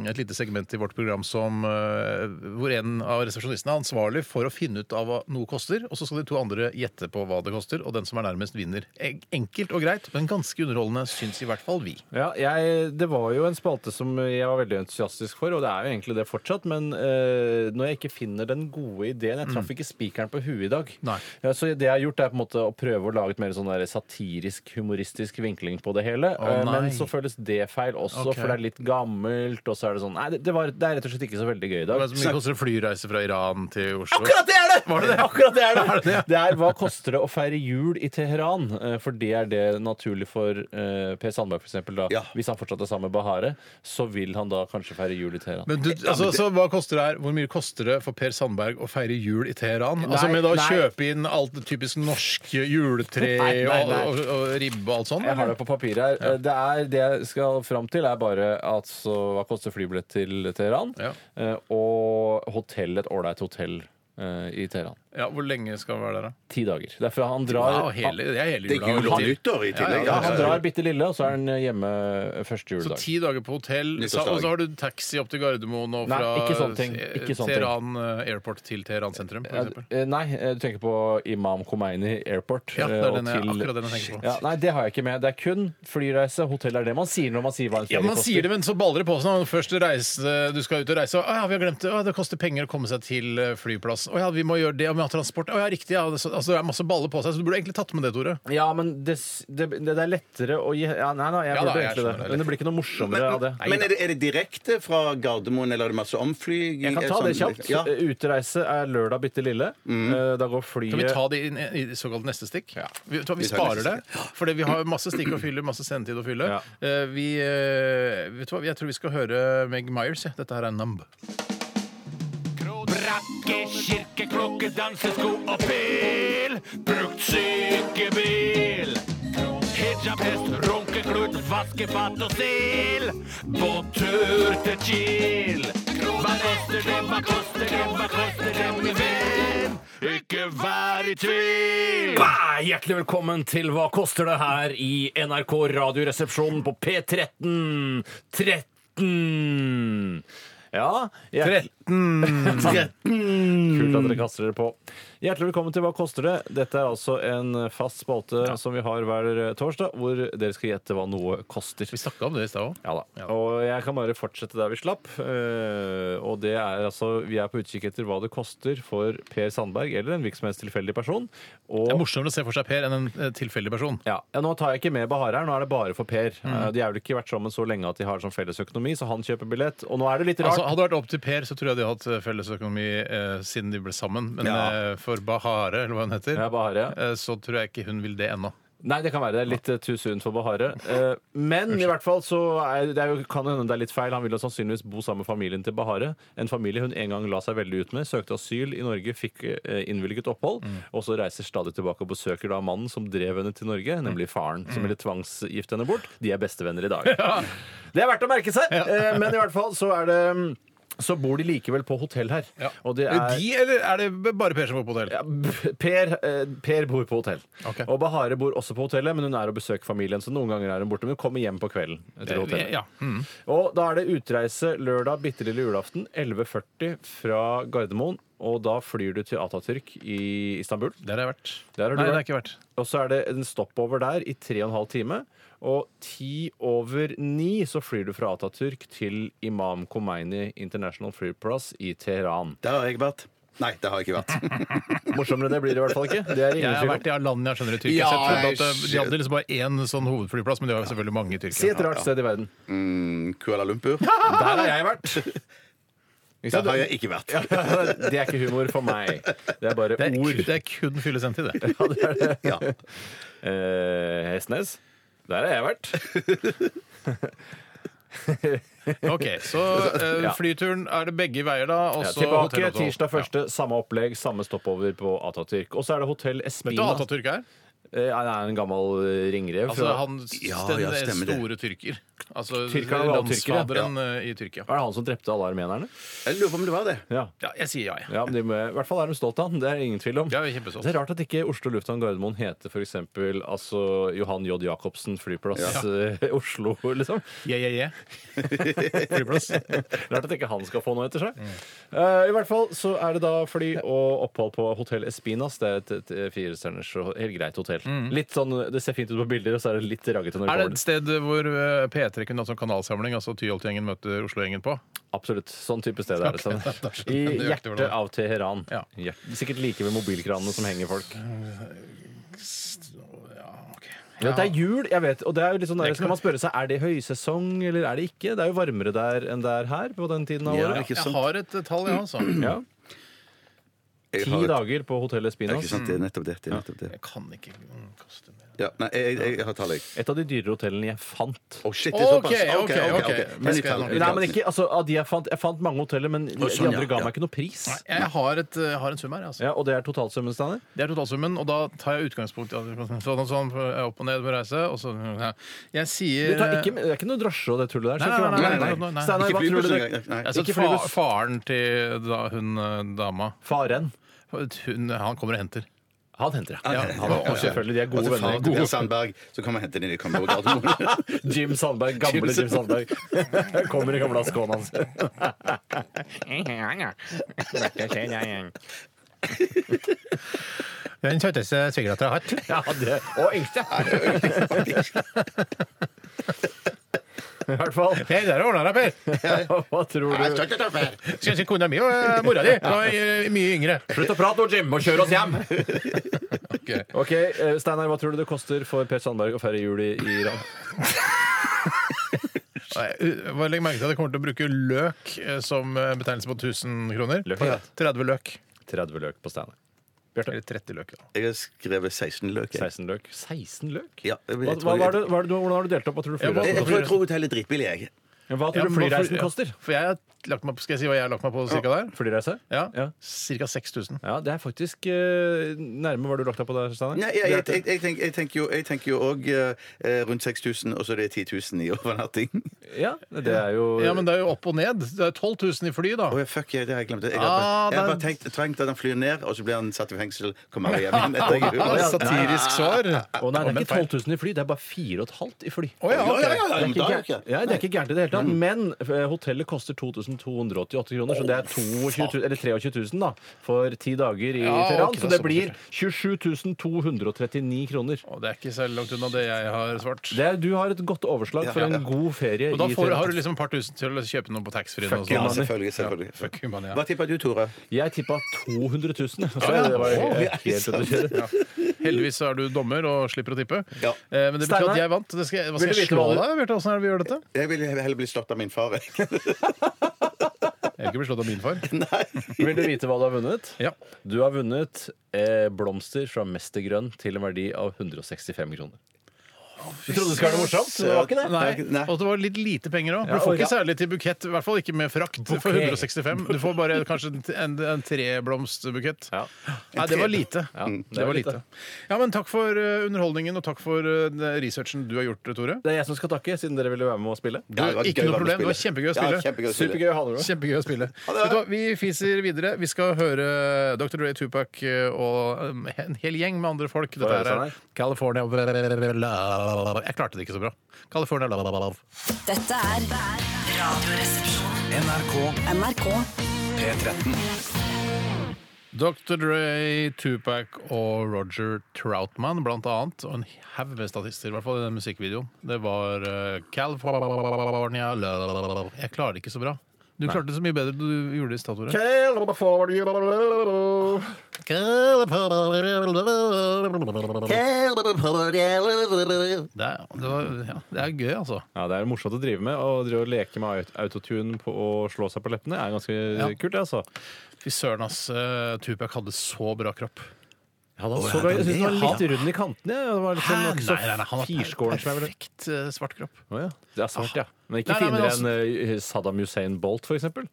[SPEAKER 2] eh, et lite segment i vårt program som, eh, hvor en av resepsjonistene er ansvarlig for å finne ut av hva noe koster, og så skal de to andre gjette på hva det koster, og den som er nærmest vinner. En- Enkelt og greit, men ganske underholdende, syns i hvert fall vi.
[SPEAKER 4] Ja, jeg, Det var jo en spalte som jeg var veldig entusiastisk for, og det er jo egentlig det fortsatt, men eh, når jeg ikke finner den gode ideen Jeg traff ikke spikeren på huet i dag.
[SPEAKER 2] Nei.
[SPEAKER 4] Ja, så det jeg har gjort, er på en måte å prøve å lage et mer sånn der satirisk, humoristisk vinkling på det hele,
[SPEAKER 2] Å,
[SPEAKER 4] eh,
[SPEAKER 2] nei.
[SPEAKER 4] men så føles det feil også,
[SPEAKER 2] Ok.
[SPEAKER 4] for det er litt gammelt, og så er det sånn Nei, det, det, var, det er rett og slett ikke så veldig gøy i dag.
[SPEAKER 2] Hva er det som koster en flyreise fra Iran til Oslo?
[SPEAKER 4] Akkurat det er det!
[SPEAKER 2] Var det det?
[SPEAKER 4] Akkurat det er det!
[SPEAKER 2] <laughs> Er det
[SPEAKER 4] det,
[SPEAKER 2] det?
[SPEAKER 4] er hva koster det å feire jul i Teheran? Eh, For det er det naturlig for eh, Per Sandberg, for eksempel, da.
[SPEAKER 3] Ja.
[SPEAKER 4] Hvis han fortsatt er sammen med Bahare, så vil han da kanskje feire jul i Teheran.
[SPEAKER 2] Men du, altså, så hva koster det her? Hvor mye koster det for Per Sandberg å feire jul i Teheran? altså
[SPEAKER 4] Nei,
[SPEAKER 2] Med da å
[SPEAKER 4] nei.
[SPEAKER 2] kjøpe inn alt det typisk norske juletre
[SPEAKER 4] Nei, nei, nei.
[SPEAKER 2] Og, og, og ribbe og alt sånt?
[SPEAKER 4] jeg har det
[SPEAKER 2] eller?
[SPEAKER 4] på papiret her. Eh, Det, er, det jeg skal fram til, er bare altså, hva koster flybillett til Teheran,
[SPEAKER 2] Ja.
[SPEAKER 4] eh, og hotell, et ålreit hotell eh, i Teheran.
[SPEAKER 2] Ja, Hvor lenge skal han være der, da?
[SPEAKER 4] Ti dager. Derfor han drar
[SPEAKER 2] Wow, hele, det er hele
[SPEAKER 3] Det er jul
[SPEAKER 2] jula.
[SPEAKER 3] og nyttår i tillegg.
[SPEAKER 4] ja,
[SPEAKER 3] Ja,
[SPEAKER 4] han drar bitte lille, og så er han hjemme første
[SPEAKER 2] Så
[SPEAKER 4] juledag.
[SPEAKER 2] ti dager på hotell, så,
[SPEAKER 3] Nyttårsdag.
[SPEAKER 2] og så har du taxi opp til Gardermoen og
[SPEAKER 4] Nei,
[SPEAKER 2] fra
[SPEAKER 4] ikke sånne ting. Ikke sånne ting.
[SPEAKER 2] Teheran eh, airport til Teheran sentrum,
[SPEAKER 4] Ja,
[SPEAKER 2] f.eks.
[SPEAKER 4] eh, Nei, eh, du tenker på Imam Khomeini Airport.
[SPEAKER 2] Ja, det
[SPEAKER 4] eh,
[SPEAKER 2] er
[SPEAKER 4] og
[SPEAKER 2] den jeg,
[SPEAKER 4] til-
[SPEAKER 2] akkurat den jeg tenker på.
[SPEAKER 4] ja, Nei, det har jeg ikke med. Det er kun flyreise, hotell er det man sier når man sier hva en ferie
[SPEAKER 2] Ja, Man
[SPEAKER 4] koster.
[SPEAKER 2] sier det, men så baller det på seg når man først reiser, du skal ut og reise. Og, «Å ja, vi har glemt det. Å, det koster penger å komme seg til eh, flyplass. Å ja, vi må gjøre det. Og vi har transport. Å ja, riktig. Ja. Det, så, altså, det er masse baller på seg, så du burde egentlig tatt med det, Tore.
[SPEAKER 4] Ja, men det, s- det, det er lettere å gi ja, Nei, nei, jeg
[SPEAKER 2] Ja, da,
[SPEAKER 4] burde
[SPEAKER 2] jeg
[SPEAKER 4] egentlig
[SPEAKER 2] skjønner
[SPEAKER 4] det.
[SPEAKER 2] det.
[SPEAKER 4] Men det blir ikke noe morsommere
[SPEAKER 3] Men,
[SPEAKER 4] av det.
[SPEAKER 3] men er, det, er det direkte fra Gardermoen, eller er det masse omflyging?
[SPEAKER 4] Jeg kan ta det
[SPEAKER 3] Sånn-
[SPEAKER 4] kjapt.
[SPEAKER 3] Ja. Mm.
[SPEAKER 4] Eh, Utereise er lørdag bitte lille. Eh, Da går flyet
[SPEAKER 2] Kan vi ta det i, i, i såkalt neste stikk? Vi, vet du hva, vi
[SPEAKER 3] Vi tar
[SPEAKER 2] sparer det,
[SPEAKER 3] neste
[SPEAKER 2] for vi har masse stikk å fylle, masse sendetid å fylle.
[SPEAKER 4] Ja.
[SPEAKER 2] Eh, vi, eh, vet du hva, jeg tror vi skal høre Meg Myers. Ja. Dette her er Numb.
[SPEAKER 8] Brakke, kirke, klokke, dansesko og pil. Brukt sykebil. Hijab, hest, runkeklut, vaskefat og stil. Båttur til Kiel. Hva koster det, hva koster det, hva koster det, min venn? Ikke vær i tvil.
[SPEAKER 9] Bah! Hjertelig velkommen til Hva koster det her i NRK Radioresepsjonen på P13 13
[SPEAKER 4] Ja, jeg,
[SPEAKER 2] 13!
[SPEAKER 4] Kult at dere
[SPEAKER 2] Mm.
[SPEAKER 4] kaster dere på. Hjertelig velkommen til Hva koster det? Dette er altså en fast spalte som vi har hver eh, torsdag, hvor dere skal gjette hva noe koster.
[SPEAKER 2] Vi snakka om det i stad òg.
[SPEAKER 4] Ja da. Og jeg kan bare fortsette der vi slapp. Eh, og det er altså Vi er på utkikk etter hva det koster for Per Sandberg eller en virksomhetstilfeldig person.
[SPEAKER 2] Det er
[SPEAKER 4] Og
[SPEAKER 2] morsommere å se for seg Per enn en eh, tilfeldig person.
[SPEAKER 4] ja, ja, Nå tar jeg ikke med Bahar her, nå er det bare for Per.
[SPEAKER 2] Mm.
[SPEAKER 4] Eh, De har vel ikke vært sammen så lenge at de har sånn felles økonomi, så han kjøper billett. Og nå er det litt rart.
[SPEAKER 2] Altså, hadde det vært opp til Per, så tror jeg de hadde hatt eh, felles økonomi eh, siden de ble sammen. Men eh, for Bahare, eller hva hun heter,
[SPEAKER 4] Ja, Bahar, ja.
[SPEAKER 2] eh, så tror jeg ikke hun vil det ennå.
[SPEAKER 4] Nei, det kan være. Det er litt eh, too soon for Bahare. Eh, Men i hvert fall så er, det er jo, kan det hende det er litt feil. Han vil jo sannsynligvis bo sammen med familien til Bahare. En familie hun en gang la seg veldig ut med. Søkte asyl i Norge, fikk eh, innvilget opphold. Og så reiser stadig tilbake og besøker da mannen som drev henne til Norge, nemlig faren, som ville tvangsgifte henne bort. De er bestevenner i dag. Det er verdt å merke seg! Eh, Men i hvert fall så er det mm, så bor de likevel på hotell her. Og det er
[SPEAKER 2] De, eller er det bare Per som bor på hotell?
[SPEAKER 4] ja, <laughs> b- per, eh, per bor på hotell.
[SPEAKER 2] Ok.
[SPEAKER 4] Og Bahare bor også på hotellet, men hun er og besøker familien. Så noen ganger er hun borte, men hun kommer hjem på kvelden. til hotellet.
[SPEAKER 2] ja. Mm.
[SPEAKER 4] Og da er det utreise lørdag bitte lille julaften 11.40 fra Gardermoen. Og da flyr du til Atatürk i Istanbul.
[SPEAKER 2] Der har jeg vært.
[SPEAKER 4] Der har du
[SPEAKER 2] Nei, det
[SPEAKER 4] vært.
[SPEAKER 2] har jeg ikke vært.
[SPEAKER 4] Og så er det en stoppover der i tre og en halv time. Og ti over ni så flyr du fra Atatürk til Imam Khomeini International Flyplass i Teheran.
[SPEAKER 3] Der har jeg vært. Nei, det har jeg ikke vært.
[SPEAKER 4] Morsommere det blir det i hvert fall ikke. Det er det
[SPEAKER 2] Jeg
[SPEAKER 4] ingen
[SPEAKER 2] har
[SPEAKER 4] tvil om.
[SPEAKER 2] vært i Alanya, skjønner du, Tyrkia.
[SPEAKER 3] Ja,
[SPEAKER 2] så jeg trodde at eh,
[SPEAKER 3] shit.
[SPEAKER 2] de hadde liksom bare én sånn hovedflyplass, men de har jo selvfølgelig mange i
[SPEAKER 4] Si et
[SPEAKER 2] Tyrkia.
[SPEAKER 4] rart sted i verden.
[SPEAKER 3] Mm, Kuala Lumpur.
[SPEAKER 4] Der har jeg vært. Ikke
[SPEAKER 3] Ja,
[SPEAKER 4] sant?
[SPEAKER 3] det har jeg ikke vært.
[SPEAKER 4] det er ikke humor for meg. Det er bare
[SPEAKER 2] Det er,
[SPEAKER 4] ord.
[SPEAKER 2] ku- det er kun fyllesenti, det.
[SPEAKER 4] <laughs> Ja, det er det.
[SPEAKER 3] Ja.
[SPEAKER 4] Eh, Hestnes. Der har jeg
[SPEAKER 2] <laughs>
[SPEAKER 4] vært.
[SPEAKER 2] Ok, Så eh,
[SPEAKER 4] Ja.
[SPEAKER 2] flyturen er det begge veier, da. Og
[SPEAKER 4] Ja,
[SPEAKER 2] så
[SPEAKER 4] tilbake
[SPEAKER 2] hotellopphold.
[SPEAKER 4] tirsdag første. Samme opplegg, samme stoppover på Atatürk. Og så er det Hotell
[SPEAKER 2] Ja. Vet du
[SPEAKER 4] Espina.
[SPEAKER 2] hva Atatürk er?
[SPEAKER 4] Eh, han er en gammel eh, ringrev.
[SPEAKER 2] Altså
[SPEAKER 4] fra-
[SPEAKER 2] han
[SPEAKER 3] Ja,
[SPEAKER 2] den
[SPEAKER 3] ja, stemmer det.
[SPEAKER 2] store tyrker. Altså
[SPEAKER 4] Tyrkerne var tyrkere, ja.
[SPEAKER 2] landsfaderen eh, i Tyrkia.
[SPEAKER 4] er det han som drepte alle armenerne?
[SPEAKER 3] Jeg lurer på om det var det.
[SPEAKER 4] Ja.
[SPEAKER 2] Ja, jeg sier ja, jeg.
[SPEAKER 4] Ja, men de, I hvert fall er de stolt av han. Det er ingen tvil om.
[SPEAKER 2] Ja, vi er kjempestolt.
[SPEAKER 4] det er rart at ikke Oslo lufthavn Gardermoen heter f.eks. Altså, Johan J. Jacobsen flyplass eh, <laughs> Oslo, liksom.
[SPEAKER 2] Yeah, yeah, yeah. <laughs> Flyplass.
[SPEAKER 4] <laughs> Rart at ikke han skal få noe etter seg.
[SPEAKER 2] Mm.
[SPEAKER 4] Eh, I hvert fall så er det da fly og opphold på Hotell Espinas. Det er et, et, et firestjerners og helt greit hotell. Litt sånn, Det ser fint ut på bilder, og så er det litt raggete når
[SPEAKER 2] <laughs> Mm. Er det et
[SPEAKER 4] du går dit.
[SPEAKER 2] sted hvor eh, P3 kunne hatt sånn kanalsamling? Altså Tyholt-gjengen møter Oslo-gjengen på?
[SPEAKER 4] Absolutt. Sånn type sted er det.
[SPEAKER 2] <laughs> Ok, da
[SPEAKER 4] Sånn.
[SPEAKER 2] skjønner
[SPEAKER 4] I
[SPEAKER 2] jeg nøyaktig hvordan
[SPEAKER 4] hjertet
[SPEAKER 2] det er.
[SPEAKER 4] av Teheran.
[SPEAKER 2] Ja. Eh,
[SPEAKER 4] Hjert- Sikkert like ved mobilkranene som henger folk. Ja,
[SPEAKER 2] Ja.
[SPEAKER 4] det er jul, jeg vet. Og det er jo litt sånn
[SPEAKER 2] Det er
[SPEAKER 4] der,
[SPEAKER 2] ikke
[SPEAKER 4] skal man spørre seg, er det høysesong eller er det ikke? Det er jo varmere der enn det er her på den tiden av
[SPEAKER 3] Ja,
[SPEAKER 4] året.
[SPEAKER 3] ikke
[SPEAKER 2] Jeg
[SPEAKER 3] sant?
[SPEAKER 2] har et eh, tall, jeg, <clears throat> altså.
[SPEAKER 4] Ja.
[SPEAKER 3] Jeg
[SPEAKER 4] Ti
[SPEAKER 3] har-
[SPEAKER 4] dager på hotellet
[SPEAKER 3] Ja,
[SPEAKER 4] Spinas.
[SPEAKER 3] ikke sant? Det er nettopp det. det, er nettopp det.
[SPEAKER 2] Jeg kan ikke mm, koste mer.
[SPEAKER 3] Ja, nei, jeg, jeg, jeg har tallet, jeg.
[SPEAKER 4] Et av de dyrere hotellene jeg fant.
[SPEAKER 3] Å, shit, det er
[SPEAKER 2] Ok,
[SPEAKER 3] såpass.
[SPEAKER 2] ok, ok.
[SPEAKER 3] Men jeg tar-
[SPEAKER 4] Nei, men ikke, altså, av de jeg, fant, jeg fant mange hoteller, men de
[SPEAKER 3] sånn,
[SPEAKER 4] andre
[SPEAKER 3] ja,
[SPEAKER 4] ga
[SPEAKER 3] ja.
[SPEAKER 4] meg ikke noe pris.
[SPEAKER 2] Nei, Jeg har, et, eh, har en sum her. Altså.
[SPEAKER 4] Ja, og det er totalsummen, Steinar?
[SPEAKER 2] Det er totalsummen, og da tar jeg utgangspunkt i sånn, sånn, opp og ned på reise. Og så, ja. Jeg
[SPEAKER 4] Du
[SPEAKER 2] sier eh,
[SPEAKER 4] tar ikke- Det er ikke noe drasje og det tullet der.
[SPEAKER 2] Nei,
[SPEAKER 4] så ikke
[SPEAKER 2] nei,
[SPEAKER 4] vær med.
[SPEAKER 2] nei, nei, nei, nei.
[SPEAKER 4] Steinar,
[SPEAKER 3] Ikke
[SPEAKER 4] hva tror du
[SPEAKER 3] flybussen
[SPEAKER 4] det
[SPEAKER 3] engang. Nei.
[SPEAKER 2] altså,
[SPEAKER 4] ikke
[SPEAKER 2] fa
[SPEAKER 4] flybuss.
[SPEAKER 2] Faren til da, hun eh, dama
[SPEAKER 4] Faren.
[SPEAKER 2] hun, Han kommer og henter.
[SPEAKER 4] Han henter det.
[SPEAKER 3] Ja, Altså,
[SPEAKER 4] Han, og selvfølgelig, de er gode
[SPEAKER 3] Og til far
[SPEAKER 4] venner.
[SPEAKER 3] til
[SPEAKER 4] Gode.
[SPEAKER 3] Per Sandberg, så kan man hente den i Kammer Gardermoen.
[SPEAKER 4] Jim Sandberg, gamle Jim Sandberg. <laughs> Kommer i gamle skoene hans.
[SPEAKER 2] Den søteste svigeratter jeg har hatt.
[SPEAKER 4] Ja, det, og yngste. <laughs> I hvert fall.
[SPEAKER 2] Hei, der ordna deg, Per!
[SPEAKER 4] Hva tror du?
[SPEAKER 2] Skulle ønske kona mi og eh, mora di var eh, mye yngre.
[SPEAKER 4] Slutt å prate nå, Jim, og kjør oss hjem!
[SPEAKER 2] Ok.
[SPEAKER 4] Ok, eh, Steinar, hva tror du det koster for Per Sandberg å feire jul i i Iran?
[SPEAKER 2] Nei, uh, bare Legg merke til at jeg kommer til å bruke løk eh, som eh, betegnelse på 1000 kroner.
[SPEAKER 4] Løk er greit.
[SPEAKER 2] 30 løk.
[SPEAKER 4] 30 løk på Steinar.
[SPEAKER 2] Eller 30 løk, da.
[SPEAKER 3] Jeg har skrevet 16 løk. Jeg,
[SPEAKER 4] 16 løk. 16 løk?
[SPEAKER 3] Ja, jeg- jeg
[SPEAKER 4] hva, hva, hva
[SPEAKER 3] tror-
[SPEAKER 4] er det, hva er det, du- hvordan har du delt opp? Hva tror du
[SPEAKER 2] Jeg-
[SPEAKER 3] jeg,
[SPEAKER 4] flyreisen
[SPEAKER 3] jeg tror jeg tror hotellet er drittbillig, jeg.
[SPEAKER 4] koster? Hva tror du flyreisen koster?
[SPEAKER 2] For jeg har lagt meg på, skal jeg si hva jeg har lagt meg på cirka der?
[SPEAKER 4] Flyreise?
[SPEAKER 2] Ja.
[SPEAKER 4] Ja.
[SPEAKER 2] Cirka 6000.
[SPEAKER 4] Ja, det er faktisk eh, nærme hva du lagt deg på der, Steinar.
[SPEAKER 3] Nei, jeg, jeg, jeg, jeg, tenker, jeg tenker jo- jeg tenker jo òg rundt 6000, og så er det 10 000 i overnatting.
[SPEAKER 4] Ja, det er jo
[SPEAKER 2] Ja, men det er jo opp og ned. Det er 12 000 i fly, da.
[SPEAKER 3] Å ja, fuck, jeg, det har jeg glemt. Jeg har
[SPEAKER 2] Ah,
[SPEAKER 3] bare, jeg har bare
[SPEAKER 2] det-
[SPEAKER 3] tenkt, trengt at han flyr ned, og så blir han satt i fengsel. Kommer han <laughs> hjem igjen etter jul.
[SPEAKER 2] Ja, satirisk svar.
[SPEAKER 4] Å nei, det
[SPEAKER 2] Men
[SPEAKER 4] er ikke
[SPEAKER 2] feil.
[SPEAKER 4] 12 000 i fly, det er bare 4500 i fly.
[SPEAKER 2] Å ja, ok.
[SPEAKER 3] ja, men da er det jo ikke-
[SPEAKER 4] Ja, det er ikke gærent i det hele
[SPEAKER 3] Mm.
[SPEAKER 4] tatt, men eh, hotellet koster 2288 kroner, så det er 22, 000 eller 23 000 da, for ti dager i
[SPEAKER 2] Ja,
[SPEAKER 4] Teheran.
[SPEAKER 2] ok,
[SPEAKER 4] så
[SPEAKER 2] det
[SPEAKER 4] det
[SPEAKER 2] er sånn
[SPEAKER 4] blir 27 239 kroner.
[SPEAKER 2] Og det er ikke så langt unna det jeg har svart.
[SPEAKER 4] Det er, du har et godt overslag for
[SPEAKER 3] Ja, ja,
[SPEAKER 4] en god ferie
[SPEAKER 2] Og da
[SPEAKER 4] i
[SPEAKER 2] får,
[SPEAKER 4] Teheran.
[SPEAKER 2] har du liksom et par tusen til å kjøpe noe på taxfree. og
[SPEAKER 4] Fuck you,
[SPEAKER 3] Ja,
[SPEAKER 2] sånn.
[SPEAKER 3] selvfølgelig. selvfølgelig.
[SPEAKER 2] Fuck you, man, ja.
[SPEAKER 3] Hva tipper du, Tore?
[SPEAKER 4] Jeg tippa 200 000. Så
[SPEAKER 2] ja.
[SPEAKER 4] det var
[SPEAKER 2] Å,
[SPEAKER 4] helt ute å kjøre. <laughs>
[SPEAKER 2] Ja. Heldigvis så er du dommer og slipper å tippe.
[SPEAKER 3] Ja.
[SPEAKER 2] Eh, men det betyr
[SPEAKER 4] Steinar,
[SPEAKER 2] at jeg vant. Det skal, jeg- hva skal
[SPEAKER 4] vil du
[SPEAKER 2] jeg
[SPEAKER 4] vite
[SPEAKER 2] slå
[SPEAKER 4] hva
[SPEAKER 2] deg? Bjarte? Åssen er det vi gjør dette?
[SPEAKER 3] Jeg vil heller bli slått av min far. jeg.
[SPEAKER 2] Jeg er ikke blitt slått av min
[SPEAKER 3] <laughs>
[SPEAKER 2] far.
[SPEAKER 3] Nei.
[SPEAKER 4] Vil du vite hva du har vunnet?
[SPEAKER 2] Ja.
[SPEAKER 4] Du har vunnet eh, blomster fra Mestergrønn til en verdi av 165 kroner. Du trodde det skulle være noe morsomt? men Det var ikke det.
[SPEAKER 2] Nei.
[SPEAKER 3] Nei.
[SPEAKER 2] Og det var litt lite penger òg.
[SPEAKER 4] Ja,
[SPEAKER 2] Du får
[SPEAKER 4] og-
[SPEAKER 2] ikke særlig til bukett. I hvert fall ikke med frakt for 165. Du får bare kanskje en, en, en treblomstbukett.
[SPEAKER 4] Ja.
[SPEAKER 2] Nei, det var lite.
[SPEAKER 4] Ja,
[SPEAKER 2] Mm,
[SPEAKER 4] det
[SPEAKER 2] det
[SPEAKER 4] var
[SPEAKER 2] var lite. Ja, men takk for eh, underholdningen, og takk for eh, den researchen du har gjort, Tore.
[SPEAKER 4] Det er jeg som skal takke, siden dere ville være med og spille.
[SPEAKER 2] Du,
[SPEAKER 3] det var
[SPEAKER 2] ikke
[SPEAKER 3] gøy
[SPEAKER 2] noe
[SPEAKER 3] å være med
[SPEAKER 2] problem. Det var
[SPEAKER 3] og spille.
[SPEAKER 2] kjempegøy å spille.
[SPEAKER 3] Ja, kjempegøy å spille.
[SPEAKER 4] Supergøy å ha dere med.
[SPEAKER 2] Kjempegøy å spille.
[SPEAKER 3] det.
[SPEAKER 2] Vet du hva, vi fiser videre. Vi skal høre Dr. Ray Tupac og um, en hel gjeng med andre folk. Dette
[SPEAKER 4] høre
[SPEAKER 2] her
[SPEAKER 4] sånn
[SPEAKER 2] er California Love. Jeg klarte det ikke så bra. California Love.
[SPEAKER 10] Dette er Radioresepsjonen.
[SPEAKER 6] NRK
[SPEAKER 10] NRK.
[SPEAKER 6] P13.
[SPEAKER 2] Dr. Dre, Tupac og Roger Troutman, blant annet. Og en haug med statister, i hvert fall i den musikkvideoen. Det var eh, California la, la, la, la. Jeg klarer det ikke så bra. Du klarte det så mye bedre du gjorde det i stad, Tore.
[SPEAKER 4] Kjell, hva får du?
[SPEAKER 2] Det er, det, var, ja, det er gøy, altså.
[SPEAKER 4] <laughs> Ja, Det er morsomt å drive med. Å drive og leke med aut- autotune på, og slå seg på leppene er ganske kult, det, altså.
[SPEAKER 2] Fy søren, ass. eh, Tupac hadde så bra kropp.
[SPEAKER 4] Så bra. Jeg synes den var litt rund i kantene. jeg. Det var liksom
[SPEAKER 2] Hæ?
[SPEAKER 4] ikke så
[SPEAKER 2] Nei, nei, nei, han var per-
[SPEAKER 4] firskåren som jeg ville
[SPEAKER 2] Perfekt eh, svart kropp.
[SPEAKER 4] Å ja. Det er svart, ja. Men ikke
[SPEAKER 2] Ah. Nei, nei, men altså-
[SPEAKER 4] finere enn eh, Saddam Hussein Bolt, for eksempel.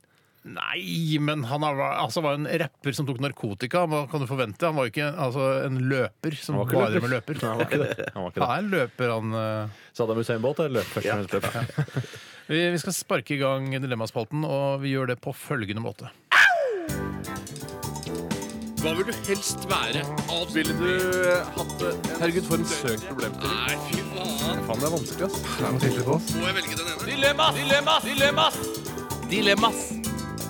[SPEAKER 2] Nei, men han er- var, altså, var en rapper som tok narkotika. Hva kan du forvente? Han var jo ikke altså, en løper som
[SPEAKER 4] Han var ikke
[SPEAKER 2] bare
[SPEAKER 4] løper.
[SPEAKER 2] med løper.
[SPEAKER 4] Nei, han var ikke
[SPEAKER 2] <laughs>
[SPEAKER 4] det. Han var ikke det.
[SPEAKER 2] Han er en løper, han. eh.
[SPEAKER 4] Saddam Hussein Bolt er løp først. og fremst løp.
[SPEAKER 2] <laughs> Vi, vi skal sparke i gang Dilemmaspalten, og vi gjør det på følgende måte.
[SPEAKER 8] Hva vil du helst være? Ville du hatt det? Herregud, for en søk problemstilling. Nei, fy faen.
[SPEAKER 4] Faen, det er vanskelig, ass.
[SPEAKER 8] Må jeg velge den ene? Dilemmas! Dilemmas! Dilemmas! Dilemmas!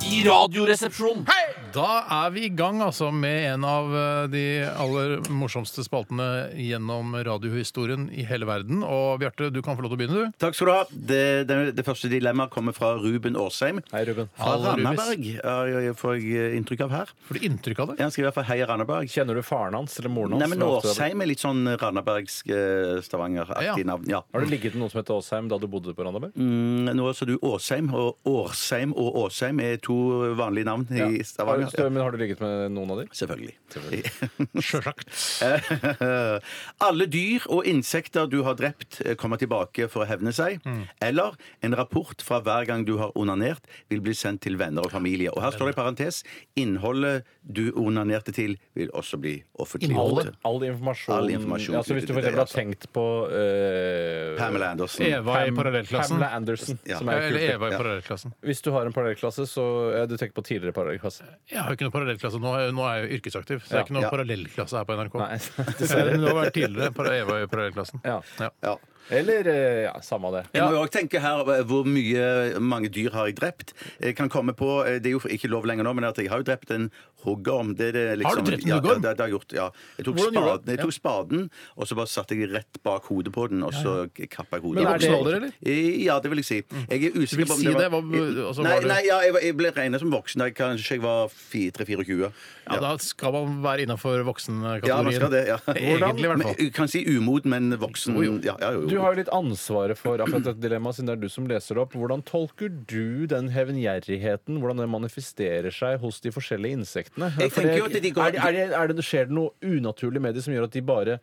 [SPEAKER 8] I radioresepsjonen.
[SPEAKER 2] Da er vi i gang altså med en av eh, de aller morsomste spaltene gjennom radiohistorien i hele verden. Og Bjarte, du kan få lov til å begynne, du.
[SPEAKER 3] <laughs> Takk skal du ha. Det, det, det første dilemmaet kommer fra Ruben Årsheim.
[SPEAKER 4] Hei, Ruben.
[SPEAKER 3] Fra
[SPEAKER 2] Hallo, Rubis.
[SPEAKER 3] Randaberg, ja, ja, ja, får jeg eh, inntrykk av her.
[SPEAKER 2] Får du inntrykk av det?
[SPEAKER 3] Han skriver i hvert fall 'Hei, Randaberg'.
[SPEAKER 4] Kjenner du faren hans eller moren hans?
[SPEAKER 3] Nei, men
[SPEAKER 4] som er opptatt av det?
[SPEAKER 3] Årsheim er litt sånn randabergsk eh, Stavanger-aktig navn. Ja.
[SPEAKER 4] Har du ligget med noen som heter Åsheim da du bodde på Randaberg?
[SPEAKER 3] Mm, Nå sa du Åsheim, og Årsheim og Åsheim er to vanlige navn i
[SPEAKER 4] Har
[SPEAKER 3] Stavanger.
[SPEAKER 4] du, men har du ligget med noen av dem?
[SPEAKER 3] Selvfølgelig. <laughs> Eh,
[SPEAKER 2] Sjølsagt.
[SPEAKER 3] Alle dyr og insekter du har drept, eh, kommer tilbake for å hevne seg. Eller en rapport fra hver gang du har onanert, vil bli sendt til venner og familie. Og her står det i parentes innholdet du onanerte til, vil også bli offentliggjort.
[SPEAKER 4] All, all informasjon,
[SPEAKER 3] All informasjon
[SPEAKER 4] ja, så Hvis du for eksempel
[SPEAKER 3] knyttet til det,
[SPEAKER 4] har
[SPEAKER 3] altså.
[SPEAKER 4] tenkt på eh,
[SPEAKER 3] Pamela Andersen.
[SPEAKER 2] Eva i
[SPEAKER 4] Pam-
[SPEAKER 2] parallellklassen.
[SPEAKER 4] Pamela Andersen,
[SPEAKER 3] Ja.
[SPEAKER 4] som
[SPEAKER 2] Ja,
[SPEAKER 4] er kult.
[SPEAKER 2] Eller Eva i
[SPEAKER 3] Ja.
[SPEAKER 2] parallellklassen.
[SPEAKER 4] Hvis du har en parallellklasse, så ja, Du tenker på tidligere parallellklasse.
[SPEAKER 2] Jeg har jo ikke noen parallellklasse. Nå er, jeg- nå er jeg jo yrkesaktiv, så det er
[SPEAKER 4] Ja.
[SPEAKER 2] ikke noen
[SPEAKER 3] Ja.
[SPEAKER 2] parallellklasse her på NRK.
[SPEAKER 4] Nei, <laughs>
[SPEAKER 2] Dessverre. <laughs> Det har vært tidligere par- Eva i parallellklassen.
[SPEAKER 4] Ja.
[SPEAKER 2] Ja.
[SPEAKER 3] Ja.
[SPEAKER 4] Eller eh, ja, samme det.
[SPEAKER 3] Jeg må jo også tenke her eh, hvor mye, mange dyr har jeg drept. Jeg kan komme på, eh, Det er jo ikke lov lenger nå, men at jeg har jo drept en huggorm. Det er det liksom,
[SPEAKER 2] Har du drept en
[SPEAKER 3] ja,
[SPEAKER 2] huggorm?
[SPEAKER 3] Ja, det, det har jeg gjort, ja. Jeg tok,
[SPEAKER 2] Hvordan gjorde du
[SPEAKER 3] spaden, jeg tok spaden, og så bare satte jeg rett bak hodet på den, og så kappa jeg hodet.
[SPEAKER 2] Men
[SPEAKER 3] av
[SPEAKER 2] er
[SPEAKER 3] den.
[SPEAKER 2] det- Voksen alder, eller? Mm.
[SPEAKER 3] Eh, Ja, det vil jeg si. Jeg er
[SPEAKER 2] vil
[SPEAKER 3] usikker på om
[SPEAKER 2] si det?
[SPEAKER 3] det var
[SPEAKER 2] Hva- altså,
[SPEAKER 3] Nei,
[SPEAKER 2] var du-
[SPEAKER 3] nei ja, jeg, var- jeg ble regna som voksen da jeg kanskje jeg var 3-24.
[SPEAKER 2] Ja, da skal man være innafor voksenkategorien.
[SPEAKER 3] Ja, man skal det. ja.
[SPEAKER 2] Egentlig, i hvert fall.
[SPEAKER 3] Men, jeg kan si umoden, men voksen ja, ja, jo, jo.
[SPEAKER 4] Du har jo litt ansvaret for akkurat dette dilemmaet, siden det er du som leser det opp. Hvordan tolker du den hevngjerrigheten, hvordan den manifesterer seg hos de forskjellige insektene?
[SPEAKER 3] Jeg
[SPEAKER 4] For
[SPEAKER 3] tenker jo at de går-
[SPEAKER 4] er, det- er, det- er det, Skjer det noe unaturlig med de som gjør at de bare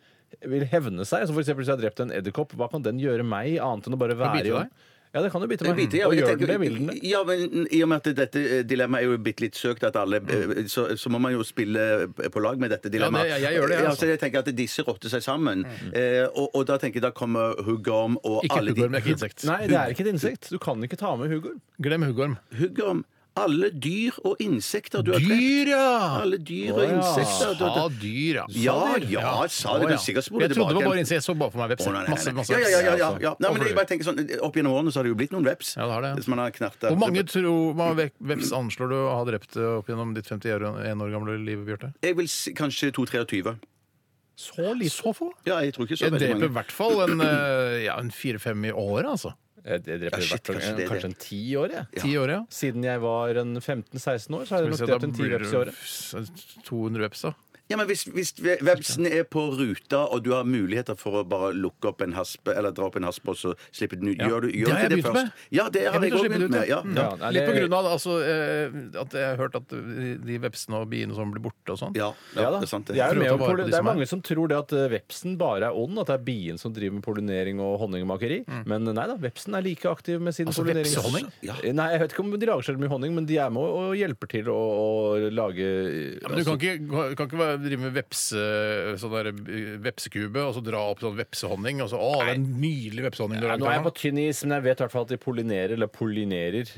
[SPEAKER 4] vil hevne seg? Så for eksempel hvis jeg har drept en edderkopp, hva kan den gjøre meg, annet enn å bare være
[SPEAKER 2] bite
[SPEAKER 4] i-
[SPEAKER 2] deg?
[SPEAKER 4] Ja, det kan jo bite meg.
[SPEAKER 3] Biter, ja,
[SPEAKER 4] og
[SPEAKER 3] men jeg
[SPEAKER 4] gjør den det,
[SPEAKER 3] tenker-
[SPEAKER 4] vil den det?
[SPEAKER 3] Ja, men mm, I og med at dette eh, dilemmaet er jo bitte litt søkt, at alle, eh, så, så må man jo spille eh, på lag med dette dilemmaet.
[SPEAKER 2] Mm. det- jeg gjør det, jeg,
[SPEAKER 3] Ja,
[SPEAKER 2] altså. Mm.
[SPEAKER 3] så jeg tenker at disse rotter seg sammen. Eh, og, og da tenker jeg da kommer huggorm og
[SPEAKER 2] Ikke
[SPEAKER 3] alle
[SPEAKER 2] huggorm, det er ikke insekt.
[SPEAKER 4] Nei, det er ikke et insekt. Du kan ikke ta med huggorm.
[SPEAKER 2] Glem huggorm.
[SPEAKER 3] Huggorm, alle dyr og insekter du har drept.
[SPEAKER 2] Dyr, ja!
[SPEAKER 3] Alle dyr og insekter. Du,
[SPEAKER 2] Sa
[SPEAKER 3] du,
[SPEAKER 2] dyr, ja. Sa
[SPEAKER 3] Ja,
[SPEAKER 2] dyr.
[SPEAKER 3] ja, sa det.
[SPEAKER 2] Å,
[SPEAKER 3] Du
[SPEAKER 2] ja.
[SPEAKER 3] sikkert spoler
[SPEAKER 2] Jeg trodde det
[SPEAKER 3] tilbake.
[SPEAKER 2] var bare insekt. Jeg så bare for meg
[SPEAKER 3] Å,
[SPEAKER 2] vepser.
[SPEAKER 3] nei, nei, nei.
[SPEAKER 2] Masse, masse
[SPEAKER 3] ja,
[SPEAKER 2] vepser.
[SPEAKER 3] ja, ja, ja, ja.
[SPEAKER 2] altså.
[SPEAKER 3] Nei, men jeg
[SPEAKER 2] Overhøyt.
[SPEAKER 3] bare tenker sånn, Opp gjennom årene så har det jo blitt noen veps.
[SPEAKER 2] Ja, det har det, ja.
[SPEAKER 3] Hvis man har knerta.
[SPEAKER 2] Hvor mange tror, hvor mange ve- veps anslår du å ha drept eh, opp gjennom ditt 51 år gamle liv, Bjarte?
[SPEAKER 3] Jeg vil si kanskje 2-23.
[SPEAKER 2] Så lite? Så få?
[SPEAKER 3] Ja, jeg tror ikke så
[SPEAKER 2] Jeg
[SPEAKER 3] veldig
[SPEAKER 2] dreper i
[SPEAKER 3] mange.
[SPEAKER 2] hvert fall en, eh, ja, en fire-fem i året, altså.
[SPEAKER 4] Jeg jeg dreper
[SPEAKER 3] Ja, shit,
[SPEAKER 4] hvert år.
[SPEAKER 3] kanskje det er det.
[SPEAKER 4] kanskje en ti år, jeg.
[SPEAKER 2] Ti år, ja.
[SPEAKER 4] Siden jeg var en 15-16 år, så har jeg
[SPEAKER 2] Skal vi
[SPEAKER 4] nok
[SPEAKER 2] se, da
[SPEAKER 4] drept en ti
[SPEAKER 2] blir
[SPEAKER 4] veps i året.
[SPEAKER 2] det 200 veps, da.
[SPEAKER 3] Ja, men hvis, hvis ve- vepsen er på ruta, og du har muligheter for å bare lukke opp en hasp, eller dra opp en hasp og så slippe den ut, gjør du
[SPEAKER 2] Det
[SPEAKER 3] gjør
[SPEAKER 2] har
[SPEAKER 3] du
[SPEAKER 2] jeg
[SPEAKER 3] ikke det
[SPEAKER 2] begynt
[SPEAKER 3] først?
[SPEAKER 2] med.
[SPEAKER 3] Ja, det har jeg
[SPEAKER 2] begynte å
[SPEAKER 3] også
[SPEAKER 2] slippe
[SPEAKER 3] begynt
[SPEAKER 2] det
[SPEAKER 3] med.
[SPEAKER 2] ut,
[SPEAKER 3] Ja, ja.
[SPEAKER 4] Ja, nei,
[SPEAKER 2] Litt på
[SPEAKER 4] det-
[SPEAKER 2] grunn av altså, eh, at jeg har hørt at eh, de vepsene og biene og sånn blir borte og sånn.
[SPEAKER 3] Ja,
[SPEAKER 4] Ja
[SPEAKER 3] ja,
[SPEAKER 4] da.
[SPEAKER 3] det er sant.
[SPEAKER 4] Jeg er
[SPEAKER 2] Prøv å
[SPEAKER 4] jo
[SPEAKER 3] det.
[SPEAKER 4] med
[SPEAKER 2] ta
[SPEAKER 4] om
[SPEAKER 2] vare på
[SPEAKER 4] poli-
[SPEAKER 2] de som
[SPEAKER 4] det er
[SPEAKER 2] er. liksom
[SPEAKER 4] mange som tror det at eh, vepsen bare er ond, at det er bien som driver med pollinering og honningmakeri. Men eh, nei da, vepsen er like aktiv med sin
[SPEAKER 2] Mm. Altså,
[SPEAKER 4] pollinering.
[SPEAKER 2] vepsehonning?
[SPEAKER 3] Ja.
[SPEAKER 4] Nei, jeg vet ikke om de lager selv mye honning, men de er med og, og hjelper til å, å lage eh, altså,
[SPEAKER 2] Ja, men du kan ikke, du kan ikke bare drive med vepse, sånn der, eh, vepsekube og så dra opp sånn vepsehonning. Og så, å, det er en nydelig vepsehonning du
[SPEAKER 4] ja,
[SPEAKER 2] har
[SPEAKER 4] nå er jeg på
[SPEAKER 2] lagd.
[SPEAKER 4] tynn is, men jeg vet i hvert fall at de pollinerer, eller pollinerer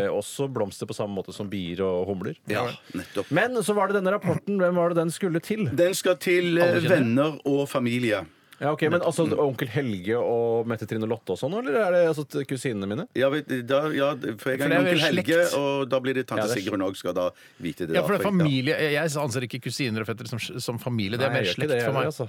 [SPEAKER 4] eh, også blomster på samme måte som bier og humler.
[SPEAKER 3] Ja, nettopp.
[SPEAKER 4] Men så var det denne rapporten. Hvem var det den skulle til?
[SPEAKER 3] Den skal til eh,
[SPEAKER 2] Alle kjenner.
[SPEAKER 3] venner og familie.
[SPEAKER 4] Ja, ok, men altså Onkel Helge og Mette Trine Lotte og sånn, eller er det altså t- kusinene mine?
[SPEAKER 3] Ja, vet, du, da, ja for jeg
[SPEAKER 2] For
[SPEAKER 3] er
[SPEAKER 2] det er
[SPEAKER 3] onkel
[SPEAKER 2] vel
[SPEAKER 3] Helge,
[SPEAKER 2] slekt.
[SPEAKER 3] og da blir det tante
[SPEAKER 4] Ja, det er
[SPEAKER 3] Sigrun òg skal da vite det.
[SPEAKER 2] Ja,
[SPEAKER 3] da,
[SPEAKER 2] for det er
[SPEAKER 3] jeg-
[SPEAKER 2] familie. Jeg- Jeg anser ikke kusiner og fettere som, som familie. Det er
[SPEAKER 4] Nei,
[SPEAKER 2] mer
[SPEAKER 4] jeg gjør
[SPEAKER 2] slekt
[SPEAKER 4] ikke det, altså.
[SPEAKER 2] for
[SPEAKER 4] jeg,
[SPEAKER 2] meg.
[SPEAKER 4] altså.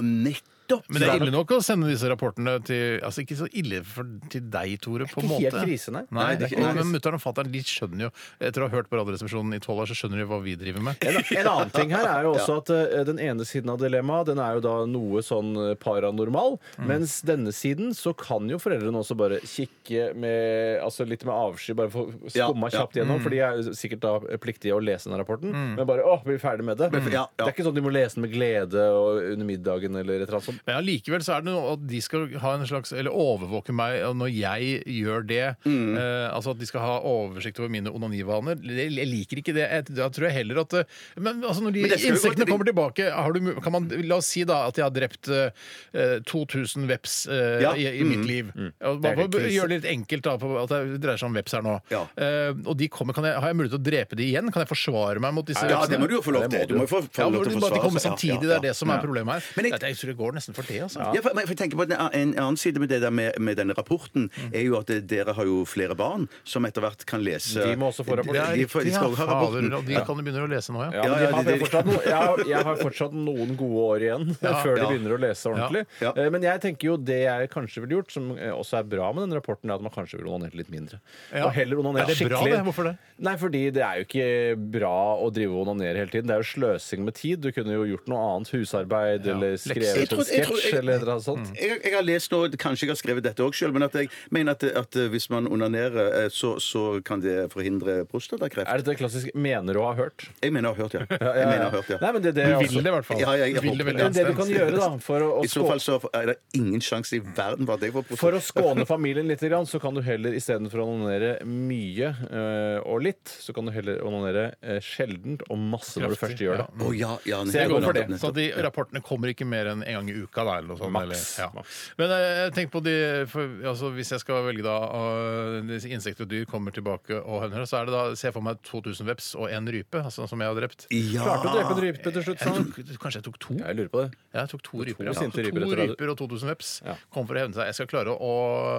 [SPEAKER 3] Å, nettopp! Nettopp.
[SPEAKER 2] Men det er ille nok å sende disse rapportene til Altså ikke så ille for, til deg, Tore, på en måte.
[SPEAKER 4] ikke helt krise, nei.
[SPEAKER 2] nei,
[SPEAKER 4] Nei,
[SPEAKER 2] det er
[SPEAKER 4] ikke
[SPEAKER 2] ikke,
[SPEAKER 4] krise.
[SPEAKER 2] men mutter'n og fatter'n de skjønner jo Etter å ha hørt på Radioresepsjonen i tolv år, så skjønner de hva vi driver med.
[SPEAKER 4] En, en annen ting her er
[SPEAKER 3] <laughs>
[SPEAKER 4] jo også at eh, den ene siden av dilemmaet den er jo da noe sånn eh, paranormal,
[SPEAKER 3] Mm.
[SPEAKER 4] mens denne siden så kan jo foreldrene også bare kikke med, altså litt med avsky, bare få skumma
[SPEAKER 3] Ja, ja.
[SPEAKER 4] kjapt gjennom,
[SPEAKER 3] Mm.
[SPEAKER 4] for de er jo sikkert da pliktige å lese denne rapporten, men bare åh, blir ferdig med det.
[SPEAKER 3] ja, ja.
[SPEAKER 4] Det er ikke sånn de må lese den med glede og under middagen eller et eller annet sånt.
[SPEAKER 2] Men allikevel så er det noe at de skal ha en slags Eller overvåke meg og når jeg gjør det.
[SPEAKER 3] Mm.
[SPEAKER 2] Eh, altså at de skal ha oversikt over mine onanivaner. Jeg jeg liker ikke det. Jeg, da tror jeg heller at eh, Men altså når de
[SPEAKER 3] Men det skal jo gå
[SPEAKER 2] insektene
[SPEAKER 3] til de-
[SPEAKER 2] kommer tilbake har du, mu- kan man, La oss si da at jeg har drept eh, 2000 veps eh,
[SPEAKER 3] Ja.
[SPEAKER 2] i, i
[SPEAKER 3] Mm.
[SPEAKER 2] mitt liv. Og
[SPEAKER 4] Det er
[SPEAKER 2] Bare
[SPEAKER 4] helt
[SPEAKER 2] for å
[SPEAKER 4] krise.
[SPEAKER 2] gjøre det litt enkelt, da, på at det dreier seg om veps her nå.
[SPEAKER 3] Ja.
[SPEAKER 2] Eh, og de kommer, kan jeg, Har jeg mulighet til å drepe de igjen? Kan jeg forsvare meg mot disse
[SPEAKER 3] Ja, det må du jo få lov
[SPEAKER 4] Det må
[SPEAKER 3] til.
[SPEAKER 4] du.
[SPEAKER 3] Du må jo få, få
[SPEAKER 2] Ja,
[SPEAKER 3] lov
[SPEAKER 2] hvor
[SPEAKER 3] til
[SPEAKER 2] de
[SPEAKER 3] å
[SPEAKER 2] bare
[SPEAKER 3] forsvare
[SPEAKER 2] kommer
[SPEAKER 3] seg. Ja,
[SPEAKER 2] samtidig.
[SPEAKER 3] ja,
[SPEAKER 2] Det er det som
[SPEAKER 3] ja.
[SPEAKER 2] er problemet her.
[SPEAKER 3] Men jeg-
[SPEAKER 2] jeg, jeg tror det går nesten for det, altså.
[SPEAKER 3] Ja, for, men jeg tenker på En en annen side med det der med, med denne rapporten
[SPEAKER 4] Mm.
[SPEAKER 3] er jo at det- dere har jo flere barn som etter hvert kan lese
[SPEAKER 4] De må også få rapporten.
[SPEAKER 3] De, de, får- de skal også ha rapporten.
[SPEAKER 2] Fader, og de kan jo begynne å lese nå, ja.
[SPEAKER 4] Ja, men
[SPEAKER 3] Ja, ja,
[SPEAKER 4] de har
[SPEAKER 3] det- det-
[SPEAKER 4] fortsatt noe, jeg, har, jeg har fortsatt noen gode år
[SPEAKER 2] <laughs>
[SPEAKER 4] igjen <laughs> før de
[SPEAKER 3] ja.
[SPEAKER 4] begynner å lese ordentlig.
[SPEAKER 3] Ja, ja.
[SPEAKER 4] Eh, Men jeg tenker jo det jeg kanskje ville gjort, som eh, også er bra med den rapporten, er at man kanskje ville onanert litt mindre.
[SPEAKER 2] Ja.
[SPEAKER 4] Og heller onanere
[SPEAKER 2] Er det bra,
[SPEAKER 4] skikkelig.
[SPEAKER 2] det? Hvorfor det?
[SPEAKER 4] Nei, fordi det er jo ikke bra å drive og onanere hele tiden. Det er jo sløsing med tid. Du kunne jo gjort noe annet. Husarbeid eller
[SPEAKER 2] Lekser. Mm. Jeg
[SPEAKER 4] skrevet
[SPEAKER 3] tror-
[SPEAKER 4] en
[SPEAKER 3] jeg tror-
[SPEAKER 4] sketsj
[SPEAKER 3] jeg-
[SPEAKER 4] eller et eller annet sånt.
[SPEAKER 3] Jeg, jeg har lest noe, kanskje jeg har skrevet dette òg sjøl, men at jeg mener at, at hvis man onanerer, eh, så, så kan det forhindre prostatakreft.
[SPEAKER 4] Er dette klassisk 'mener å ha hørt'? Eh,
[SPEAKER 3] Jeg mener jeg har hørt,
[SPEAKER 4] <laughs>
[SPEAKER 3] ja. Jeg mener jeg har hørt, ja.
[SPEAKER 4] Nei, men det, det,
[SPEAKER 2] Du
[SPEAKER 4] er
[SPEAKER 2] vil
[SPEAKER 4] også-
[SPEAKER 2] det, i hvert fall.
[SPEAKER 3] Ja, ja, jeg
[SPEAKER 2] Du vil
[SPEAKER 3] håper
[SPEAKER 2] det veldig
[SPEAKER 3] det.
[SPEAKER 4] Men det du kan gjøre da, for å, å
[SPEAKER 3] I så
[SPEAKER 4] skå-
[SPEAKER 3] fall så er det ingen sjanse i verden for at jeg får prostatakreft.
[SPEAKER 4] For å skåne familien litt, grann, så kan du heller istedenfor å onanere mye eh, og litt, så kan du heller onanere eh, sjeldent og masse når du
[SPEAKER 2] Kraftig,
[SPEAKER 4] først gjør det.
[SPEAKER 2] ja.
[SPEAKER 3] Å, ja, ja,
[SPEAKER 4] Så jeg går for det.
[SPEAKER 3] nettopp,
[SPEAKER 2] Så
[SPEAKER 3] nettopp.
[SPEAKER 2] de rapportene kommer ikke mer enn en gang i uka? Der, eller noe sånt,
[SPEAKER 4] Maks,
[SPEAKER 2] eller, ja.
[SPEAKER 4] maks.
[SPEAKER 2] Men eh, tenk på de for, altså, Hvis jeg skal velge da og disse Insekter og dyr kommer tilbake og høner, så er det da, ser jeg for meg 2000 veps og en rype, altså, som jeg har drept.
[SPEAKER 3] Ja.
[SPEAKER 4] Klarte å drepe en rype til slutt,
[SPEAKER 2] Jeg
[SPEAKER 4] sånn.
[SPEAKER 2] tok, kanskje jeg tok to?
[SPEAKER 4] Jeg lurer på det.
[SPEAKER 2] Ja, jeg tok to ryper.
[SPEAKER 4] To
[SPEAKER 2] Ja.
[SPEAKER 4] sinte
[SPEAKER 2] Så
[SPEAKER 4] ryper,
[SPEAKER 2] to
[SPEAKER 4] tror jeg.
[SPEAKER 2] ryper og 2000 veps.
[SPEAKER 4] Ja.
[SPEAKER 2] Kom for å hevne seg. Jeg skal klare å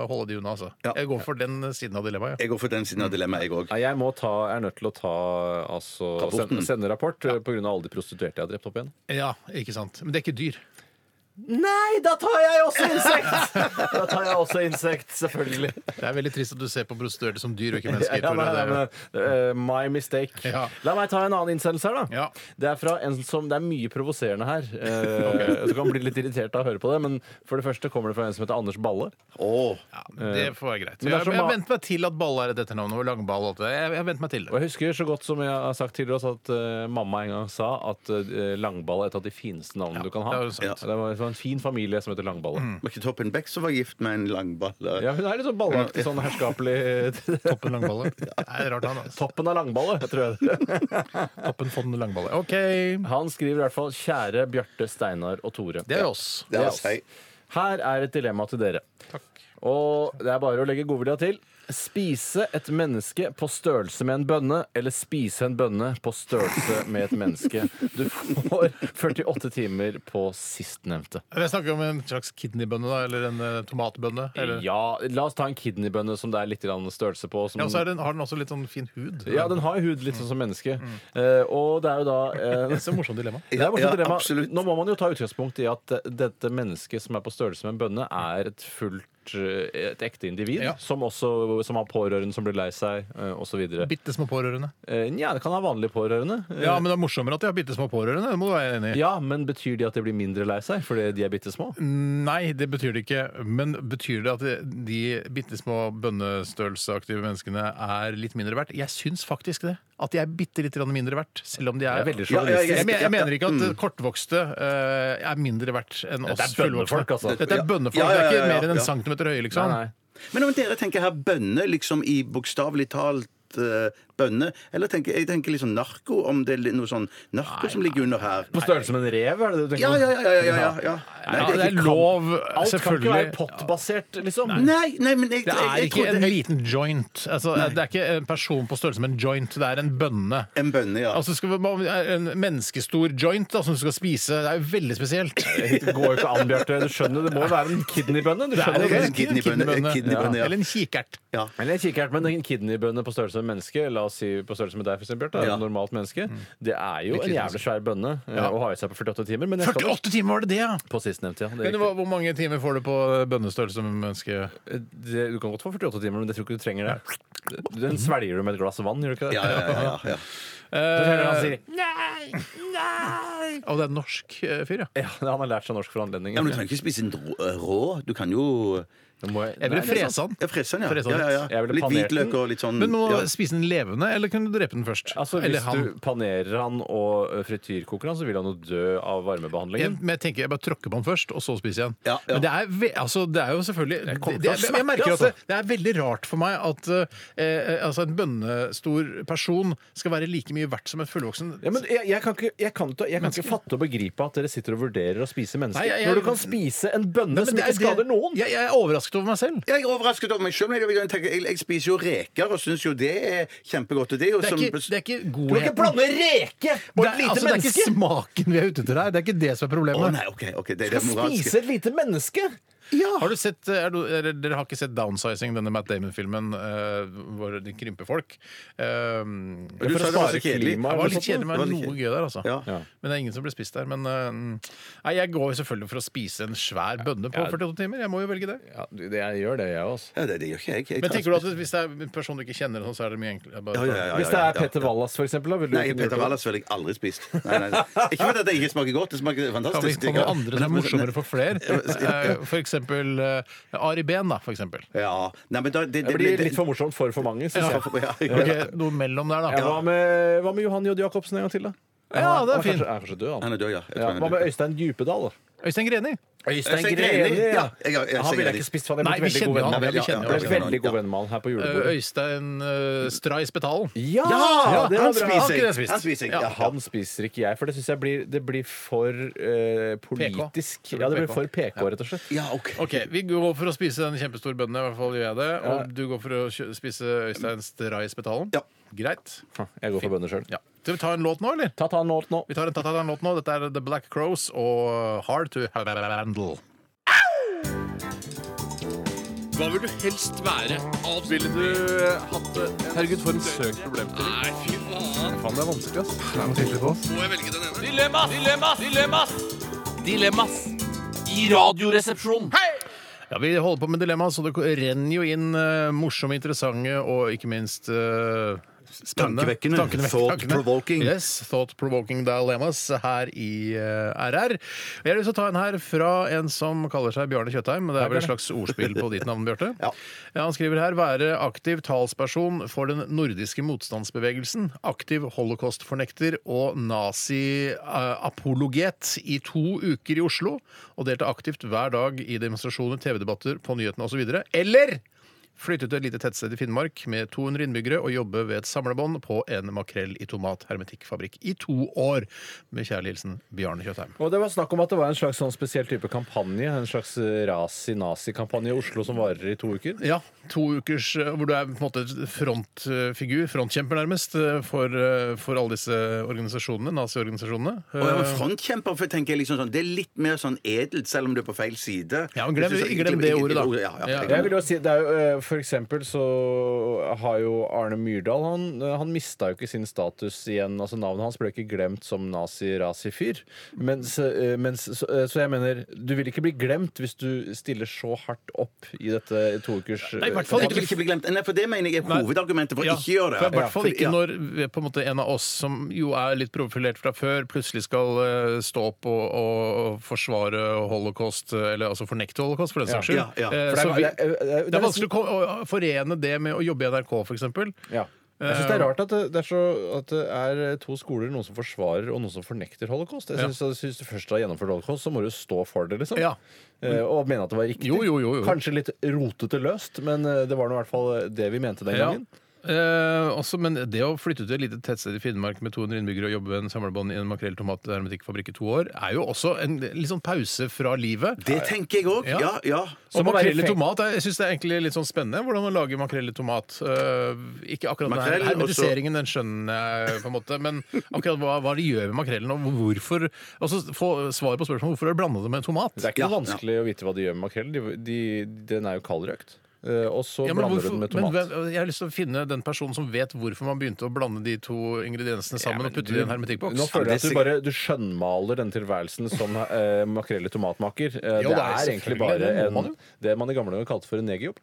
[SPEAKER 2] holde de unna, altså.
[SPEAKER 3] Ja.
[SPEAKER 2] Jeg går for den siden av dilemmaet. Ja.
[SPEAKER 3] Jeg går for den siden av dilemmaet, jeg òg.
[SPEAKER 4] Nei, jeg må ta, jeg er nødt til å ta altså,
[SPEAKER 3] Rapporten.
[SPEAKER 4] sende, sende rapport eh, ja. pga. alle de prostituerte jeg har drept opp igjen.
[SPEAKER 2] ja, ikke sant. Men det er ikke dyr.
[SPEAKER 4] Nei, da tar jeg også insekt! <laughs> da tar jeg også insekt, selvfølgelig.
[SPEAKER 2] Det er veldig trist at du ser på prostituerte som dyr
[SPEAKER 4] <laughs>
[SPEAKER 2] og ikke mennesker.
[SPEAKER 4] Ja,
[SPEAKER 2] Tore.
[SPEAKER 4] nei,
[SPEAKER 2] Det
[SPEAKER 4] nei,
[SPEAKER 2] er jo-
[SPEAKER 4] men, eh, my mistake.
[SPEAKER 2] Ja.
[SPEAKER 4] La meg ta en annen innsendelse her, da.
[SPEAKER 2] Ja.
[SPEAKER 4] Det er fra en som Det er mye provoserende her. <laughs> Eh, Du kan bli litt irritert av å høre på det, men for det første kommer det fra en som heter Anders Balle.
[SPEAKER 2] Ja, men Det får være greit.
[SPEAKER 4] eh, Men det er
[SPEAKER 2] Jeg,
[SPEAKER 4] så
[SPEAKER 2] jeg
[SPEAKER 4] ma-
[SPEAKER 2] venter meg til at ball er et etternavn og langball. og alt det. Jeg, jeg venter meg til
[SPEAKER 4] Og <laughs>
[SPEAKER 2] det.
[SPEAKER 4] jeg husker så godt som jeg har sagt tidligere også, at eh, mamma en gang sa at eh, Langballe er et av de fineste navnene du kan ha.
[SPEAKER 2] det har hun sagt.
[SPEAKER 4] det var det var en fin familie som heter Langballe.
[SPEAKER 2] Mm.
[SPEAKER 3] Var ikke Toppen Beck som var gift med en langballe?
[SPEAKER 4] Ja, hun er litt sånn ballaktig, sånn herskapelig <laughs>
[SPEAKER 2] Toppen langballe. Nei, rart han, altså.
[SPEAKER 4] Toppen av langballe, tror jeg.
[SPEAKER 2] <laughs> Toppen von langballe. OK.
[SPEAKER 4] Han skriver i hvert fall 'Kjære Bjarte, Steinar og Tore'.
[SPEAKER 2] Det er oss.
[SPEAKER 3] Det er å si.
[SPEAKER 4] Her er et dilemma til dere. Og det er bare å legge godvilja til. Spise et menneske på størrelse med en bønne, eller spise en bønne på størrelse med et menneske. Du får 48 timer på sistnevnte.
[SPEAKER 2] Jeg snakker om en slags kidneybønne, da, eller en eh, tomatbønne. Eller...
[SPEAKER 4] Ja, la oss ta en kidneybønne som det er litt grann størrelse på. Som
[SPEAKER 2] Ja, og så er den, har den også litt sånn fin hud.
[SPEAKER 4] Ja, den har jo hud litt sånn som menneske.
[SPEAKER 2] Mm.
[SPEAKER 4] Eh, og det er jo da eh,
[SPEAKER 2] Så morsomt dilemma.
[SPEAKER 4] Det er morsomt
[SPEAKER 3] Ja,
[SPEAKER 4] dilemma.
[SPEAKER 3] absolutt.
[SPEAKER 4] Nå må man jo ta utgangspunkt i at eh, dette mennesket som er på størrelse med en bønne, er et fullt eh, et ekte individ
[SPEAKER 2] Ja.
[SPEAKER 4] som også som har pårørende som blir lei seg, eh, osv.
[SPEAKER 2] Bitte små pårørende.
[SPEAKER 4] Eh, Nja, det kan ha vanlige pårørende. Eh,
[SPEAKER 2] Ja, men det er morsommere at de har bitte små pårørende. Det må du være enig i.
[SPEAKER 4] ja, men betyr de at de blir mindre lei seg fordi de er bitte små?
[SPEAKER 2] Nei, det betyr det ikke. Men betyr det at de bitte små bønnestørrelseaktive menneskene er litt mindre verdt? Jeg syns faktisk det. At de er bitte litt grann mindre verdt. Selv om de er,
[SPEAKER 4] Det er veldig
[SPEAKER 3] Ja, ja,
[SPEAKER 4] journalistisk.
[SPEAKER 2] Jeg, men- jeg mener ikke
[SPEAKER 3] Mm.
[SPEAKER 2] at eh, kortvokste eh, er mindre verdt enn oss
[SPEAKER 4] Dette er bønnefolk,
[SPEAKER 2] fullvoksne.
[SPEAKER 4] altså.
[SPEAKER 2] Dette er
[SPEAKER 3] Ja.
[SPEAKER 2] bønnefolk.
[SPEAKER 3] Ja, ja, ja,
[SPEAKER 2] Det er
[SPEAKER 3] ja,
[SPEAKER 2] ikke mer enn en
[SPEAKER 3] ja.
[SPEAKER 2] centimeter høye,
[SPEAKER 4] Nei,
[SPEAKER 2] liksom.
[SPEAKER 4] nei.
[SPEAKER 3] Men om dere tenker her bønne, liksom i bokstavelig talt eh, bønne, eller tenker jeg tenker liksom narko, om det er li- noe sånn narko som ligger under her?
[SPEAKER 4] På størrelse med en rev, er det det du tenker?
[SPEAKER 3] Ja,
[SPEAKER 4] på?
[SPEAKER 3] ja, ja, ja, ja, ja, ja. Nei,
[SPEAKER 2] Ja,
[SPEAKER 3] det er ikke
[SPEAKER 2] lov,
[SPEAKER 4] Alt kan ikke være
[SPEAKER 2] selvfølgelig.
[SPEAKER 4] pottbasert, liksom.
[SPEAKER 3] Nei, nei, men jeg,
[SPEAKER 2] Det
[SPEAKER 3] jeg,
[SPEAKER 2] er
[SPEAKER 3] jeg,
[SPEAKER 2] ikke
[SPEAKER 3] trodde
[SPEAKER 2] en
[SPEAKER 3] jeg-
[SPEAKER 2] liten joint. Altså, det er ikke en person på størrelse med en joint. Det er en bønne.
[SPEAKER 3] en bønne, ja.
[SPEAKER 2] Altså, skal vi, en menneskestor joint da, som du skal spise, det er jo veldig spesielt.
[SPEAKER 4] Det går jo ikke an, Bjarte. Du skjønner, det må jo være en kidneybønne. Du
[SPEAKER 2] Det er
[SPEAKER 4] skjønner
[SPEAKER 2] jo
[SPEAKER 4] det.
[SPEAKER 2] en
[SPEAKER 3] kidneybønne,
[SPEAKER 2] kidneybønne.
[SPEAKER 3] kidneybønne, ja.
[SPEAKER 2] Eller en kikert.
[SPEAKER 3] ja.
[SPEAKER 4] Eller en kikkert, men en kidneybønne på størrelse med et menneske. La la oss si på størrelse med deg, for eksempel, da,
[SPEAKER 2] Ja.
[SPEAKER 4] et normalt menneske, det er jo
[SPEAKER 2] Litt
[SPEAKER 4] en
[SPEAKER 2] liten.
[SPEAKER 4] jævlig svær bønne eh,
[SPEAKER 2] Ja.
[SPEAKER 4] å ha i seg på 48 timer. Men jeg skal-
[SPEAKER 2] 48 timer var det det, ja!
[SPEAKER 4] På sistnevnte, ja. Det
[SPEAKER 2] Men
[SPEAKER 4] er riktig.
[SPEAKER 2] hva, hvor mange timer får du på bønnestørrelse som menneske?
[SPEAKER 4] eh, Det, du kan godt få 48 timer, men jeg tror ikke du trenger det. Den svelger du med et glass vann, gjør du ikke det?
[SPEAKER 2] Ja, ja, ja, ja,
[SPEAKER 4] Så hører han sier,
[SPEAKER 2] Nei! Nei! Og det er en norsk eh, fyr, ja.
[SPEAKER 4] <laughs> ja, han har lært seg norsk for anledningen.
[SPEAKER 3] Ja, men du trenger ikke spise den rå- rå. Du kan jo
[SPEAKER 2] Jeg ville frese den.
[SPEAKER 3] Ja, frese den, ja.
[SPEAKER 2] Frese den
[SPEAKER 3] ja, ja,
[SPEAKER 2] litt.
[SPEAKER 3] ja.
[SPEAKER 2] Jeg ville
[SPEAKER 3] Litt
[SPEAKER 2] panert
[SPEAKER 3] hvitløk
[SPEAKER 2] den.
[SPEAKER 3] og litt sånn
[SPEAKER 2] Men må
[SPEAKER 3] ja.
[SPEAKER 2] spise den levende, eller kunne du drepe den først?
[SPEAKER 4] Mm, Altså,
[SPEAKER 2] eller
[SPEAKER 4] Hvis du panerer han og eh, frityrkoker han, så vil han jo dø av
[SPEAKER 2] Jeg,
[SPEAKER 4] varmebehandlingen.
[SPEAKER 2] men jeg tenker jeg bare tråkker på den først, og så spiser jeg den.
[SPEAKER 4] Ja, ja.
[SPEAKER 2] Men det er, ve- altså, det er jo selvfølgelig det,
[SPEAKER 4] kommer
[SPEAKER 2] det,
[SPEAKER 4] til å
[SPEAKER 2] jeg, jeg merker
[SPEAKER 4] smerte,
[SPEAKER 2] at det, det er veldig rart for meg at eh, eh, altså en bønnestor person skal være like mye verdt som en fullvoksen
[SPEAKER 4] Ja, men jeg, jeg kan, ikke, jeg, kan ikke, jeg kan ikke fatte og begripe at dere sitter og vurderer å spise mennesker.
[SPEAKER 2] Nei, jeg- jeg-
[SPEAKER 4] når du kan spise en bønne
[SPEAKER 2] Nei, men
[SPEAKER 4] som
[SPEAKER 2] det er
[SPEAKER 4] ikke skader
[SPEAKER 2] det-
[SPEAKER 4] noen!
[SPEAKER 2] Jeg, jeg er overrasket over meg selv.
[SPEAKER 3] Jeg er overrasket over meg sjøl. Jeg, jeg, tenker- jeg, jeg spiser jo reker og syns jo det er kjempegodt. Og det, er jo
[SPEAKER 2] Det er
[SPEAKER 3] som-
[SPEAKER 2] ikke, det er ikke
[SPEAKER 3] Du
[SPEAKER 4] Du kan ikke
[SPEAKER 2] godheten.
[SPEAKER 4] blande
[SPEAKER 2] Det
[SPEAKER 4] reke og et
[SPEAKER 2] er, altså, det
[SPEAKER 4] lite
[SPEAKER 2] er ikke
[SPEAKER 4] menneske!
[SPEAKER 2] smaken vi er ute etter her. Det er ikke det som er
[SPEAKER 3] Å
[SPEAKER 2] problemet.
[SPEAKER 3] nei, OK. ok, det er
[SPEAKER 4] Du
[SPEAKER 3] det
[SPEAKER 4] skal
[SPEAKER 3] moralske.
[SPEAKER 4] spise et lite menneske!
[SPEAKER 2] Har du sett, er du, eller, dere har ikke sett Downsizing, denne Matt Damon-filmen eh, hvor de krymper folk? Um,
[SPEAKER 3] Du sa det var så kjedelig.
[SPEAKER 2] Det var litt kjedelig,
[SPEAKER 3] Det var
[SPEAKER 2] men
[SPEAKER 3] litt
[SPEAKER 2] noe
[SPEAKER 3] kjedelig.
[SPEAKER 2] gøy der, altså.
[SPEAKER 3] Ja.
[SPEAKER 4] Ja.
[SPEAKER 2] Men det er ingen som blir spist der. Men eh, nei, jeg går jo selvfølgelig for å spise en svær bønne på
[SPEAKER 4] Ja.
[SPEAKER 2] 48 timer. Jeg må jo velge det.
[SPEAKER 4] Ja, du, det- jeg gjør det, jeg også.
[SPEAKER 3] Ja, det, det gjør ikke jeg. jeg
[SPEAKER 2] Men tenker du at hvis det er en person du ikke kjenner, sånn, så er det mye enklere? Bare-
[SPEAKER 3] Ja, ja, ja, ja,
[SPEAKER 4] Hvis det er
[SPEAKER 3] ja, ja.
[SPEAKER 4] Petter Wallas, for eksempel, da, vil du
[SPEAKER 3] Nei, Petter Wallas ville jeg aldri spist. Nei, nei, nei.
[SPEAKER 2] <laughs>
[SPEAKER 3] Ikke fordi det ikke smaker godt, det
[SPEAKER 2] Kan
[SPEAKER 3] smaker
[SPEAKER 2] vi
[SPEAKER 3] fantastisk.
[SPEAKER 2] ta noen andre som er morsommere for flere?
[SPEAKER 3] <laughs> Ja.
[SPEAKER 2] Eh, For eksempel eh, Ari Behn, da, for eksempel.
[SPEAKER 3] Ja. Nei, men da, det,
[SPEAKER 4] Det blir litt for morsomt for for mange, synes
[SPEAKER 3] Ja,
[SPEAKER 4] jeg.
[SPEAKER 3] for- ja, ja.
[SPEAKER 2] Ok, noe mellom der, da.
[SPEAKER 4] Ja, hva, med, hva med Johan J. Jacobsen en gang til, da?
[SPEAKER 2] Ja, det er
[SPEAKER 4] Han
[SPEAKER 2] fint.
[SPEAKER 4] Kanskje, er kanskje død, han.
[SPEAKER 3] Han er død, ja. Jeg tror
[SPEAKER 4] Ja,
[SPEAKER 3] han er
[SPEAKER 4] hva
[SPEAKER 3] død.
[SPEAKER 4] med Øystein Djupedal? da?
[SPEAKER 2] Øystein Greni.
[SPEAKER 4] Øystein
[SPEAKER 3] Greni, ja.
[SPEAKER 4] ja.
[SPEAKER 3] Jeg- jeg- jeg
[SPEAKER 4] Han ville jeg
[SPEAKER 3] ser Greni.
[SPEAKER 4] ikke spist, for han
[SPEAKER 2] Nei,
[SPEAKER 4] er
[SPEAKER 2] vi
[SPEAKER 4] blitt veldig
[SPEAKER 2] kjenner jo
[SPEAKER 4] god venn.
[SPEAKER 2] han. Ja,
[SPEAKER 3] venn.
[SPEAKER 2] vi
[SPEAKER 3] Ja,
[SPEAKER 2] kjenner
[SPEAKER 4] Han
[SPEAKER 2] jo
[SPEAKER 3] ja,
[SPEAKER 2] han.
[SPEAKER 4] er
[SPEAKER 3] ja.
[SPEAKER 4] en veldig god venn med han her på julebordet.
[SPEAKER 2] Øystein eh, Stray Spetalen.
[SPEAKER 4] Ja!
[SPEAKER 3] Ja,
[SPEAKER 4] det var
[SPEAKER 3] han
[SPEAKER 4] bra.
[SPEAKER 2] Han
[SPEAKER 3] spiser
[SPEAKER 2] kunne jeg
[SPEAKER 3] jeg.
[SPEAKER 2] spist.
[SPEAKER 3] Han spiser jeg.
[SPEAKER 2] Ja,
[SPEAKER 3] Ja,
[SPEAKER 4] Han spiser ikke jeg, for det syns jeg blir, det blir for eh, politisk.
[SPEAKER 2] PK.
[SPEAKER 4] Ja, det blir for PK, rett og slett.
[SPEAKER 3] ja, OK.
[SPEAKER 2] Ok, Vi går for å spise en kjempestor bønne, i hvert fall gjør jeg det. Og du går for å kjø- spise Øystein Stray Spetalen?
[SPEAKER 3] Ja.
[SPEAKER 2] Greit.
[SPEAKER 4] Jeg går for bønner sjøl.
[SPEAKER 2] Ja. Skal vi ta en låt nå, eller?
[SPEAKER 4] Ta ta en låt nå.
[SPEAKER 2] Vi tar en, ta, ta, ta en låt nå. Dette er The Black Crows og Hard to Handle.
[SPEAKER 8] Hva vil du helst være? Ville du hatt det? Herregud, for en søk problemstilling. Nei, fy faen. Faen, det er vanskelig, ass. Det er noe tydelig på. Må jeg velge den ene? Dilemmas! Dilemmas! Dilemmas! Dilemmas! I radioresepsjonen.
[SPEAKER 2] Ja, Vi holder på med dilemma, så det renner jo inn eh, morsomme, interessante og ikke minst eh, spennende-
[SPEAKER 3] Tankevekkende.
[SPEAKER 2] tankevekkende-
[SPEAKER 3] Thought-provoking.
[SPEAKER 2] tankene. Yes, thought-provoking dilemmas her i eh, RR. Jeg har lyst til å ta en her fra en som kaller seg Bjarne Kjøtheim. Det er vel et slags ordspill på ditt navn, Bjarte?
[SPEAKER 3] <laughs> Ja.
[SPEAKER 2] Ja, han skriver her 'være aktiv talsperson for den nordiske motstandsbevegelsen', 'aktiv holocaust-fornekter' og nazi-apologet i to uker i Oslo, og delta aktivt hver dag i demonstrasjoner, TV-debatter, på nyhetene osv. Eller flytte til et lite tettsted i Finnmark med 200 innbyggere og jobbe ved et samlebånd på en makrell i tomat-hermetikkfabrikk i to år. Med kjærlig hilsen Bjarne Kjøtheim.
[SPEAKER 4] Og Det var snakk om at det var en slags sånn spesiell type kampanje. En slags eh, razi-nazi-kampanje i Oslo som varer i to uker.
[SPEAKER 2] Ja, to ukers eh, hvor du er på en måte frontfigur, frontkjemper nærmest, eh, for, eh, for alle disse organisasjonene, naziorganisasjonene. Eh,
[SPEAKER 3] Og jeg var frontkjemper, for jeg tenker liksom sånn, det er litt mer sånn edelt, selv om du er på feil side.
[SPEAKER 2] Ja, men glem-
[SPEAKER 3] Jeg synes-
[SPEAKER 2] glem det ordet, da.
[SPEAKER 3] Ja, ja,
[SPEAKER 2] Ja.
[SPEAKER 4] Jeg
[SPEAKER 3] jeg
[SPEAKER 4] vil
[SPEAKER 3] glemmer.
[SPEAKER 4] jo si, det er jo, eh, For eksempel så har jo Arne Myrdal Han, han mista jo ikke sin status igjen. altså Navnet hans ble ikke glemt som nazi-razi-fyr. Mens, eh, mens, så, eh, så jeg mener, du vil ikke bli glemt hvis du stiller så hardt opp i dette to ukers eh,
[SPEAKER 2] Nei, i hvert fall
[SPEAKER 3] Nei, du vil ikke bli glemt. Nei, for det mener jeg er hovedargumentet for å
[SPEAKER 2] Ja,
[SPEAKER 3] ikke gjøre
[SPEAKER 2] for I
[SPEAKER 3] det.
[SPEAKER 2] hvert fall
[SPEAKER 3] Ja,
[SPEAKER 2] ikke
[SPEAKER 3] for-
[SPEAKER 2] når eh, på en, måte, en av oss som jo er litt profilert fra før, plutselig skal eh, stå opp og, og forsvare holocaust, eh, eller altså fornekte holocaust, for den saks skyld.
[SPEAKER 3] Ja, ja.
[SPEAKER 2] Eh,
[SPEAKER 4] For
[SPEAKER 2] så vi-
[SPEAKER 4] det er- det er- det er-
[SPEAKER 2] Det er vanskelig å ko- å forene det med å jobbe i NRK, f.eks.
[SPEAKER 4] Ja. Jeg synes Det
[SPEAKER 2] Eh,
[SPEAKER 4] er rart at det, det, er så, at det er to skoler, noen som forsvarer og noen som fornekter holocaust. Jeg synes, jeg synes du først har gjennomført holocaust, så må du stå for det, liksom.
[SPEAKER 2] Ja.
[SPEAKER 4] Eh, og mene at det var riktig.
[SPEAKER 2] Jo, jo, jo, jo.
[SPEAKER 4] Kanskje litt rotete løst, men eh, det var nå i hvert fall det vi mente den
[SPEAKER 2] Ja.
[SPEAKER 4] gangen.
[SPEAKER 2] Eh, også, men det å flytte til et lite tettsted i Finnmark med 200 innbyggere og jobbe ved en samlebånd i en makrell tomat hermetikkfabrikk i to år, er jo også en litt sånn pause fra livet.
[SPEAKER 3] Det tenker jeg òg. Ja, ja.
[SPEAKER 2] Så
[SPEAKER 4] Og må være
[SPEAKER 2] makrell i
[SPEAKER 4] feng-
[SPEAKER 2] tomat er- jeg synes det er egentlig litt sånn spennende hvordan man lager makrell i tomat. Eh, ikke akkurat
[SPEAKER 3] Makrell,
[SPEAKER 2] den her hermetiseringen, den skjønner jeg på en måte, men akkurat hva, hva de gjør med makrellen, og hvorfor Altså få svar på spørsmålet hvorfor har de blanda det med tomat.
[SPEAKER 4] Det er ikke
[SPEAKER 3] Ja,
[SPEAKER 4] noe vanskelig å vite hva de gjør med makrell. De, de, den er jo kaldrøkt. eh, og så
[SPEAKER 2] Ja, men
[SPEAKER 4] blander
[SPEAKER 2] hvorfor-
[SPEAKER 4] du den med
[SPEAKER 2] men
[SPEAKER 4] tomat.
[SPEAKER 2] hvem- jeg har lyst til å finne den personen som vet hvorfor man begynte å blande de to ingrediensene sammen og putte det i en hermetikkboks.
[SPEAKER 4] Nå føler jeg at du bare du skjønnmaler denne tilværelsen som eh, makrell i tomatmaker. Eh,
[SPEAKER 2] Jo,
[SPEAKER 4] det
[SPEAKER 2] da,
[SPEAKER 4] er egentlig
[SPEAKER 2] selvfølgelig.
[SPEAKER 4] bare
[SPEAKER 2] Det må man
[SPEAKER 4] en, det man i gamle dager kalte for en negerjobb.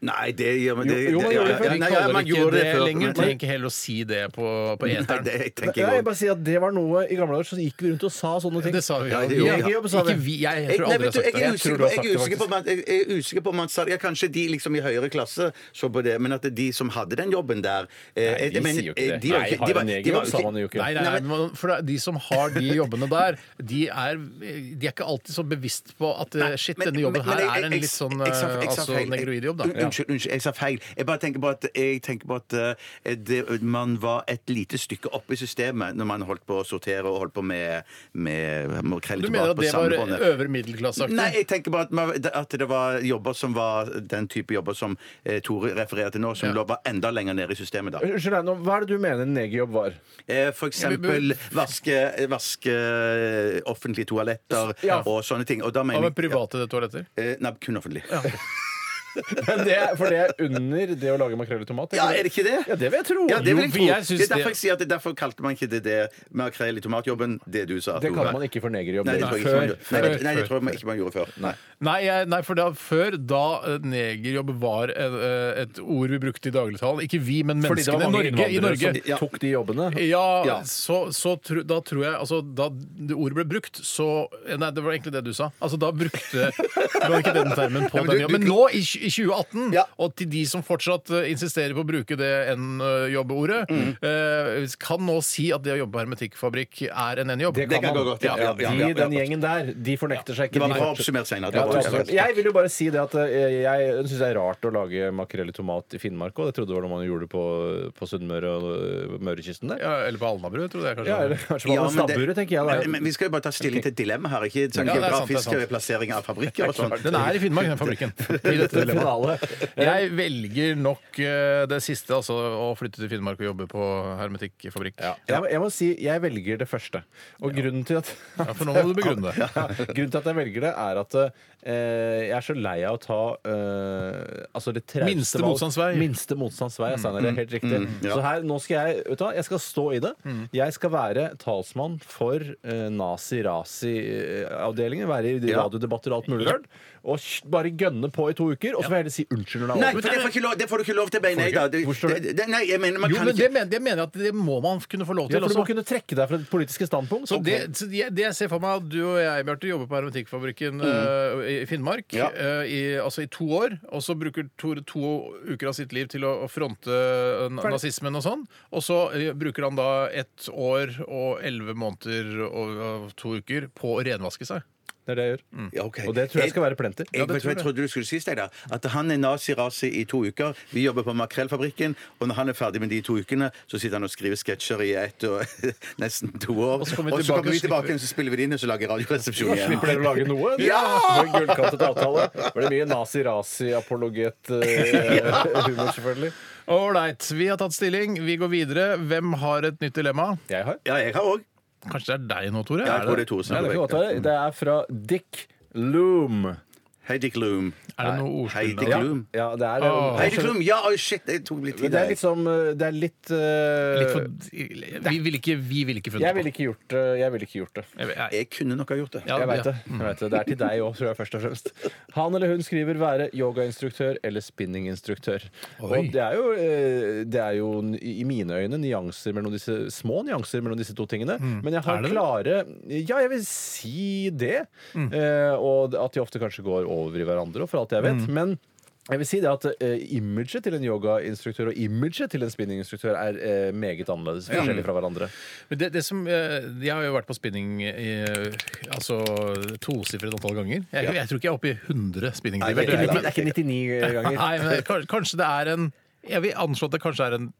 [SPEAKER 3] Nei, det gjør man
[SPEAKER 4] Jo,
[SPEAKER 3] det-
[SPEAKER 4] jo, man
[SPEAKER 3] det-
[SPEAKER 4] gjorde
[SPEAKER 3] ja,
[SPEAKER 4] det før.
[SPEAKER 3] ja,
[SPEAKER 4] Vi
[SPEAKER 3] nei, ja,
[SPEAKER 2] kaller
[SPEAKER 3] man
[SPEAKER 2] det ikke
[SPEAKER 3] gjorde
[SPEAKER 2] det,
[SPEAKER 3] det før.
[SPEAKER 2] lenger.
[SPEAKER 3] Men-
[SPEAKER 2] Trenger ikke heller å si det på, på eteren.
[SPEAKER 3] Nei, det tenker
[SPEAKER 4] Nei,
[SPEAKER 3] jeg
[SPEAKER 4] jeg bare sier at Det var noe i gamle dager så gikk vi rundt og sa sånne ting.
[SPEAKER 2] Det sa vi.
[SPEAKER 3] Ja,
[SPEAKER 2] Ja,
[SPEAKER 3] det gjorde vi, ja.
[SPEAKER 2] Negerjobb sa vi. Ikke vi. Jeg tror aldri
[SPEAKER 3] Nei,
[SPEAKER 2] jeg har
[SPEAKER 3] vet
[SPEAKER 2] sagt det.
[SPEAKER 3] du, jeg er
[SPEAKER 2] Jeg tror
[SPEAKER 3] usikker
[SPEAKER 2] du
[SPEAKER 3] på-
[SPEAKER 2] har sagt
[SPEAKER 3] jeg er
[SPEAKER 2] det,
[SPEAKER 3] usikker
[SPEAKER 2] faktisk.
[SPEAKER 3] på om at- jeg- jeg er usikker på om han sa det. Ja, Kanskje de liksom i høyere klasse så på det, men at de som hadde den jobben der eh,
[SPEAKER 4] Nei, de
[SPEAKER 3] jeg mener,
[SPEAKER 4] sier jo ikke
[SPEAKER 3] eh,
[SPEAKER 4] det.
[SPEAKER 3] de var
[SPEAKER 4] Nei,
[SPEAKER 3] ikke-
[SPEAKER 4] har
[SPEAKER 3] de var-
[SPEAKER 4] en
[SPEAKER 3] de
[SPEAKER 4] egen
[SPEAKER 3] var
[SPEAKER 4] jobb, sa man jo ikke.
[SPEAKER 2] Nei, nei, nei, men for det er de som har de jobbene der, de er, de er ikke alltid så bevisst på at eh, shit,
[SPEAKER 3] Men-
[SPEAKER 2] denne jobben her
[SPEAKER 3] men- men
[SPEAKER 2] er
[SPEAKER 3] jeg-
[SPEAKER 2] en
[SPEAKER 3] jeg-
[SPEAKER 2] litt sånn
[SPEAKER 3] jeg- jeg sa-
[SPEAKER 2] eh,
[SPEAKER 3] jeg sa
[SPEAKER 2] altså,
[SPEAKER 3] feil.
[SPEAKER 2] negroidjobb, da.
[SPEAKER 3] Un- Unnskyld, unnskyld, jeg sa feil. Jeg bare tenker på at, jeg tenker på at eh, det, man var et lite stykke oppe i systemet når man holdt på å sortere og holdt på med, med makrell
[SPEAKER 2] Du
[SPEAKER 3] i
[SPEAKER 2] mener
[SPEAKER 3] tomat
[SPEAKER 2] at
[SPEAKER 3] på
[SPEAKER 2] det var
[SPEAKER 3] samlebåndet.
[SPEAKER 2] øvre middelklasseaktig?
[SPEAKER 3] Nei, jeg tenker bare at, man, at det var jobber som var den type jobber som eh, Tore refererer til nå, som
[SPEAKER 2] Ja.
[SPEAKER 3] lå var enda lenger nede i systemet da.
[SPEAKER 4] Unnskyld meg, nå, Hva er det du mener en negerjobb var?
[SPEAKER 3] Eh, For eksempel vaske, vaske offentlige toaletter
[SPEAKER 2] Ja.
[SPEAKER 3] og sånne ting. Og da
[SPEAKER 2] Hva
[SPEAKER 3] mener
[SPEAKER 2] med private toaletter?
[SPEAKER 3] Eh, Nei, kun offentlig.
[SPEAKER 4] Men det, er- for det er under det å lage makrell i tomat?
[SPEAKER 3] Ja, er det ikke det?
[SPEAKER 4] Ja, det vil jeg tro.
[SPEAKER 3] Ja, det vil jeg
[SPEAKER 2] Jo,
[SPEAKER 3] tro.
[SPEAKER 2] jeg synes
[SPEAKER 3] det er derfor
[SPEAKER 2] det-
[SPEAKER 3] jeg sier at det, derfor kalte man ikke det det makrell i tomatjobben, det du sa.
[SPEAKER 4] Det
[SPEAKER 3] Tore.
[SPEAKER 4] kaller man ikke for negerjobb.
[SPEAKER 3] Nei, det
[SPEAKER 4] Nei,
[SPEAKER 3] tror jeg ikke man gjorde. Nei, det,
[SPEAKER 2] før,
[SPEAKER 3] nei, det
[SPEAKER 2] før,
[SPEAKER 3] tror jeg man ikke man gjorde før. Nei.
[SPEAKER 2] Nei, jeg, nei, for da, før, da eh, negerjobb var et, et ord vi brukte i dagligtalen Ikke vi, men
[SPEAKER 4] Fordi det
[SPEAKER 2] menneskene.
[SPEAKER 4] var mange
[SPEAKER 2] Norge, I
[SPEAKER 4] innvandrere
[SPEAKER 2] Norge.
[SPEAKER 4] som tok de jobbene.
[SPEAKER 2] Ja,
[SPEAKER 3] Ja.
[SPEAKER 2] så, så tro, da tror jeg altså, Da det ordet ble brukt, så Nei, det var egentlig det du sa. Altså, da brukte <laughs> Det var ikke den termen på
[SPEAKER 3] Nei, men du-
[SPEAKER 2] den jobben.
[SPEAKER 3] du-
[SPEAKER 2] Men nå, i, tj- i 2018,
[SPEAKER 3] Ja.
[SPEAKER 2] og til de som fortsatt eh, insisterer på å bruke det eh, N-jobbeordet,
[SPEAKER 3] Mm.
[SPEAKER 2] eh, kan nå si at det å jobbe på hermetikkfabrikk er en N-jobb.
[SPEAKER 3] Det kan gå godt. Ja, ja, ja,
[SPEAKER 4] De,
[SPEAKER 3] ja,
[SPEAKER 4] den
[SPEAKER 3] ja.
[SPEAKER 4] gjengen der, de fornekter seg
[SPEAKER 3] Det
[SPEAKER 4] ikke.
[SPEAKER 3] var
[SPEAKER 4] De
[SPEAKER 3] bra
[SPEAKER 4] fortsetter.
[SPEAKER 3] oppsummert senere.
[SPEAKER 4] Ja,
[SPEAKER 3] Det
[SPEAKER 4] det
[SPEAKER 3] var
[SPEAKER 4] var
[SPEAKER 3] oppsummert.
[SPEAKER 4] også- jeg vil jo bare si det at eh, jeg syns det er rart å lage makrell i tomat i Finnmark òg. Det trodde jeg var noe man gjorde på, på Sunnmøre og eh, Mørekysten der.
[SPEAKER 2] Ja, eller på Alnabru, tror jeg kanskje.
[SPEAKER 4] Ja, eller kanskje var det
[SPEAKER 3] men det-
[SPEAKER 4] stabburet, tenker jeg.
[SPEAKER 3] Men, men vi skal jo bare ta stilling til et dilemma her, ikke sånn
[SPEAKER 2] Ja, det er sant, det er
[SPEAKER 3] geografisk
[SPEAKER 2] sant.
[SPEAKER 3] plassering av fabrikker og sånn.
[SPEAKER 2] Den er i Finnmark, den
[SPEAKER 3] <laughs>
[SPEAKER 2] fabrikken. I dette dilemmaet.
[SPEAKER 4] Finale.
[SPEAKER 2] Jeg velger nok eh, det siste, altså å flytte til Finnmark og jobbe på hermetikkfabrikk. Ja.
[SPEAKER 4] Jeg, må- jeg må si jeg velger det første. Og grunnen til at
[SPEAKER 2] for nå må du begrunne det.
[SPEAKER 4] Grunnen til at jeg velger det, er at eh, jeg er så lei av å ta eh, altså det trauste
[SPEAKER 2] Minste
[SPEAKER 4] valg.
[SPEAKER 2] motstands vei.
[SPEAKER 4] Minste motstands vei, Steinar. Det er helt
[SPEAKER 3] Mm,
[SPEAKER 4] riktig. Så her, nå skal jeg vet du hva, jeg skal stå i det. Jeg skal være talsmann for nazi-rasi-avdelingen. Være i de
[SPEAKER 3] Ja.
[SPEAKER 4] radiodebatter og alt mulig rart. Og sh- bare gønne på i to uker, og så vil jeg heller si unnskyld når det er
[SPEAKER 3] Nei, for
[SPEAKER 4] over.
[SPEAKER 3] det får, ikke lov, det får du ikke lov til, mener jeg. Da. Det,
[SPEAKER 4] Hvor står det?
[SPEAKER 3] det, det- nei, jeg mener, man
[SPEAKER 2] Jo,
[SPEAKER 3] kan
[SPEAKER 2] men det
[SPEAKER 3] ikke
[SPEAKER 2] mener, det mener jeg at det må man kunne få lov
[SPEAKER 4] Ja,
[SPEAKER 2] til
[SPEAKER 4] for du må
[SPEAKER 2] også.
[SPEAKER 4] kunne trekke deg fra det politiske standpunkt.
[SPEAKER 2] Så det, så jeg- det jeg ser for meg, at du og jeg Bjarte, jobber på Hermetikkfabrikken eh, i Finnmark
[SPEAKER 3] Ja.
[SPEAKER 2] eh, i, altså i to år. Og så bruker Tore to uker av sitt liv til å, å fronte eh, na- nazismen og sånn. Og så eh, bruker han da ett år og elleve måneder og, og to uker på å renvaske seg.
[SPEAKER 4] Det er det jeg gjør.
[SPEAKER 3] Ja, ok.
[SPEAKER 4] Og det tror jeg skal være plenty.
[SPEAKER 3] Jeg, vet du hva jeg trodde du skulle si, Steinar? At han er nazi-rasi i to uker. Vi jobber på Makrellfabrikken, og når han er ferdig med de to ukene, så sitter han og skriver sketsjer i ett og <laughs> nesten to år. Og så kommer vi tilbake,
[SPEAKER 2] og
[SPEAKER 3] og
[SPEAKER 2] slipper-
[SPEAKER 3] så spiller vi det inn, og så lager Radioresepsjonen igjen.
[SPEAKER 4] Slipper dere å lage noe?
[SPEAKER 3] Ja!
[SPEAKER 4] Det var en gullkantet avtale. Var det mye nazi-rasi-apologet-humor, selvfølgelig?
[SPEAKER 2] Ålreit, vi har tatt stilling. Vi går videre. Hvem har et nytt dilemma?
[SPEAKER 4] Jeg har.
[SPEAKER 3] Ja, jeg har òg.
[SPEAKER 2] Kanskje det er deg nå, Tore?
[SPEAKER 3] Ja,
[SPEAKER 2] Er
[SPEAKER 3] jeg tror det
[SPEAKER 2] det,
[SPEAKER 3] er Tore
[SPEAKER 4] Nei, det, kan
[SPEAKER 3] Snellbekk.
[SPEAKER 4] godt være. det er fra Dick Loom.
[SPEAKER 3] Hei, Dick Loom.
[SPEAKER 2] er det noe ordspill?
[SPEAKER 3] Hei,
[SPEAKER 2] der?
[SPEAKER 3] Dick Loom.
[SPEAKER 4] Ja, det er eh,
[SPEAKER 2] Åh.
[SPEAKER 3] Hei, Dick Loom. Ja, oi, shit, det tok litt tid.
[SPEAKER 4] Det er litt sånn- som Det er litt, eh,
[SPEAKER 2] Litt for, vi ville ikke, vi vil ikke funnet
[SPEAKER 4] Jeg ville ikke gjort det. Jeg ville ikke gjort det.
[SPEAKER 2] på. Jeg, jeg,
[SPEAKER 3] Jeg kunne nok ha gjort det.
[SPEAKER 2] Ja,
[SPEAKER 4] Jeg vet
[SPEAKER 2] ja.
[SPEAKER 4] det. Jeg vet det. det er til deg òg, tror jeg først og fremst. Han eller hun skriver 'være yogainstruktør eller spinninginstruktør'.
[SPEAKER 2] Oi.
[SPEAKER 4] Og det er, jo, eh, det er jo n- i mine øyne nyanser mellom disse, små nyanser mellom disse to tingene. Men
[SPEAKER 2] Mm. Er
[SPEAKER 4] jeg har
[SPEAKER 2] det Mm. det?
[SPEAKER 4] klare Ja, jeg vil si det. Eh, og at de ofte kanskje går over i hverandre, og for alt jeg vet.
[SPEAKER 2] Mm.
[SPEAKER 4] Men jeg vil si det at eh, Imaget til en yogainstruktør og imaget til en spinninginstruktør er eh, meget annerledes. Forskjellig fra hverandre.
[SPEAKER 2] Men det, det som, eh, jeg har jo vært på spinning i, altså, tosifret antall ganger. Jeg, jeg tror ikke jeg er oppe i 100 spinningtimer.
[SPEAKER 3] Nei,
[SPEAKER 4] Det er ikke 99
[SPEAKER 2] <laughs>
[SPEAKER 4] ganger.
[SPEAKER 2] Nei, men det- kans- kanskje det er en Jeg vil anslå at det kanskje er en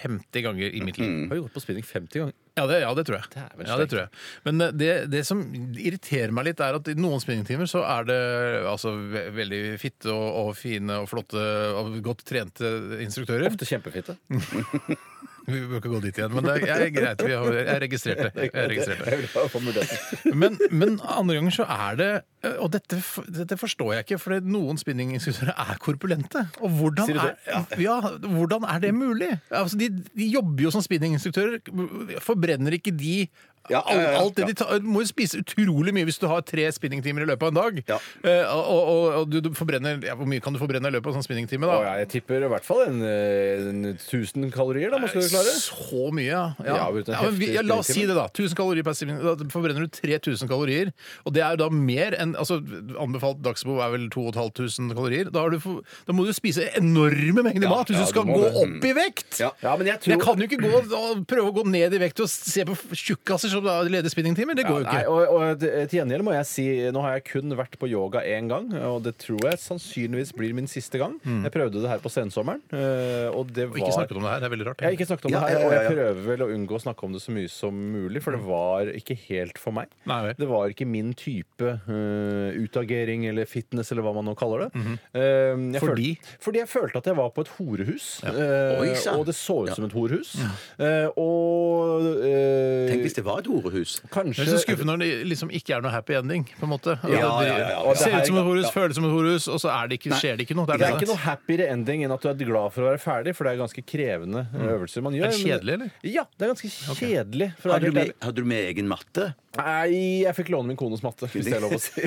[SPEAKER 2] 50 ganger i mitt liv.
[SPEAKER 4] Jeg har jo gått på spinning 50 ganger.
[SPEAKER 2] Ja, det, ja, det tror jeg.
[SPEAKER 4] Dæven
[SPEAKER 2] Ja, det tror jeg. Men eh, det, det som irriterer meg litt, er at i noen spinningtimer så er det altså, ve veldig fitte og, og fine og flotte og godt trente instruktører.
[SPEAKER 4] Ofte kjempefitte.
[SPEAKER 2] Vi bør ikke gå dit igjen, men det
[SPEAKER 3] <laughs>
[SPEAKER 2] er jeg er greit. Vi har, jeg registrerte. Jeg registrerte.
[SPEAKER 3] Jeg vil bare få muligheten.
[SPEAKER 2] Men, men andre ganger så er det øh, Og dette, f- dette forstår jeg ikke, for noen spinningskulptører er korpulente. Og hvordan
[SPEAKER 3] Sier du
[SPEAKER 2] er,
[SPEAKER 3] det?
[SPEAKER 2] ja, hvordan er det mulig? Altså, de, de jobber jo som spinninginstruktører. Forbrenner ikke de
[SPEAKER 3] Ja,
[SPEAKER 2] Alt,
[SPEAKER 3] ja, ja,
[SPEAKER 2] alt det
[SPEAKER 3] ja.
[SPEAKER 2] de tar, du må jo spise utrolig mye hvis du har tre spinningtimer i løpet av en dag.
[SPEAKER 3] Ja.
[SPEAKER 2] Eh, og og, og du, du forbrenner ja, Hvor mye kan du forbrenne i løpet av en sånn spinningtime? da?
[SPEAKER 4] Å, ja, jeg tipper i hvert fall en, eh, en 1000 kalorier, da, må du klare.
[SPEAKER 2] Så mye, ja.
[SPEAKER 4] Ja, uten en
[SPEAKER 2] men vi,
[SPEAKER 4] heftig
[SPEAKER 2] ja, la oss si
[SPEAKER 4] springtime.
[SPEAKER 2] det, da. 1000 kalorier per time. Da forbrenner du 3000 kalorier. Og det er jo da mer enn altså, Anbefalt dagsbehov er vel 2500 kalorier. Da, har du, for- da må du spise enorme mengder
[SPEAKER 3] Ja,
[SPEAKER 2] mat hvis
[SPEAKER 3] ja,
[SPEAKER 2] du skal
[SPEAKER 3] du må
[SPEAKER 2] gå
[SPEAKER 3] det.
[SPEAKER 2] opp i vekt!
[SPEAKER 3] Ja.
[SPEAKER 4] Ja, men jeg tror...
[SPEAKER 2] Jeg kan jo ikke gå og prøve å gå ned i vekt og se på tjukkaser som da leder spinningtimer. Det går jo
[SPEAKER 4] Nei,
[SPEAKER 2] ikke.
[SPEAKER 4] og, og til til gjengjeld må jeg si Nå har jeg kun vært på yoga én gang, og det tror jeg sannsynligvis blir min siste gang. Jeg prøvde det her på sensommeren, eh, og det
[SPEAKER 2] Mm. Og
[SPEAKER 4] var
[SPEAKER 2] ikke snakke om det her. Det er veldig rart.
[SPEAKER 4] Jeg har ikke snakket om
[SPEAKER 3] Ja,
[SPEAKER 4] det her,
[SPEAKER 3] ja,
[SPEAKER 4] og
[SPEAKER 3] ja,
[SPEAKER 4] jeg
[SPEAKER 3] ja.
[SPEAKER 4] prøver vel å unngå å snakke om det så mye som mulig, for det var ikke helt for meg.
[SPEAKER 2] Mm. Nei vel.
[SPEAKER 4] Det var ikke min type eh, utagering eller fitness eller hva man nå kaller det. Eh, jeg
[SPEAKER 2] Mhm. Fordi?
[SPEAKER 4] Følte, fordi jeg følte at jeg var på et horehus, eh,
[SPEAKER 3] Oi, sann.
[SPEAKER 4] og det så ut som et horehus. Eh, og eh,
[SPEAKER 3] Tenk hvis det var et horehus.
[SPEAKER 2] Det
[SPEAKER 4] kanskje
[SPEAKER 2] er så skuffende når det liksom ikke er noe happy ending. på en måte. Altså,
[SPEAKER 3] Ja, ja, ja, ja.
[SPEAKER 2] Det ser
[SPEAKER 4] Og det
[SPEAKER 2] ut som et
[SPEAKER 4] her-
[SPEAKER 2] horus,
[SPEAKER 3] ja.
[SPEAKER 2] føles som et horus, og så er det ikke, skjer det ikke noe. Det er,
[SPEAKER 4] Det er
[SPEAKER 2] det.
[SPEAKER 4] ikke noe happier ending enn at du er glad for å være ferdig, for det er ganske krevende eh, øvelser man gjør.
[SPEAKER 2] Mm. Er det
[SPEAKER 4] men-
[SPEAKER 2] kjedelig, eller?
[SPEAKER 4] Ja, det er ganske kjedelig. For å
[SPEAKER 3] Hadde
[SPEAKER 4] være helt
[SPEAKER 3] du, med,
[SPEAKER 4] ærlig.
[SPEAKER 3] hadde du med egen matte?
[SPEAKER 4] Nei, jeg fikk låne min kones matte, hvis det er lov å
[SPEAKER 2] <laughs>
[SPEAKER 4] si.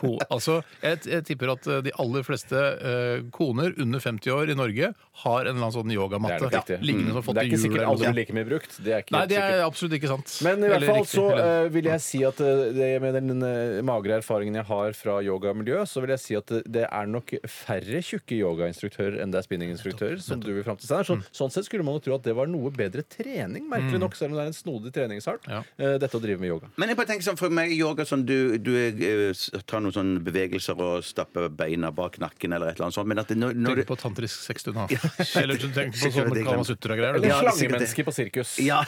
[SPEAKER 2] Ko- Altså, jeg, jeg tipper at eh, de aller fleste eh, koner under 50 år i Norge har en eller annen sånn
[SPEAKER 4] Det er
[SPEAKER 2] yogamatte
[SPEAKER 4] nok riktig.
[SPEAKER 2] liggende som
[SPEAKER 4] Mm.
[SPEAKER 2] har fått
[SPEAKER 4] Det er
[SPEAKER 2] i
[SPEAKER 4] ikke
[SPEAKER 2] jul.
[SPEAKER 4] sikkert
[SPEAKER 2] eller noe
[SPEAKER 4] alle
[SPEAKER 2] sånt.
[SPEAKER 4] blir like mye brukt. Det er ikke
[SPEAKER 2] Nei,
[SPEAKER 4] helt
[SPEAKER 2] det er
[SPEAKER 4] sikkert.
[SPEAKER 2] absolutt ikke sant.
[SPEAKER 4] Men i hvert
[SPEAKER 2] Eller
[SPEAKER 4] fall
[SPEAKER 2] riktig,
[SPEAKER 4] så
[SPEAKER 2] eller-
[SPEAKER 4] eh, vil jeg si at eh, det, med den eh, magre erfaringen jeg har fra yogamiljø, så vil jeg si at eh, det er nok færre tjukke yogainstruktører enn det er spinninginstruktører, som du vil fram til Steinar. Så,
[SPEAKER 2] Mm.
[SPEAKER 4] Sånn sett skulle man jo tro at det var noe bedre trening, merkelig nok, selv om det er en snodig treningsart,
[SPEAKER 2] Ja.
[SPEAKER 4] eh, dette å drive med yoga.
[SPEAKER 3] Men jeg bare tenker sånn, for meg i yoga sånn, du, du eh, s- tar noen sånne bevegelser og stapper beina bak nakken eller et eller annet sånt, men at det, når, når
[SPEAKER 2] Tenk
[SPEAKER 3] du
[SPEAKER 2] på tantrisk sexstund,
[SPEAKER 4] <laughs>
[SPEAKER 2] da. Eller du tenker på sånn
[SPEAKER 3] Sikkert-
[SPEAKER 2] Kamasutra greier.
[SPEAKER 4] Eller
[SPEAKER 3] Ja, det er sikkert
[SPEAKER 4] slangemenneske på sirkus.
[SPEAKER 3] <laughs> ja,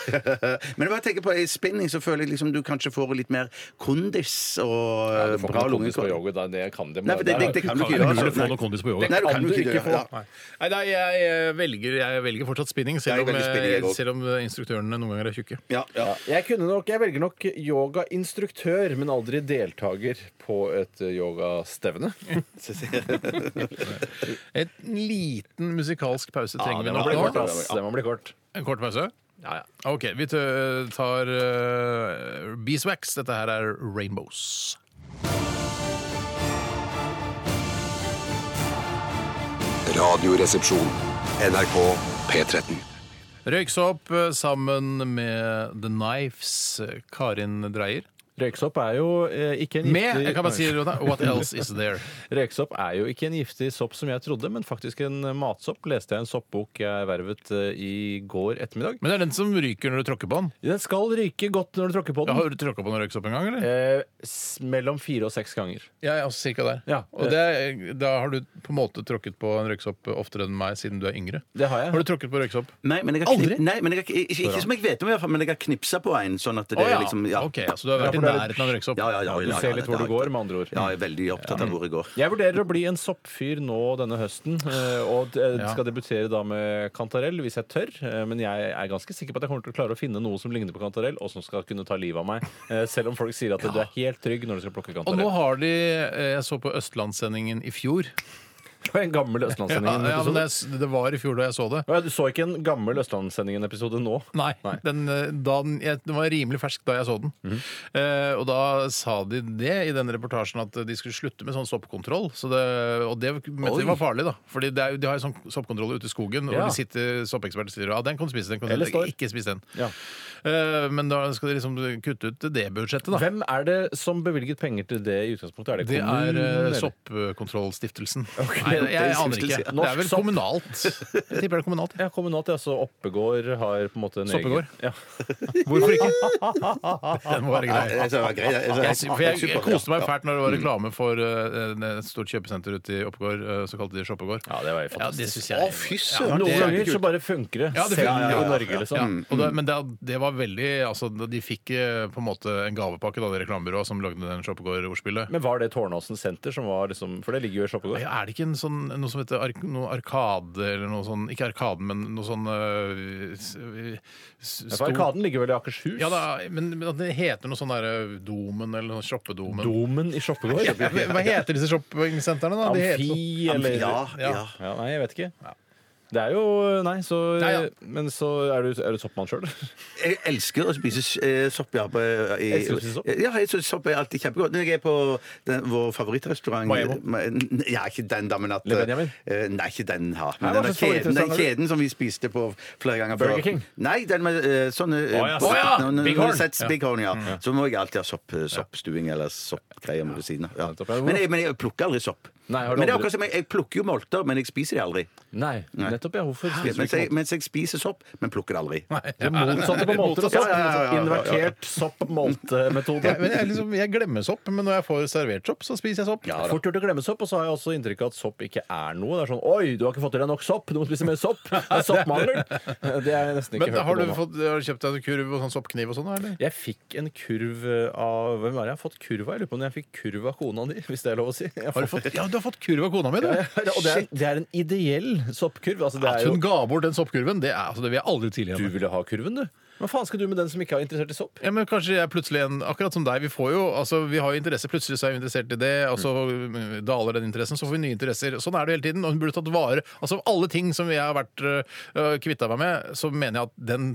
[SPEAKER 3] men jeg bare tenker på i spinning så føler jeg liksom du kanskje får litt mer kondis og
[SPEAKER 4] Nei,
[SPEAKER 3] eh,
[SPEAKER 4] du får
[SPEAKER 3] bra
[SPEAKER 4] ikke noe kondis på
[SPEAKER 3] lungekondis.
[SPEAKER 4] yoga, da. det kan det,
[SPEAKER 3] Nei, for det, det, det kan du ikke
[SPEAKER 2] Det er
[SPEAKER 3] gjøre.
[SPEAKER 2] mulig å
[SPEAKER 3] altså.
[SPEAKER 2] få noe kondis på yoga.
[SPEAKER 3] Nei,
[SPEAKER 4] Det kan du
[SPEAKER 3] ikke
[SPEAKER 4] ikke
[SPEAKER 3] gjøre.
[SPEAKER 4] få.
[SPEAKER 3] Ja.
[SPEAKER 2] Nei, nei jeg, eh, velger, jeg velger fortsatt spinning, selv
[SPEAKER 3] Jeg
[SPEAKER 2] om,
[SPEAKER 3] velger spinning, jeg
[SPEAKER 2] eh,
[SPEAKER 3] også.
[SPEAKER 2] selv om eh, instruktørene noen ganger er tjukke.
[SPEAKER 3] Ja, ja.
[SPEAKER 4] Jeg, kunne nok, jeg velger nok yogainstruktør, men aldri deltaker på et eh, yogastevne.
[SPEAKER 2] Et liten musikalsk pause <laughs> trenger vi
[SPEAKER 4] det
[SPEAKER 2] nå.
[SPEAKER 4] altså. må bli kort,
[SPEAKER 2] nå.
[SPEAKER 4] ass. Det må bli kort.
[SPEAKER 2] En kort pause?
[SPEAKER 4] Ja, ja.
[SPEAKER 2] OK, vi tø- tar eh, Beeswax. Dette her er Rainbows.
[SPEAKER 11] Radioresepsjon. NRK P13.
[SPEAKER 2] Røyksopp eh, sammen med The Knives, eh, Karin Dreyer.
[SPEAKER 4] Røyksopp er jo eh, ikke en
[SPEAKER 2] Med
[SPEAKER 4] giftig
[SPEAKER 2] jeg kan bare si det, Rona, What Else Is There.
[SPEAKER 4] Røyksopp er jo ikke en giftig sopp som jeg trodde, men faktisk en eh, matsopp, leste jeg i en soppbok jeg vervet eh, i går ettermiddag.
[SPEAKER 2] Men det er den som ryker når du tråkker på den.
[SPEAKER 4] Den skal ryke godt når du tråkker på
[SPEAKER 2] Ja,
[SPEAKER 4] den.
[SPEAKER 2] har du tråkka på noen røyksopp en gang, eller?
[SPEAKER 4] Eh, s- mellom fire og seks ganger.
[SPEAKER 2] Ja, ja cirka der.
[SPEAKER 4] Ja.
[SPEAKER 2] Og det, er- da har du på en måte tråkket på en røyksopp oftere enn meg siden du er yngre.
[SPEAKER 4] Det har jeg.
[SPEAKER 2] Har du tråkket på røyksopp?
[SPEAKER 3] Nei, men jeg har
[SPEAKER 2] Aldri?
[SPEAKER 3] knip, nei, men jeg har, ikke, ikke, ikke som jeg vet om, i hvert fall, men jeg har knipsa på en. Sånn at det
[SPEAKER 2] Å,
[SPEAKER 3] er liksom ja.
[SPEAKER 2] Ok, Så du har vært i
[SPEAKER 4] Ja, for det er-
[SPEAKER 2] nærheten av en røyksopp?
[SPEAKER 3] Ja, ja, ja, ja,
[SPEAKER 4] Du
[SPEAKER 3] ja,
[SPEAKER 4] ser
[SPEAKER 3] ja,
[SPEAKER 4] litt hvor
[SPEAKER 3] ja,
[SPEAKER 4] du går, med andre ord.
[SPEAKER 3] Ja, jeg er veldig opptatt av hvor jeg går.
[SPEAKER 4] Jeg vurderer å bli en soppfyr nå denne høsten, eh, og eh,
[SPEAKER 2] Ja.
[SPEAKER 4] skal debutere da med kantarell hvis jeg tør. eh, Men jeg er ganske sikker på at jeg kommer til å klare å finne noe som ligner på kantarell, og som skal kunne ta livet av meg. eh, Selv om folk sier at du er helt trygg når du skal plukke
[SPEAKER 2] Og nå
[SPEAKER 4] kantarell.
[SPEAKER 2] har de eh, Jeg så på Østlandssendingen i fjor.
[SPEAKER 4] Det var en gammel
[SPEAKER 2] Ja, ja, men
[SPEAKER 4] Østlandssendingen-episode.
[SPEAKER 2] det, det var i fjor da jeg så det.
[SPEAKER 4] Å ja, Du så ikke en gammel Østlandssendingen-episode nå?
[SPEAKER 2] Nei.
[SPEAKER 4] Nei.
[SPEAKER 2] Den, eh, da den, jeg, den var rimelig fersk da jeg så den.
[SPEAKER 4] Mhm.
[SPEAKER 2] eh, og da sa de det i den reportasjen at de skulle slutte med sånn soppkontroll. Så det, og det mente de var farlig, da. For de har jo sånn soppkontroll ute i skogen,
[SPEAKER 4] Ja.
[SPEAKER 2] og de sitter, soppeksperter sier ja, den kan du spise, den kan du
[SPEAKER 4] Eller
[SPEAKER 2] spise.
[SPEAKER 4] står.
[SPEAKER 2] Ikke spis den.
[SPEAKER 4] Ja.
[SPEAKER 2] Eh, men da skal de liksom kutte ut det budsjettet, da.
[SPEAKER 4] Hvem er det som bevilget penger til det i utgangspunktet? Er det
[SPEAKER 2] Det er
[SPEAKER 4] kommunen?
[SPEAKER 2] eh,
[SPEAKER 4] eller?
[SPEAKER 2] Soppkontrollstiftelsen. Nei, jeg, jeg aner ikke.
[SPEAKER 3] ja.
[SPEAKER 2] Det er
[SPEAKER 4] Norsk
[SPEAKER 2] vel
[SPEAKER 4] sopp.
[SPEAKER 2] kommunalt. Jeg tipper det er kommunalt.
[SPEAKER 4] Ja, kommunalt. Ja, så Oppegård har på en måte en
[SPEAKER 2] Soppegård?
[SPEAKER 4] egen Ja.
[SPEAKER 2] Hvorfor ikke? <laughs> Den må være
[SPEAKER 3] Ja,
[SPEAKER 2] grei.
[SPEAKER 3] jeg- jeg- jeg- jeg- jeg-
[SPEAKER 2] Jeg, sy- for jeg, jeg
[SPEAKER 3] super,
[SPEAKER 2] koste meg
[SPEAKER 3] ja.
[SPEAKER 2] fælt når det var
[SPEAKER 4] Mm.
[SPEAKER 2] reklame for eh, et stort kjøpesenter ute i Oppegård. eh, så kalte de det Shoppegård.
[SPEAKER 4] Ja, det var jo
[SPEAKER 2] Ja, det
[SPEAKER 4] fantastisk.
[SPEAKER 2] syns jeg.
[SPEAKER 3] Å, fy søren.
[SPEAKER 2] Ja,
[SPEAKER 4] Noen
[SPEAKER 2] det-
[SPEAKER 4] ganger så bare funker det.
[SPEAKER 2] Ja, det
[SPEAKER 4] Selv
[SPEAKER 2] funker.
[SPEAKER 4] i
[SPEAKER 2] Ja, ja,
[SPEAKER 4] Norge,
[SPEAKER 2] Ja,
[SPEAKER 4] liksom.
[SPEAKER 2] og det, men det, det var veldig altså, De fikk eh, på en måte en gavepakke, da, det reklamebyrået som lagde den Shoppegård-ordspillet.
[SPEAKER 4] Men var det Tårnåsen senter som var liksom For det ligger jo i Shoppegård.
[SPEAKER 2] Ja, Er det ikke en sånn, noe som heter ark, noe arkade, eller noe sånn Ikke Arkaden, men noe sånn øh, s- øh, s-
[SPEAKER 4] Ja, for
[SPEAKER 2] stor-
[SPEAKER 4] Arkaden ligger vel i Akershus?
[SPEAKER 2] Ja da, men, men at det heter noe sånn derre Domen, eller noe Shoppedomen.
[SPEAKER 4] Domen i Shoppegård?
[SPEAKER 2] Ja, men hva heter disse shoppingsentrene, da? De heter
[SPEAKER 4] Amfi,
[SPEAKER 2] sånn-
[SPEAKER 4] eller
[SPEAKER 2] Ja, ja.
[SPEAKER 4] Ja, Nei, jeg vet ikke. Det er jo Nei, så
[SPEAKER 2] Nei, ja.
[SPEAKER 4] Men så er du, er du soppmann sjøl?
[SPEAKER 3] Jeg elsker å spise eh, sopp. Ja, på, i,
[SPEAKER 4] Elsker du å spise sopp?
[SPEAKER 3] ja, jeg synes sopp er alltid kjempegodt. Når jeg er på den, vår favorittrestaurant
[SPEAKER 4] Maemo?
[SPEAKER 3] Ma- Ja, ikke den, da, men at
[SPEAKER 4] Le Benjamin?
[SPEAKER 3] eh, Nei, ikke den her.
[SPEAKER 4] Nei,
[SPEAKER 3] Men
[SPEAKER 4] hva
[SPEAKER 3] den, der
[SPEAKER 4] slags
[SPEAKER 3] kjeden, den
[SPEAKER 4] favorittrestaurant er
[SPEAKER 3] kjeden som vi spiste på flere ganger
[SPEAKER 4] Burger King?
[SPEAKER 3] Nei, den med eh, sånne eh,
[SPEAKER 4] Å, ja,
[SPEAKER 3] bo-
[SPEAKER 4] å, ja,
[SPEAKER 3] når- når-
[SPEAKER 4] Big
[SPEAKER 3] når
[SPEAKER 4] Horn.
[SPEAKER 3] du setter
[SPEAKER 4] Ja.
[SPEAKER 3] Big Horn, ja. Så må jeg alltid ha sopp, eh, soppstuing eller soppgreier ved siden av. Ja.
[SPEAKER 4] Nettopp, ja, det må
[SPEAKER 3] Men,
[SPEAKER 4] du.
[SPEAKER 3] jeg- men jeg plukker aldri sopp.
[SPEAKER 4] Nei, har du
[SPEAKER 3] men det er
[SPEAKER 4] aldri-
[SPEAKER 3] akkurat som jeg, jeg plukker jo molter, men jeg spiser de aldri.
[SPEAKER 4] Nei. Nettopp, ja. Hvorfor
[SPEAKER 3] Ja,
[SPEAKER 4] spiser du
[SPEAKER 3] mens,
[SPEAKER 4] ikke
[SPEAKER 3] jeg, mens jeg spiser sopp, men plukker det aldri.
[SPEAKER 4] Det motsatte på måter.
[SPEAKER 3] Ja, ja, ja, ja, ja, ja.
[SPEAKER 4] Invertert sopp-molte-metode.
[SPEAKER 2] Ja, men jeg, liksom, jeg glemmer sopp, men når jeg får servert sopp, så spiser jeg sopp.
[SPEAKER 4] Ja, Fort gjort å glemme sopp, og så har jeg også inntrykk av at sopp ikke er noe. Det er sånn Oi, du har ikke fått i deg nok sopp! Du må spise mer <laughs> sopp! Det er soppmangel! Det er jeg nesten ikke
[SPEAKER 2] Men
[SPEAKER 4] hørt
[SPEAKER 2] har du,
[SPEAKER 4] på. nå.
[SPEAKER 2] fått, har du kjøpt deg en kurv og sånn soppkniv og sånn, eller?
[SPEAKER 4] Jeg fikk en kurv eh, av Hvem var det jeg har fått kurv av? Jeg lurer på om jeg fikk kurv av kona di, <laughs> hvis det er lov å si. Jeg
[SPEAKER 2] Har du fått, ja, du har fått kurv av kona mi, du!
[SPEAKER 4] og det er, det er en ideell soppkurv. Altså, det
[SPEAKER 2] At
[SPEAKER 4] er jo,
[SPEAKER 2] hun ga bort den soppkurven, det, er, altså, det vil jeg aldri
[SPEAKER 4] du
[SPEAKER 2] tilgi henne.
[SPEAKER 4] ville ha kurven, du. Hva faen skal du med den som ikke er interessert i sopp?
[SPEAKER 2] Ja, men kanskje jeg plutselig en, akkurat som deg. Vi får jo, altså, vi har jo interesser. Plutselig så er vi interessert i det, og så mm, daler den interessen. Så får vi nye interesser. Sånn er det hele tiden. Og hun burde tatt vare Altså alle ting som jeg har vært øh, kvitta meg med, så mener jeg at den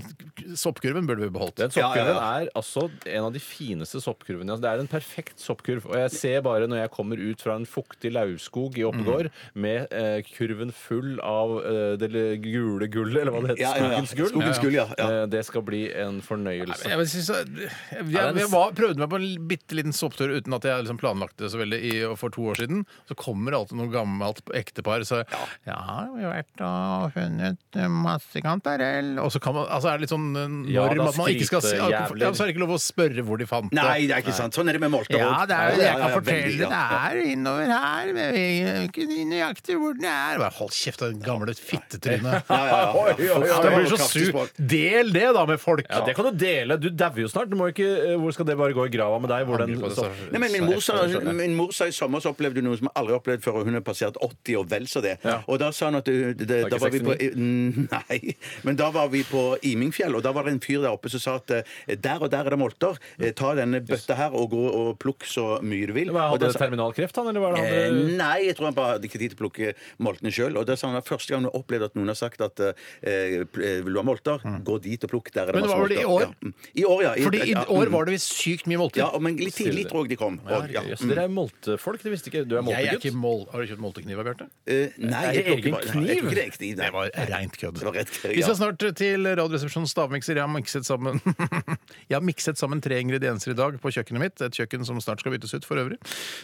[SPEAKER 2] soppkurven burde vi beholdt.
[SPEAKER 4] Den soppkurven er altså en av de fineste soppkurvene. Altså, det er en perfekt soppkurv. Og jeg ser bare når jeg kommer ut fra en fuktig lauvskog i
[SPEAKER 2] Mm.
[SPEAKER 4] Oppegård med eh, kurven full av eh, det l- gule gullet, eller hva det heter.
[SPEAKER 3] Ja, ja, ja.
[SPEAKER 4] Skogens gull.
[SPEAKER 3] Skogens gull, ja, ja.
[SPEAKER 4] Eh, det skal bli en
[SPEAKER 2] Nei,
[SPEAKER 4] fornøyelse.
[SPEAKER 2] men Jeg, synes, jeg, jeg, jeg var, prøvde meg på en bitte liten sopptur uten at jeg liksom planlagte det så veldig i, for to år siden. Så kommer alltid noe gammelt ektepar så Ja, vi har vært og funnet eh, masse kantarell Og så kan man, altså er det litt sånn eh,
[SPEAKER 4] Ja,
[SPEAKER 2] norm
[SPEAKER 4] da
[SPEAKER 2] at man ikke skal si ja,
[SPEAKER 4] skrytejævler.
[SPEAKER 2] Så er det ikke lov å spørre hvor de fant det.
[SPEAKER 3] Nei, det er ikke sant. Sånn er det med molter
[SPEAKER 2] Ja,
[SPEAKER 3] også.
[SPEAKER 2] det er jo det. Jeg kan fortelle
[SPEAKER 3] veldig, ja.
[SPEAKER 2] det er innover her, men vi vet ikke nøyaktig hvor den er. Bare hold kjeft, den gamle fittetrynet.
[SPEAKER 3] Ja, ja, <laughs> ja.
[SPEAKER 4] Oi, oi, oi,
[SPEAKER 2] Det
[SPEAKER 4] oi.
[SPEAKER 2] blir så
[SPEAKER 3] kraftig
[SPEAKER 2] sur.
[SPEAKER 3] språk.
[SPEAKER 2] Del det, da, med folk.
[SPEAKER 4] Ja, det kan du dele. Du dauer jo snart. Du må ikke, eh, hvor skal det bare gå i grava med deg? Hvor den,
[SPEAKER 2] Angrer på det,
[SPEAKER 4] sopp-
[SPEAKER 2] så-
[SPEAKER 3] Nei, men min, mor sa,
[SPEAKER 2] så- så-
[SPEAKER 3] min mor sa i sommer så opplevde hun noe som jeg aldri har opplevd før, og hun har passert 80 og vel så det. Og da sa hun at eh, det, det,
[SPEAKER 4] ikke
[SPEAKER 3] da var vi på <laughs> Nei, men da var vi på Imingfjell, og da var det en fyr der oppe som sa at eh, der og der er det molter. Eh, Ta denne bøtta her og gå og plukk så mye du vil.
[SPEAKER 4] Hva,
[SPEAKER 3] Og da
[SPEAKER 4] hadde
[SPEAKER 3] sa-
[SPEAKER 4] terminalkreft, han, eller hva er det
[SPEAKER 3] Eh,
[SPEAKER 4] andre?
[SPEAKER 3] Nei, jeg tror han bare hadde ikke tid til å plukke moltene sjøl. Og det sa han at første gang han opplevde at noen har sagt at eh, pl- eh, vil du ha molter, gå dit og plukk. Der
[SPEAKER 2] Mm.
[SPEAKER 3] er
[SPEAKER 2] Men det var vel i år?
[SPEAKER 3] Ja. Mm. I år, ja. I,
[SPEAKER 2] Fordi i
[SPEAKER 3] ja, mm.
[SPEAKER 2] år var det visst sykt mye molter.
[SPEAKER 3] ja, og- men litt tidlig tror jeg de kom. Og, ja. Mm.
[SPEAKER 4] Jøss, dere er moltefolk. Det visste ikke Du er
[SPEAKER 2] Jeg er
[SPEAKER 4] moltegutt.
[SPEAKER 2] ikke mol... Har du kjøpt moltekniv, Bjarte?
[SPEAKER 3] Eh, nei,
[SPEAKER 4] Er det
[SPEAKER 3] jeg tror ikke
[SPEAKER 4] egen
[SPEAKER 3] bare- nei, jeg tror ikke det er kniv. nei.
[SPEAKER 2] Det var reint kødd.
[SPEAKER 3] Det var rett kødd,
[SPEAKER 2] Vi skal
[SPEAKER 3] ja.
[SPEAKER 2] snart til Radioresepsjonens stavmikser. Jeg har mikset sammen <laughs> Jeg har mikset sammen tre ingredienser i dag på kjøkkenet mitt. Et kjøkken som snart skal byttes ut, for øvrig.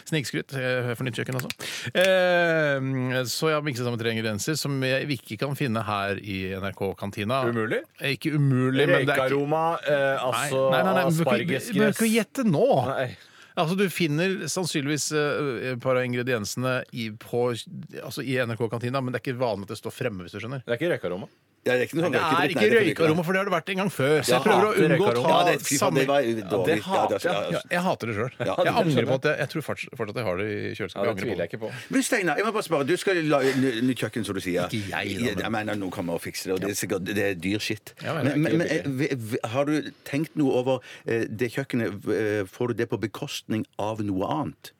[SPEAKER 2] Snikskryt eh, for nytt kjøkken, altså. Eh, Så jeg har mikset sammen tre ingredienser som jeg ikke kan finne her i NRK-kantina.
[SPEAKER 4] Umulig?
[SPEAKER 2] Eh, Ikke umulig, men det er ikke
[SPEAKER 4] Røykaroma, eh,
[SPEAKER 2] Nei,
[SPEAKER 4] altså
[SPEAKER 2] nei, nei, nei, men du bør ikke- du bør
[SPEAKER 4] aspargesgress
[SPEAKER 2] ikke gjette nå!
[SPEAKER 4] Nei.
[SPEAKER 2] Altså, Du finner sannsynligvis eh, et par av ingrediensene i, på, altså, i NRK-kantina, men det er ikke vanlig at det står fremme. hvis du skjønner.
[SPEAKER 4] Det er ikke røykaroma.
[SPEAKER 3] Ja, det er ikke noe
[SPEAKER 2] Det er
[SPEAKER 3] røykedritt,
[SPEAKER 2] ikke
[SPEAKER 3] nei, det er
[SPEAKER 2] røykarommet, for det har det vært en gang før. Så jeg
[SPEAKER 3] Ja,
[SPEAKER 2] prøver å
[SPEAKER 4] det er
[SPEAKER 2] unngå å
[SPEAKER 4] røykarommet.
[SPEAKER 2] ta
[SPEAKER 3] Ja, det, fy faen, det
[SPEAKER 2] samme...
[SPEAKER 3] var dårlig. Ja,
[SPEAKER 4] det hater
[SPEAKER 3] ja, altså. ja.
[SPEAKER 2] Ja, jeg hater det sjøl. jeg
[SPEAKER 3] det
[SPEAKER 2] angrer på at jeg, jeg tror fortsatt fortsatt jeg har det i kjøleskapet.
[SPEAKER 4] Ja, det
[SPEAKER 2] angrer på
[SPEAKER 4] tviler jeg ikke på.
[SPEAKER 3] Men Steinar, jeg må bare spørre. Du skal lage ny- nytt kjøkken, som du sier.
[SPEAKER 2] Ikke jeg, da,
[SPEAKER 3] Ja,
[SPEAKER 2] men-
[SPEAKER 3] Jeg mener, noen kommer og fikser det, og det er, sikkert, det er dyr skitt.
[SPEAKER 2] Ja, men det er
[SPEAKER 3] men, men,
[SPEAKER 2] ikke
[SPEAKER 3] men eh, vi- vi- har du tenkt noe over eh, det kjøkkenet? eh, Får du det på bekostning av noe annet?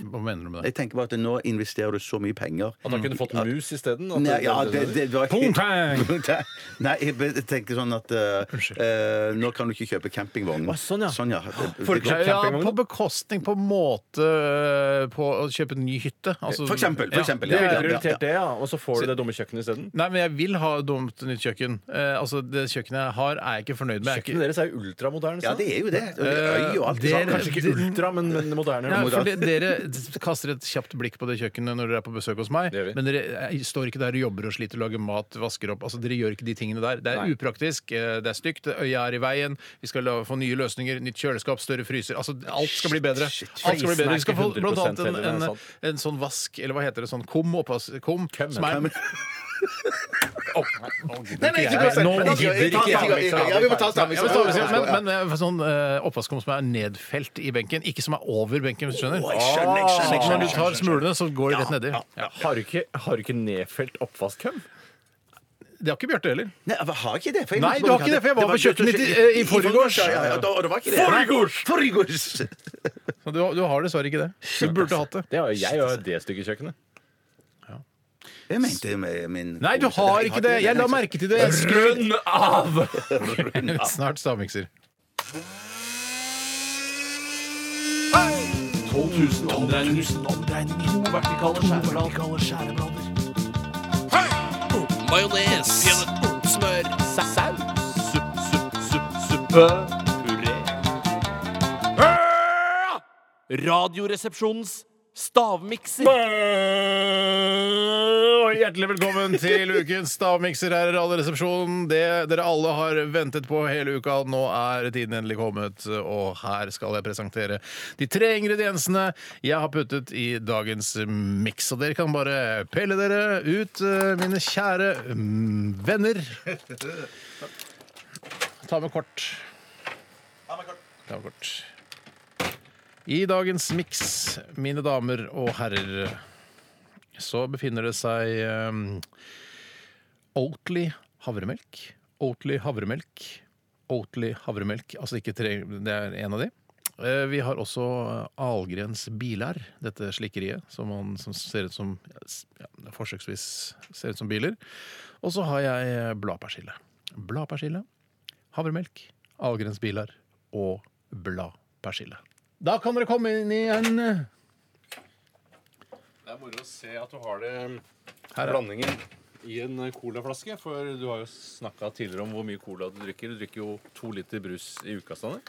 [SPEAKER 2] Hva mener du med det?
[SPEAKER 3] Jeg tenker bare at nå investerer du så mye penger.
[SPEAKER 4] At han kunne fått
[SPEAKER 2] Mm.
[SPEAKER 4] mus isteden? at
[SPEAKER 3] Nei, ja, det, det var <laughs>
[SPEAKER 2] Pongtang!
[SPEAKER 3] Pongtang! Nei, jeg be- tenker sånn at eh, eh, Nå kan du ikke kjøpe campingvogn.
[SPEAKER 4] Å, sånn, ja.
[SPEAKER 3] Det-
[SPEAKER 4] For-
[SPEAKER 3] det går-
[SPEAKER 2] Ja,
[SPEAKER 4] campingvogn?
[SPEAKER 2] på bekostning på måte øh, på å kjøpe en ny hytte. Altså-
[SPEAKER 3] For eksempel, for
[SPEAKER 2] Ja,
[SPEAKER 3] eksempel,
[SPEAKER 4] Du
[SPEAKER 3] ja.
[SPEAKER 4] ville prioritert det, ja. Og så får du det dumme kjøkkenet isteden?
[SPEAKER 2] Nei, men jeg vil ha dumt nytt kjøkken. Eh, altså, Det kjøkkenet jeg har, er jeg ikke fornøyd med. Jeg er ikke-
[SPEAKER 4] Kjøkkenet deres er jo ultramoderne. sa
[SPEAKER 3] ja,
[SPEAKER 4] han.
[SPEAKER 3] det er jo det. Og det er øy og alt.
[SPEAKER 2] Eh,
[SPEAKER 3] sånn.
[SPEAKER 2] dere-
[SPEAKER 4] Kanskje ikke ultra, men, men moderne.
[SPEAKER 2] Nei, for
[SPEAKER 4] moderne.
[SPEAKER 2] det, dere kaster et kjapt blikk på det kjøkkenet når dere er på besøk hos meg,
[SPEAKER 4] Det gjør vi.
[SPEAKER 2] men dere eh, står ikke der og jobber og sliter, lager mat, vasker opp. Altså, Dere gjør ikke de tingene der. Det er
[SPEAKER 4] Nei.
[SPEAKER 2] upraktisk, eh, det er stygt, øya er i veien, vi skal la, få nye løsninger, nytt kjøleskap, større fryser. Altså, alt skal bli bedre. Alt skal bli bedre. Vi skal få
[SPEAKER 4] Prisen er ikke
[SPEAKER 2] blant annet
[SPEAKER 4] 100%
[SPEAKER 2] en,
[SPEAKER 4] heller, det er
[SPEAKER 2] en,
[SPEAKER 4] sant.
[SPEAKER 2] en sånn vask, eller hva heter det, sånn kum, oppvaskkum, altså, som er Nei, nei, ikke
[SPEAKER 9] Nå
[SPEAKER 2] Men altså,
[SPEAKER 9] gidder ikke
[SPEAKER 2] ta-
[SPEAKER 4] liksom.
[SPEAKER 9] jeg.
[SPEAKER 2] ta-
[SPEAKER 9] Ja, vi må ta
[SPEAKER 2] Ja,
[SPEAKER 9] stammis.
[SPEAKER 2] men stammis, Men, men eh, sånn eh, oppvaskkum som er nedfelt i benken, ikke som er over benken, hvis du skjønner.
[SPEAKER 4] Å, jeg skjønner, jeg skjønner, jeg skjønner,
[SPEAKER 2] Når du tar
[SPEAKER 4] jeg skjønner.
[SPEAKER 2] smulene, så går de rett nedi.
[SPEAKER 4] Har du ikke, har du ikke nedfelt oppvaskkøm?
[SPEAKER 2] Det har ikke Bjarte heller.
[SPEAKER 3] Nei, jeg har ikke det. for jeg
[SPEAKER 2] Nei,
[SPEAKER 3] lurte
[SPEAKER 2] du
[SPEAKER 3] på om
[SPEAKER 2] har ikke det, for jeg var
[SPEAKER 3] var
[SPEAKER 2] på kjøkkenet
[SPEAKER 3] kjøtt-
[SPEAKER 2] i, eh, i
[SPEAKER 3] i
[SPEAKER 2] forgårs.
[SPEAKER 3] forgårs, ja, ja, ja, da- og det var ikke det.
[SPEAKER 2] Forgårs!
[SPEAKER 3] Forgårs!
[SPEAKER 2] Så Du, du har dessverre ikke det. Du burde hatt det.
[SPEAKER 4] altså. Det har jo jeg og det stykket kjøkkenet.
[SPEAKER 3] Jeg mente med min
[SPEAKER 2] Nei, du har ikke det! Jeg la merke til det.
[SPEAKER 3] Rund
[SPEAKER 2] av! <laughs> Snart stavmikser.
[SPEAKER 8] 12 000 omdreininger. 12 000 omdreininger. To vertikale skjæreblader. Majones. Smør. Saus. Supp, supp, supp, suppe. Puré. Radioresepsjonens stavmikser.
[SPEAKER 2] Og Hjertelig velkommen til ukens stavmikser her i Radioresepsjonen. Det dere alle har ventet på hele uka, nå er tiden endelig kommet. Og her skal jeg presentere de tre ingrediensene jeg har puttet i dagens miks. Og dere kan bare pelle dere ut, eh, mine kjære mm, venner. Ta med kort. Ta med kort. I dagens miks, mine damer og herrer så befinner det seg um, Oatly havremelk. Oatly havremelk. Oatly havremelk. Altså ikke tre, det er en av de. Eh, Vi har også Algrens Biler, dette slikkeriet som, man, som ser ut som ja, forsøksvis ser ut som biler. Og så har jeg eh, bladpersille. Bladpersille, havremelk, Algrens Biler og bladpersille. Da kan dere komme inn i en
[SPEAKER 4] Det er moro å se at du har det
[SPEAKER 2] Her er-
[SPEAKER 4] blandingen i en colaflaske. For du har jo snakka tidligere om hvor mye cola du drikker. Du drikker jo to liter brus i uka. <laughs> Stanley.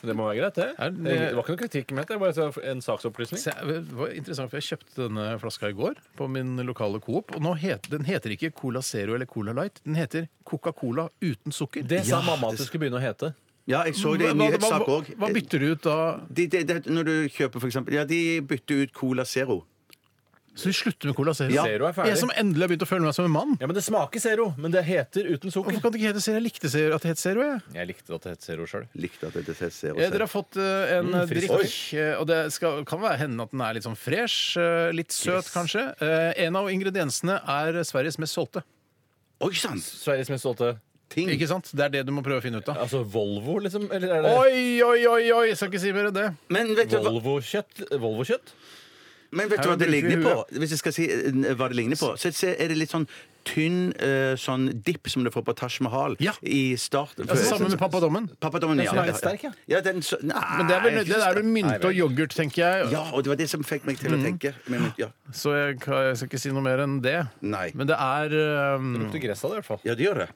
[SPEAKER 4] Det må være greit, det. det var ikke noe kritikk ment. Det var bare en saksopplysning.
[SPEAKER 2] Se, det var interessant, for Jeg kjøpte denne flaska i går på min lokale Coop. Og nå het, den heter ikke Cola Zero eller Cola Light. Den heter Coca-Cola uten sukker.
[SPEAKER 4] Det sa mamma at det skulle begynne å hete.
[SPEAKER 3] Ja, jeg så det
[SPEAKER 2] Hva-
[SPEAKER 3] i
[SPEAKER 2] hva-
[SPEAKER 3] nyhetssak
[SPEAKER 2] hva-
[SPEAKER 3] òg.
[SPEAKER 2] Hva bytter du ut da?
[SPEAKER 3] De, de, de, når du kjøper for eksempel, ja, de bytter ut Cola Zero.
[SPEAKER 2] Så vi slutter med Cola Zero?
[SPEAKER 4] Ja. Zero er ferdig.
[SPEAKER 2] Jeg som endelig har begynt å føle meg som en mann.
[SPEAKER 4] Ja, men Det smaker Zero, men det heter uten sukker.
[SPEAKER 2] Hvorfor kan det ikke hete Zero? Jeg likte Zero, at det het Zero. jeg.
[SPEAKER 4] Jeg likte at det het Zero sjøl.
[SPEAKER 3] Likte at det heter Zero.
[SPEAKER 2] Eh, Dere har fått eh, en
[SPEAKER 4] Mm, frisk.
[SPEAKER 2] drikk, eh, og det skal, kan være hende at den er litt sånn fresh. eh, Litt søt, kanskje. Eh, En av ingrediensene er Sveriges mest solgte.
[SPEAKER 3] Oi sann!
[SPEAKER 4] Sveriges mest stolte.
[SPEAKER 3] Ting.
[SPEAKER 4] Mm.
[SPEAKER 2] Ikke sant? Det er det du må prøve å finne ut av.
[SPEAKER 4] Altså Volvo, liksom? Eller er det
[SPEAKER 2] Oi, oi, oi! oi, Jeg skal ikke si mer enn det.
[SPEAKER 3] Men vet du hva
[SPEAKER 4] Volvo-kjøtt? Volvo-kjøtt?
[SPEAKER 3] Men vet du hva det ligner på? Hvis jeg skal si eh, hva det ligner på, så så er det litt sånn tynn eh, sånn dipp som du får på Taj Mahal
[SPEAKER 2] Ja.
[SPEAKER 3] i starten.
[SPEAKER 2] Altså, sammen med pappadommen.
[SPEAKER 3] Pappadommen, ja.
[SPEAKER 4] som er litt sterk, ja.
[SPEAKER 3] ja den, så, nei,
[SPEAKER 2] Men det er vel det er vel mynte Mm. og yoghurt, tenker jeg.
[SPEAKER 3] Ja, og det var det som fikk meg til å tenke. Men, ja.
[SPEAKER 2] Så jeg, kan- jeg skal ikke si noe mer enn det.
[SPEAKER 3] Nei.
[SPEAKER 2] Men det er um,
[SPEAKER 4] Lukter gress av det, i hvert fall.
[SPEAKER 3] ja, det gjør det.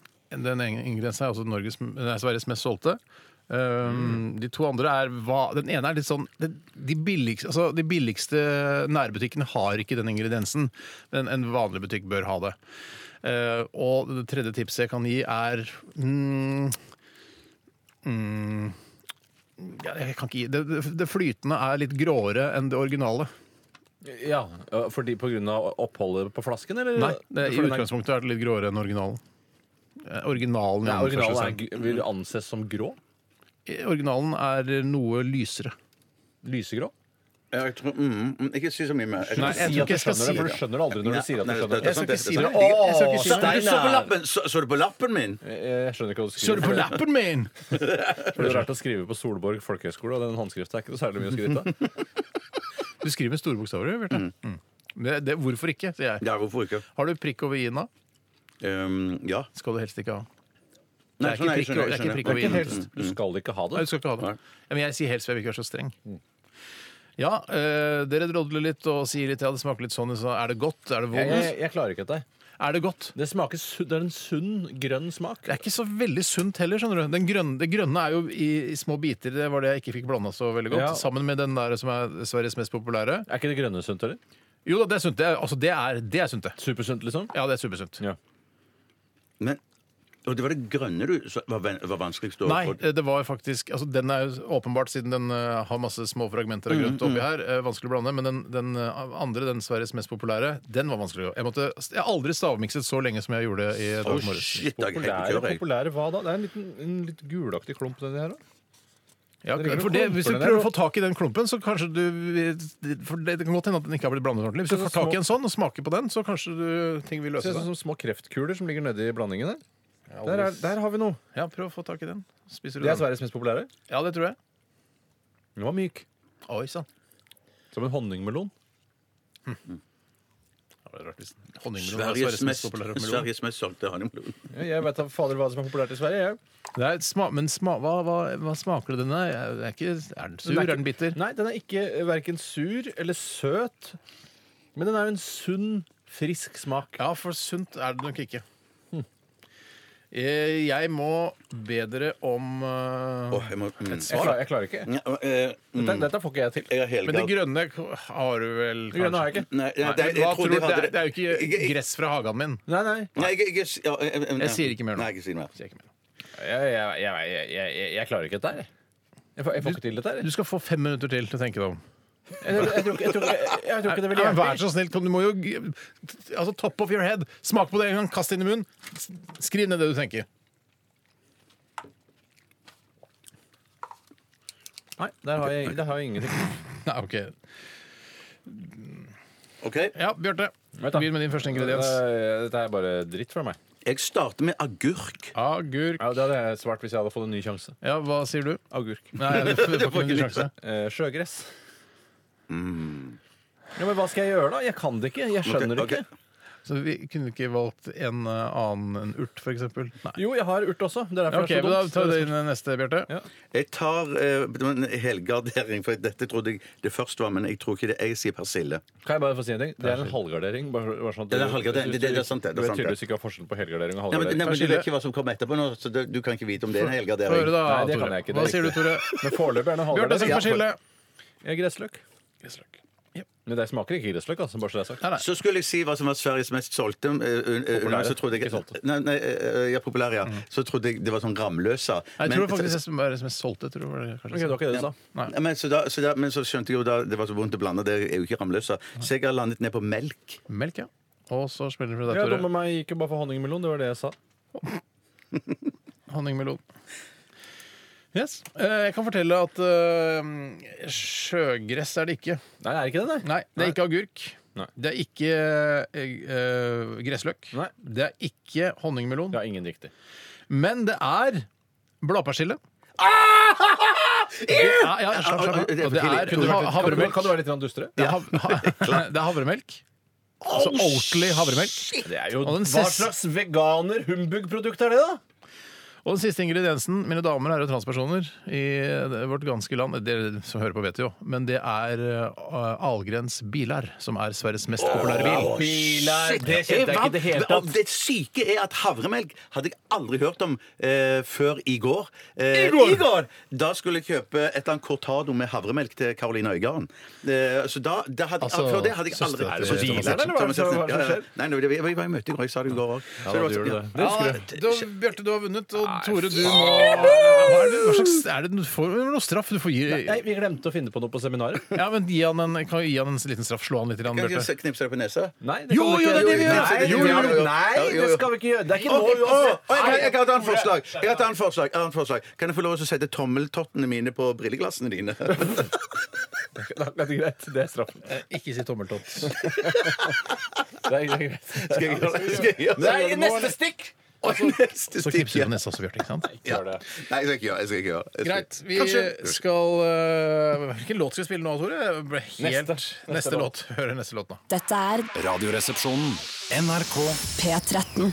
[SPEAKER 2] Den ene ingrediensen er altså Norges, nei, Sveriges mest solgte. Um, De to andre er hva Den ene er litt sånn det, de, billigste, altså, de billigste nærbutikkene har ikke den ingrediensen, men en vanlig butikk bør ha det. Eh, og det tredje tipset jeg kan gi, er mm, mm, ja, Jeg kan ikke gi det, det, det flytende er litt gråere enn det originale.
[SPEAKER 4] Ja, fordi På grunn av oppholdet på flasken? Eller?
[SPEAKER 2] Nei, det, i
[SPEAKER 4] For den er-
[SPEAKER 2] utgangspunktet er det litt gråere enn originalen. Eh, Originalen, i
[SPEAKER 4] Nei, originalen er,
[SPEAKER 2] anførselstegn.
[SPEAKER 4] gr- vil anses som grå?
[SPEAKER 2] Eh, originalen er noe lysere.
[SPEAKER 4] Lysegrå?
[SPEAKER 3] Jeg tror, mm, mm, ikke si så mye mer.
[SPEAKER 2] Nei, jeg tror
[SPEAKER 4] Si at
[SPEAKER 2] ikke
[SPEAKER 4] du
[SPEAKER 2] jeg skal
[SPEAKER 4] skjønner det,
[SPEAKER 2] si
[SPEAKER 4] for du
[SPEAKER 2] det.
[SPEAKER 4] skjønner det aldri når du sier at du
[SPEAKER 3] Nei,
[SPEAKER 4] skjønner
[SPEAKER 3] det er
[SPEAKER 4] det.
[SPEAKER 3] sant,
[SPEAKER 2] Jeg skal
[SPEAKER 3] det er
[SPEAKER 2] ikke
[SPEAKER 3] sant.
[SPEAKER 2] si det. Å, jeg skal ikke si det.
[SPEAKER 3] Du så på lappen! Så, så du på lappen min?
[SPEAKER 4] Jeg skjønner ikke hva du
[SPEAKER 2] Kjør
[SPEAKER 4] skriver.
[SPEAKER 2] på lappen min!
[SPEAKER 4] For Det er rart å skrive på Solborg folkehøgskole, og den håndskrifta er ikke noe særlig mye å skryte av.
[SPEAKER 2] Du skriver med store bokstaver, Bjarte. Mm. Det, det, hvorfor ikke? sier jeg.
[SPEAKER 3] Ja, hvorfor ikke?
[SPEAKER 2] Har du prikk over i-en, da?
[SPEAKER 3] Um, ja.
[SPEAKER 2] Skal du helst ikke ha. Det
[SPEAKER 3] Nei, sånn
[SPEAKER 2] er ikke
[SPEAKER 3] skjønner jeg,
[SPEAKER 2] prikk over- det er
[SPEAKER 3] skjønner jeg,
[SPEAKER 2] ikke prikk over
[SPEAKER 3] skjønner jeg.
[SPEAKER 2] i-en.
[SPEAKER 4] Du skal ikke ha
[SPEAKER 2] Nei,
[SPEAKER 4] det.
[SPEAKER 2] du skal ikke ha det. Ja, men jeg sier helst, for jeg vil ikke være så streng. Ja, eh, dere drodler litt og sier litt ja, det smaker litt sånn. Så er det godt? Er det
[SPEAKER 4] Jeg, jeg,
[SPEAKER 2] vondt?
[SPEAKER 4] jeg klarer ikke dette.
[SPEAKER 2] Er det godt?
[SPEAKER 4] Det, smaker, su- det er en sunn, grønn smak.
[SPEAKER 2] Det er ikke så veldig sunt heller, skjønner du. Den grønne, det grønne er jo i, i små biter. Det var det jeg ikke fikk blanda så veldig godt.
[SPEAKER 4] Ja.
[SPEAKER 2] Sammen med den der som er Sveriges mest populære.
[SPEAKER 4] Er ikke det grønne sunt, eller?
[SPEAKER 2] Jo da, det er sunt. Det er, altså, det er, det er sunt, det.
[SPEAKER 4] Supersunt, liksom?
[SPEAKER 2] Ja, det er supersunt.
[SPEAKER 4] Ja.
[SPEAKER 3] Men Og det var det grønne du som var, ven- var vanskeligst å
[SPEAKER 2] Nei, eh, det var faktisk altså Den er jo åpenbart, siden den eh, har masse små fragmenter av
[SPEAKER 3] Mm,
[SPEAKER 2] grønt oppi
[SPEAKER 3] mm.
[SPEAKER 2] her, eh, vanskelig å blande. Men den, den eh, andre, den Sveriges mest populære, den var vanskelig å jeg, måtte, jeg har aldri stavmikset så lenge som jeg gjorde i dag
[SPEAKER 3] Å,
[SPEAKER 2] morges.
[SPEAKER 3] shit, jeg er helt på
[SPEAKER 4] Populære,
[SPEAKER 3] kjøret, jeg.
[SPEAKER 4] populære hva da? Det er en, liten, en litt gulaktig klump nedi her òg.
[SPEAKER 2] Ja,
[SPEAKER 4] Det er
[SPEAKER 2] for det,
[SPEAKER 4] klumper
[SPEAKER 2] hvis du
[SPEAKER 4] der,
[SPEAKER 2] prøver å
[SPEAKER 4] da.
[SPEAKER 2] få tak i den klumpen, så kanskje du for Det det kan godt hende at den ikke har blitt blandet ordentlig. Hvis du får
[SPEAKER 4] Så små-
[SPEAKER 2] tak i en sånn og smaker på den, så kanskje du, ting vil løse
[SPEAKER 4] Ser ut
[SPEAKER 2] seg.
[SPEAKER 4] som små kreftkuler som ligger nedi blandingen der. Der,
[SPEAKER 2] aldri-
[SPEAKER 4] er, der har vi noe.
[SPEAKER 2] Ja, prøv å få tak i den. Spiser du
[SPEAKER 4] Det er
[SPEAKER 2] den?
[SPEAKER 4] Sveriges mest populære.
[SPEAKER 2] Ja, det tror jeg.
[SPEAKER 4] Den var myk.
[SPEAKER 2] Oi sånn. sann.
[SPEAKER 4] Som en honningmelon.
[SPEAKER 2] Ja, det er rart hvis honningmelon er
[SPEAKER 3] Sveriges mest,
[SPEAKER 2] populære melon.
[SPEAKER 3] Sveriges mest solgte honningmelon.
[SPEAKER 2] Mm.
[SPEAKER 4] Ja, Jeg veit da fader hva som er populært i Sverige. Jeg.
[SPEAKER 2] Det er et sma men sma hva, hva, hva smaker den der? Er, ikke, er den sur?
[SPEAKER 4] Den
[SPEAKER 2] er,
[SPEAKER 4] er ikke-
[SPEAKER 2] den bitter?
[SPEAKER 4] Nei, den er ikke verken sur eller søt. Men den er jo en sunn, frisk smak.
[SPEAKER 2] Ja, for sunt er det nok ikke.
[SPEAKER 4] Hm.
[SPEAKER 2] Eh, Jeg må be dere om eh,
[SPEAKER 3] Åh, jeg må mm.
[SPEAKER 4] Jeg klarer, jeg klarer ikke.
[SPEAKER 3] Ja, eh, mm.
[SPEAKER 4] Dette, dette får ikke jeg til.
[SPEAKER 3] Jeg er helt
[SPEAKER 2] Men det
[SPEAKER 3] gal.
[SPEAKER 2] grønne har du vel
[SPEAKER 4] Det grønne har jeg ikke.
[SPEAKER 3] Nei,
[SPEAKER 2] Nei,
[SPEAKER 3] jeg, jeg,
[SPEAKER 2] hva
[SPEAKER 3] jeg
[SPEAKER 2] tror
[SPEAKER 3] tror
[SPEAKER 2] du?
[SPEAKER 3] de hadde
[SPEAKER 2] Det, er- det er jo
[SPEAKER 3] Jeg-
[SPEAKER 2] ikke
[SPEAKER 3] jeg-
[SPEAKER 2] gress fra hagen min.
[SPEAKER 4] Nei, nei.
[SPEAKER 3] Nei, jeg, jeg, ja, jeg, jeg,
[SPEAKER 2] Jeg sier ikke mer nå.
[SPEAKER 3] Nei, jeg sier ikke mer.
[SPEAKER 2] Så jeg er ikke med.
[SPEAKER 4] Jeg, jeg, jeg, jeg, jeg, jeg klarer ikke dette her. Jeg får, jeg får ikke til dette her.
[SPEAKER 2] Du skal få fem minutter til til å tenke deg om.
[SPEAKER 4] <laughs> Jeg, jeg, tror ikke- jeg, tror ikke- jeg tror ikke det vil
[SPEAKER 2] Ja, men vær
[SPEAKER 4] hjelpe.
[SPEAKER 2] så snill, du må jo g- altså, Top of your head. Smak på det en gang, kast det inn i munnen. S- Skriv ned det du tenker.
[SPEAKER 4] Nei, der har jeg, der har jeg ingenting.
[SPEAKER 2] Nei, ok.
[SPEAKER 3] Ok,
[SPEAKER 2] Ja, Bjarte.
[SPEAKER 4] Vet da. Eh,
[SPEAKER 2] Begynn med din første ingrediens.
[SPEAKER 4] Dette er bare dritt fra meg.
[SPEAKER 3] Jeg starter med agurk.
[SPEAKER 2] Agurk.
[SPEAKER 4] Ja, det hadde jeg svart hvis jeg hadde fått en ny sjanse.
[SPEAKER 2] Ja, hva sier du?
[SPEAKER 4] Agurk.
[SPEAKER 2] Nei, <laughs> du får ikke noen sjanse.
[SPEAKER 4] Eh, sjøgress. Ja, men hva skal jeg gjøre, da? Jeg kan det ikke. Jeg skjønner det
[SPEAKER 3] Mm. Ok,
[SPEAKER 4] ikke.
[SPEAKER 3] ok.
[SPEAKER 2] Så vi kunne ikke valgt en eh, annen enn urt, for eksempel? Nei.
[SPEAKER 4] Jo, jeg har urt også. Det er derfor
[SPEAKER 2] Ok,
[SPEAKER 4] det er
[SPEAKER 2] men
[SPEAKER 4] så
[SPEAKER 2] Da
[SPEAKER 4] dumt.
[SPEAKER 2] tar vi inn neste, Bjarte.
[SPEAKER 4] Ja.
[SPEAKER 3] Jeg tar eh, det var en helgardering, for dette trodde jeg det først var, men jeg tror ikke det. Jeg sier persille.
[SPEAKER 4] Kan jeg bare få si en ting? Det er en halvgardering. Bare, bare sånn at
[SPEAKER 3] Det er
[SPEAKER 4] du-
[SPEAKER 3] en halvgardering. Det- det- det er sant det, det
[SPEAKER 4] Du
[SPEAKER 3] er sant
[SPEAKER 4] vet
[SPEAKER 3] det.
[SPEAKER 4] tydeligvis ikke hva forskjellen på helgardering og
[SPEAKER 3] Nei, men,
[SPEAKER 4] halvgardering.
[SPEAKER 3] nei, men Du
[SPEAKER 2] Persille.
[SPEAKER 3] vet ikke hva som kommer etterpå, nå, så det, du kan ikke vite om det er en
[SPEAKER 2] Få høre,
[SPEAKER 3] helgardering.
[SPEAKER 2] da,
[SPEAKER 4] Nei, det
[SPEAKER 2] Tore.
[SPEAKER 4] kan jeg ikke,
[SPEAKER 2] Hva
[SPEAKER 4] det er
[SPEAKER 2] sier du,
[SPEAKER 4] riktig.
[SPEAKER 2] Tore?
[SPEAKER 4] Men foreløpig er det en
[SPEAKER 2] Bjarte
[SPEAKER 4] halvgardering.
[SPEAKER 2] sier persille.
[SPEAKER 4] Ja, Gressløk. Men det smaker ikke gressløk, altså, bare så det er sagt.
[SPEAKER 2] Nei, nei.
[SPEAKER 3] Så skulle jeg si hva som var Sveriges mest solgte. eh, un- eh,
[SPEAKER 4] Populære.
[SPEAKER 3] så trodde jeg,
[SPEAKER 4] Ikke solgte.
[SPEAKER 3] nei, nei, eh, ja, populære, ja. Så trodde jeg det var sånn
[SPEAKER 2] Mm.
[SPEAKER 3] ramløsa.
[SPEAKER 2] Nei, Jeg
[SPEAKER 3] Men-
[SPEAKER 2] tror faktisk det som er det som er solgte. Tror jeg, var det,
[SPEAKER 4] Ok, det var
[SPEAKER 2] kanskje.
[SPEAKER 4] ikke det du sa.
[SPEAKER 2] Nei.
[SPEAKER 3] Ja, men, så da, så da, men så skjønte jeg jo da det var så vondt å blande. Det er jo ikke ramløsa. Så jeg har landet ned på melk.
[SPEAKER 2] Melk, ja. Og så spiller vi fra
[SPEAKER 4] Ja,
[SPEAKER 2] deg, Tore.
[SPEAKER 4] dumme meg gikk jo bare for honningmelon. Det var det jeg sa.
[SPEAKER 2] Honningmelon. Yes. Eh, Jeg kan fortelle at eh, sjøgress er det ikke.
[SPEAKER 4] Nei, det er ikke det, nei.
[SPEAKER 2] Nei, det er ikke agurk.
[SPEAKER 4] Nei.
[SPEAKER 2] Det er ikke eh, eh, gressløk.
[SPEAKER 4] Nei.
[SPEAKER 2] Det er ikke honningmelon.
[SPEAKER 4] Det er ingen riktig.
[SPEAKER 2] Men det er bladpersille. Det er, ja, ja, slapp, slapp,
[SPEAKER 3] Det er
[SPEAKER 2] slapp. Og
[SPEAKER 3] for
[SPEAKER 2] det er
[SPEAKER 3] tidlig. Kunne
[SPEAKER 2] ha-
[SPEAKER 3] vært-
[SPEAKER 4] Kan du,
[SPEAKER 2] havremelk.
[SPEAKER 4] kan du være litt grann dustere?
[SPEAKER 2] Det er, hav ha, det er havremelk. Altså Oatly havremelk.
[SPEAKER 4] Det er jo,
[SPEAKER 2] Og den
[SPEAKER 4] hva
[SPEAKER 2] ses-
[SPEAKER 4] slags veganer-humbug-produkt er det, da?
[SPEAKER 2] Og den siste ingrediensen, mine damer og herrer og transpersoner i vårt ganske land Dere som hører på, vet jo, men det er eh, Algrens biler, som er Sveriges mest populære bil.
[SPEAKER 4] Biler, det kjente jeg
[SPEAKER 3] Jeg
[SPEAKER 4] ikke i det hele
[SPEAKER 3] vant. Og
[SPEAKER 4] tatt.
[SPEAKER 3] det syke er at havremelk hadde jeg aldri hørt om eh, før i går. Eh,
[SPEAKER 4] I går?
[SPEAKER 3] Da skulle jeg kjøpe et eller annet cortado med havremelk til Caroline Øygarden. Eh, så da, da hadde,
[SPEAKER 2] Altså,
[SPEAKER 3] før det hadde jeg aldri
[SPEAKER 2] søster
[SPEAKER 3] Nei,
[SPEAKER 2] til
[SPEAKER 3] det var
[SPEAKER 2] Thomas
[SPEAKER 4] Giertsen, eller hva er det som- hva
[SPEAKER 3] Thomas Giertsen.
[SPEAKER 4] er det som
[SPEAKER 3] Ja, ja.
[SPEAKER 4] skjer?
[SPEAKER 3] Nei, nei, jeg var- jeg var i møte i går, jeg sa det i går òg. Så
[SPEAKER 4] da,
[SPEAKER 3] det var
[SPEAKER 4] du
[SPEAKER 3] sånn-
[SPEAKER 4] gjorde det. Det
[SPEAKER 2] Ja,
[SPEAKER 3] det-
[SPEAKER 2] da, Bjarte, du har vunnet, og Tore, du må Hva er det, hva slags, er det du får- er det noe straff du får
[SPEAKER 4] Nei,
[SPEAKER 2] gi?
[SPEAKER 4] vi glemte å finne på noe på seminaret.
[SPEAKER 2] <laughs>
[SPEAKER 4] <laughs>
[SPEAKER 2] Ja, men gi han en, kan jo gi han en liten straff. Slå han litt, grann,
[SPEAKER 3] Kan jeg
[SPEAKER 2] Bjarte.
[SPEAKER 3] ikke knipse deg på nesa?
[SPEAKER 4] Nei,
[SPEAKER 2] Jo, jo,
[SPEAKER 4] kan ikke-
[SPEAKER 2] det er det vi gjør.
[SPEAKER 4] Nei, det
[SPEAKER 3] Jo, jo, jo, jo.
[SPEAKER 4] Nei,
[SPEAKER 3] Jo, jo, jo.
[SPEAKER 4] det skal vi ikke gjøre. Det er ikke nå
[SPEAKER 3] Ok, å,
[SPEAKER 4] uansett.
[SPEAKER 3] å, jeg, jeg har et annet forslag. Jeg har et annet forslag, annet forslag. Kan jeg få lov til å sette tommeltottene mine på brilleglassene dine?
[SPEAKER 2] <laughs>
[SPEAKER 4] Det er greit. Det er <laughs> straffen.
[SPEAKER 2] Ikke si tommeltott.
[SPEAKER 4] Det er, det er greit.
[SPEAKER 3] Skal jeg gjøre det? Skal jeg gjøre det?
[SPEAKER 4] Nei, neste stikk!
[SPEAKER 3] Oi, <laughs> neste
[SPEAKER 2] Så knipser du
[SPEAKER 3] stikk.
[SPEAKER 2] på nesa også, Bjarte. ikke sant?
[SPEAKER 3] Ja. Nei, jeg skal ikke gjøre jeg skal ikke gjøre det.
[SPEAKER 2] Greit. Vi
[SPEAKER 3] Kanskje.
[SPEAKER 2] skal øh, Hvilken låt skal vi spille nå, Tore? Jeg ble Helt, neste, låt. Hører neste låt nå.
[SPEAKER 10] Dette er
[SPEAKER 6] Radioresepsjonen. NRK
[SPEAKER 10] P13.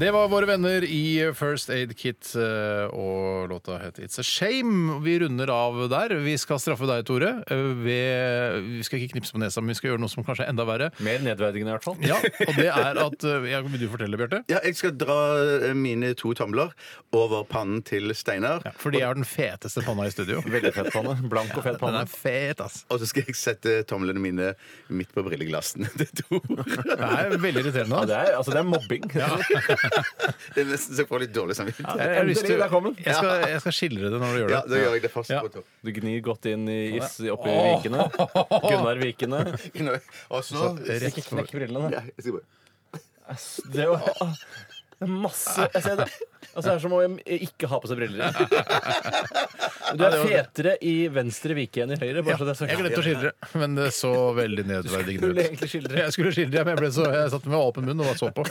[SPEAKER 2] Det var våre venner i First Aid Kit, øh, og låta het It's a Shame. Vi runder av der. Vi skal straffe deg, Tore. øh, Ved, vi skal ikke knipse på nesa, men vi skal gjøre noe som kanskje er enda verre.
[SPEAKER 4] Mer nedverdigende, i hvert fall.
[SPEAKER 2] Ja, og det er at øh, ja, Vil du fortelle, Bjarte?
[SPEAKER 3] Ja, jeg skal dra eh, mine to tomler over pannen til Steinar.
[SPEAKER 2] Ja, fordi jeg har den feteste panna i studio.
[SPEAKER 4] Veldig fet panne. Blank og fet
[SPEAKER 2] Den
[SPEAKER 4] panne.
[SPEAKER 2] er fet, ass.
[SPEAKER 3] Og så skal jeg sette tomlene mine midt på brilleglassene til Tor.
[SPEAKER 2] Det er veldig irriterende.
[SPEAKER 4] Ja, det, er, altså, det er mobbing.
[SPEAKER 3] <laughs> Det er nesten så jeg får litt dårlig samvittighet.
[SPEAKER 4] Ja, jeg visste jo- Endelig, der kom den.
[SPEAKER 2] Jeg skal, jeg skal skildre det når du gjør det.
[SPEAKER 3] Ja, da gjør jeg det fast.
[SPEAKER 2] Ja.
[SPEAKER 3] Otto.
[SPEAKER 4] Du gnir godt inn i is oppi
[SPEAKER 2] Åh.
[SPEAKER 4] vikene. Gunnar Vikene.
[SPEAKER 3] Og så
[SPEAKER 4] <laughs> Ikke knekk brillene.
[SPEAKER 3] Ja, jeg skal bare-
[SPEAKER 4] Det er jo det er masse altså, det, altså, det er som å ikke ha på seg briller. Du er fetere i venstre vike enn i høyre. Bare så det er sagt.
[SPEAKER 2] Jeg glemte å skildre, men det så veldig nedverdigende
[SPEAKER 4] skulle
[SPEAKER 2] ut.
[SPEAKER 4] egentlig skildre.
[SPEAKER 2] Jeg skulle skildre, men jeg, ble så, jeg satt med åpen munn og bare så på.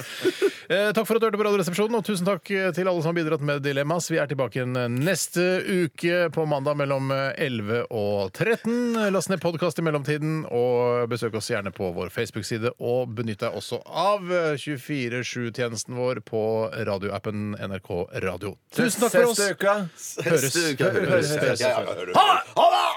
[SPEAKER 2] Eh, takk for at du hørte på Radioresepsjonen, og tusen takk eh, til alle som har bidratt med dilemmas. Vi er tilbake igjen eh, neste uke på mandag mellom 11 og 13. Last ned podkast i mellomtiden, og besøk oss gjerne på vår Facebook-side. Og benytt deg også av 247-tjenesten vår på radioappen NRK Radio. Tusen takk for oss!
[SPEAKER 4] Siste uka.
[SPEAKER 2] Høres.
[SPEAKER 3] Neste uke.
[SPEAKER 2] Høres. Høres.
[SPEAKER 3] Ja, ja, høres.
[SPEAKER 8] Ha det!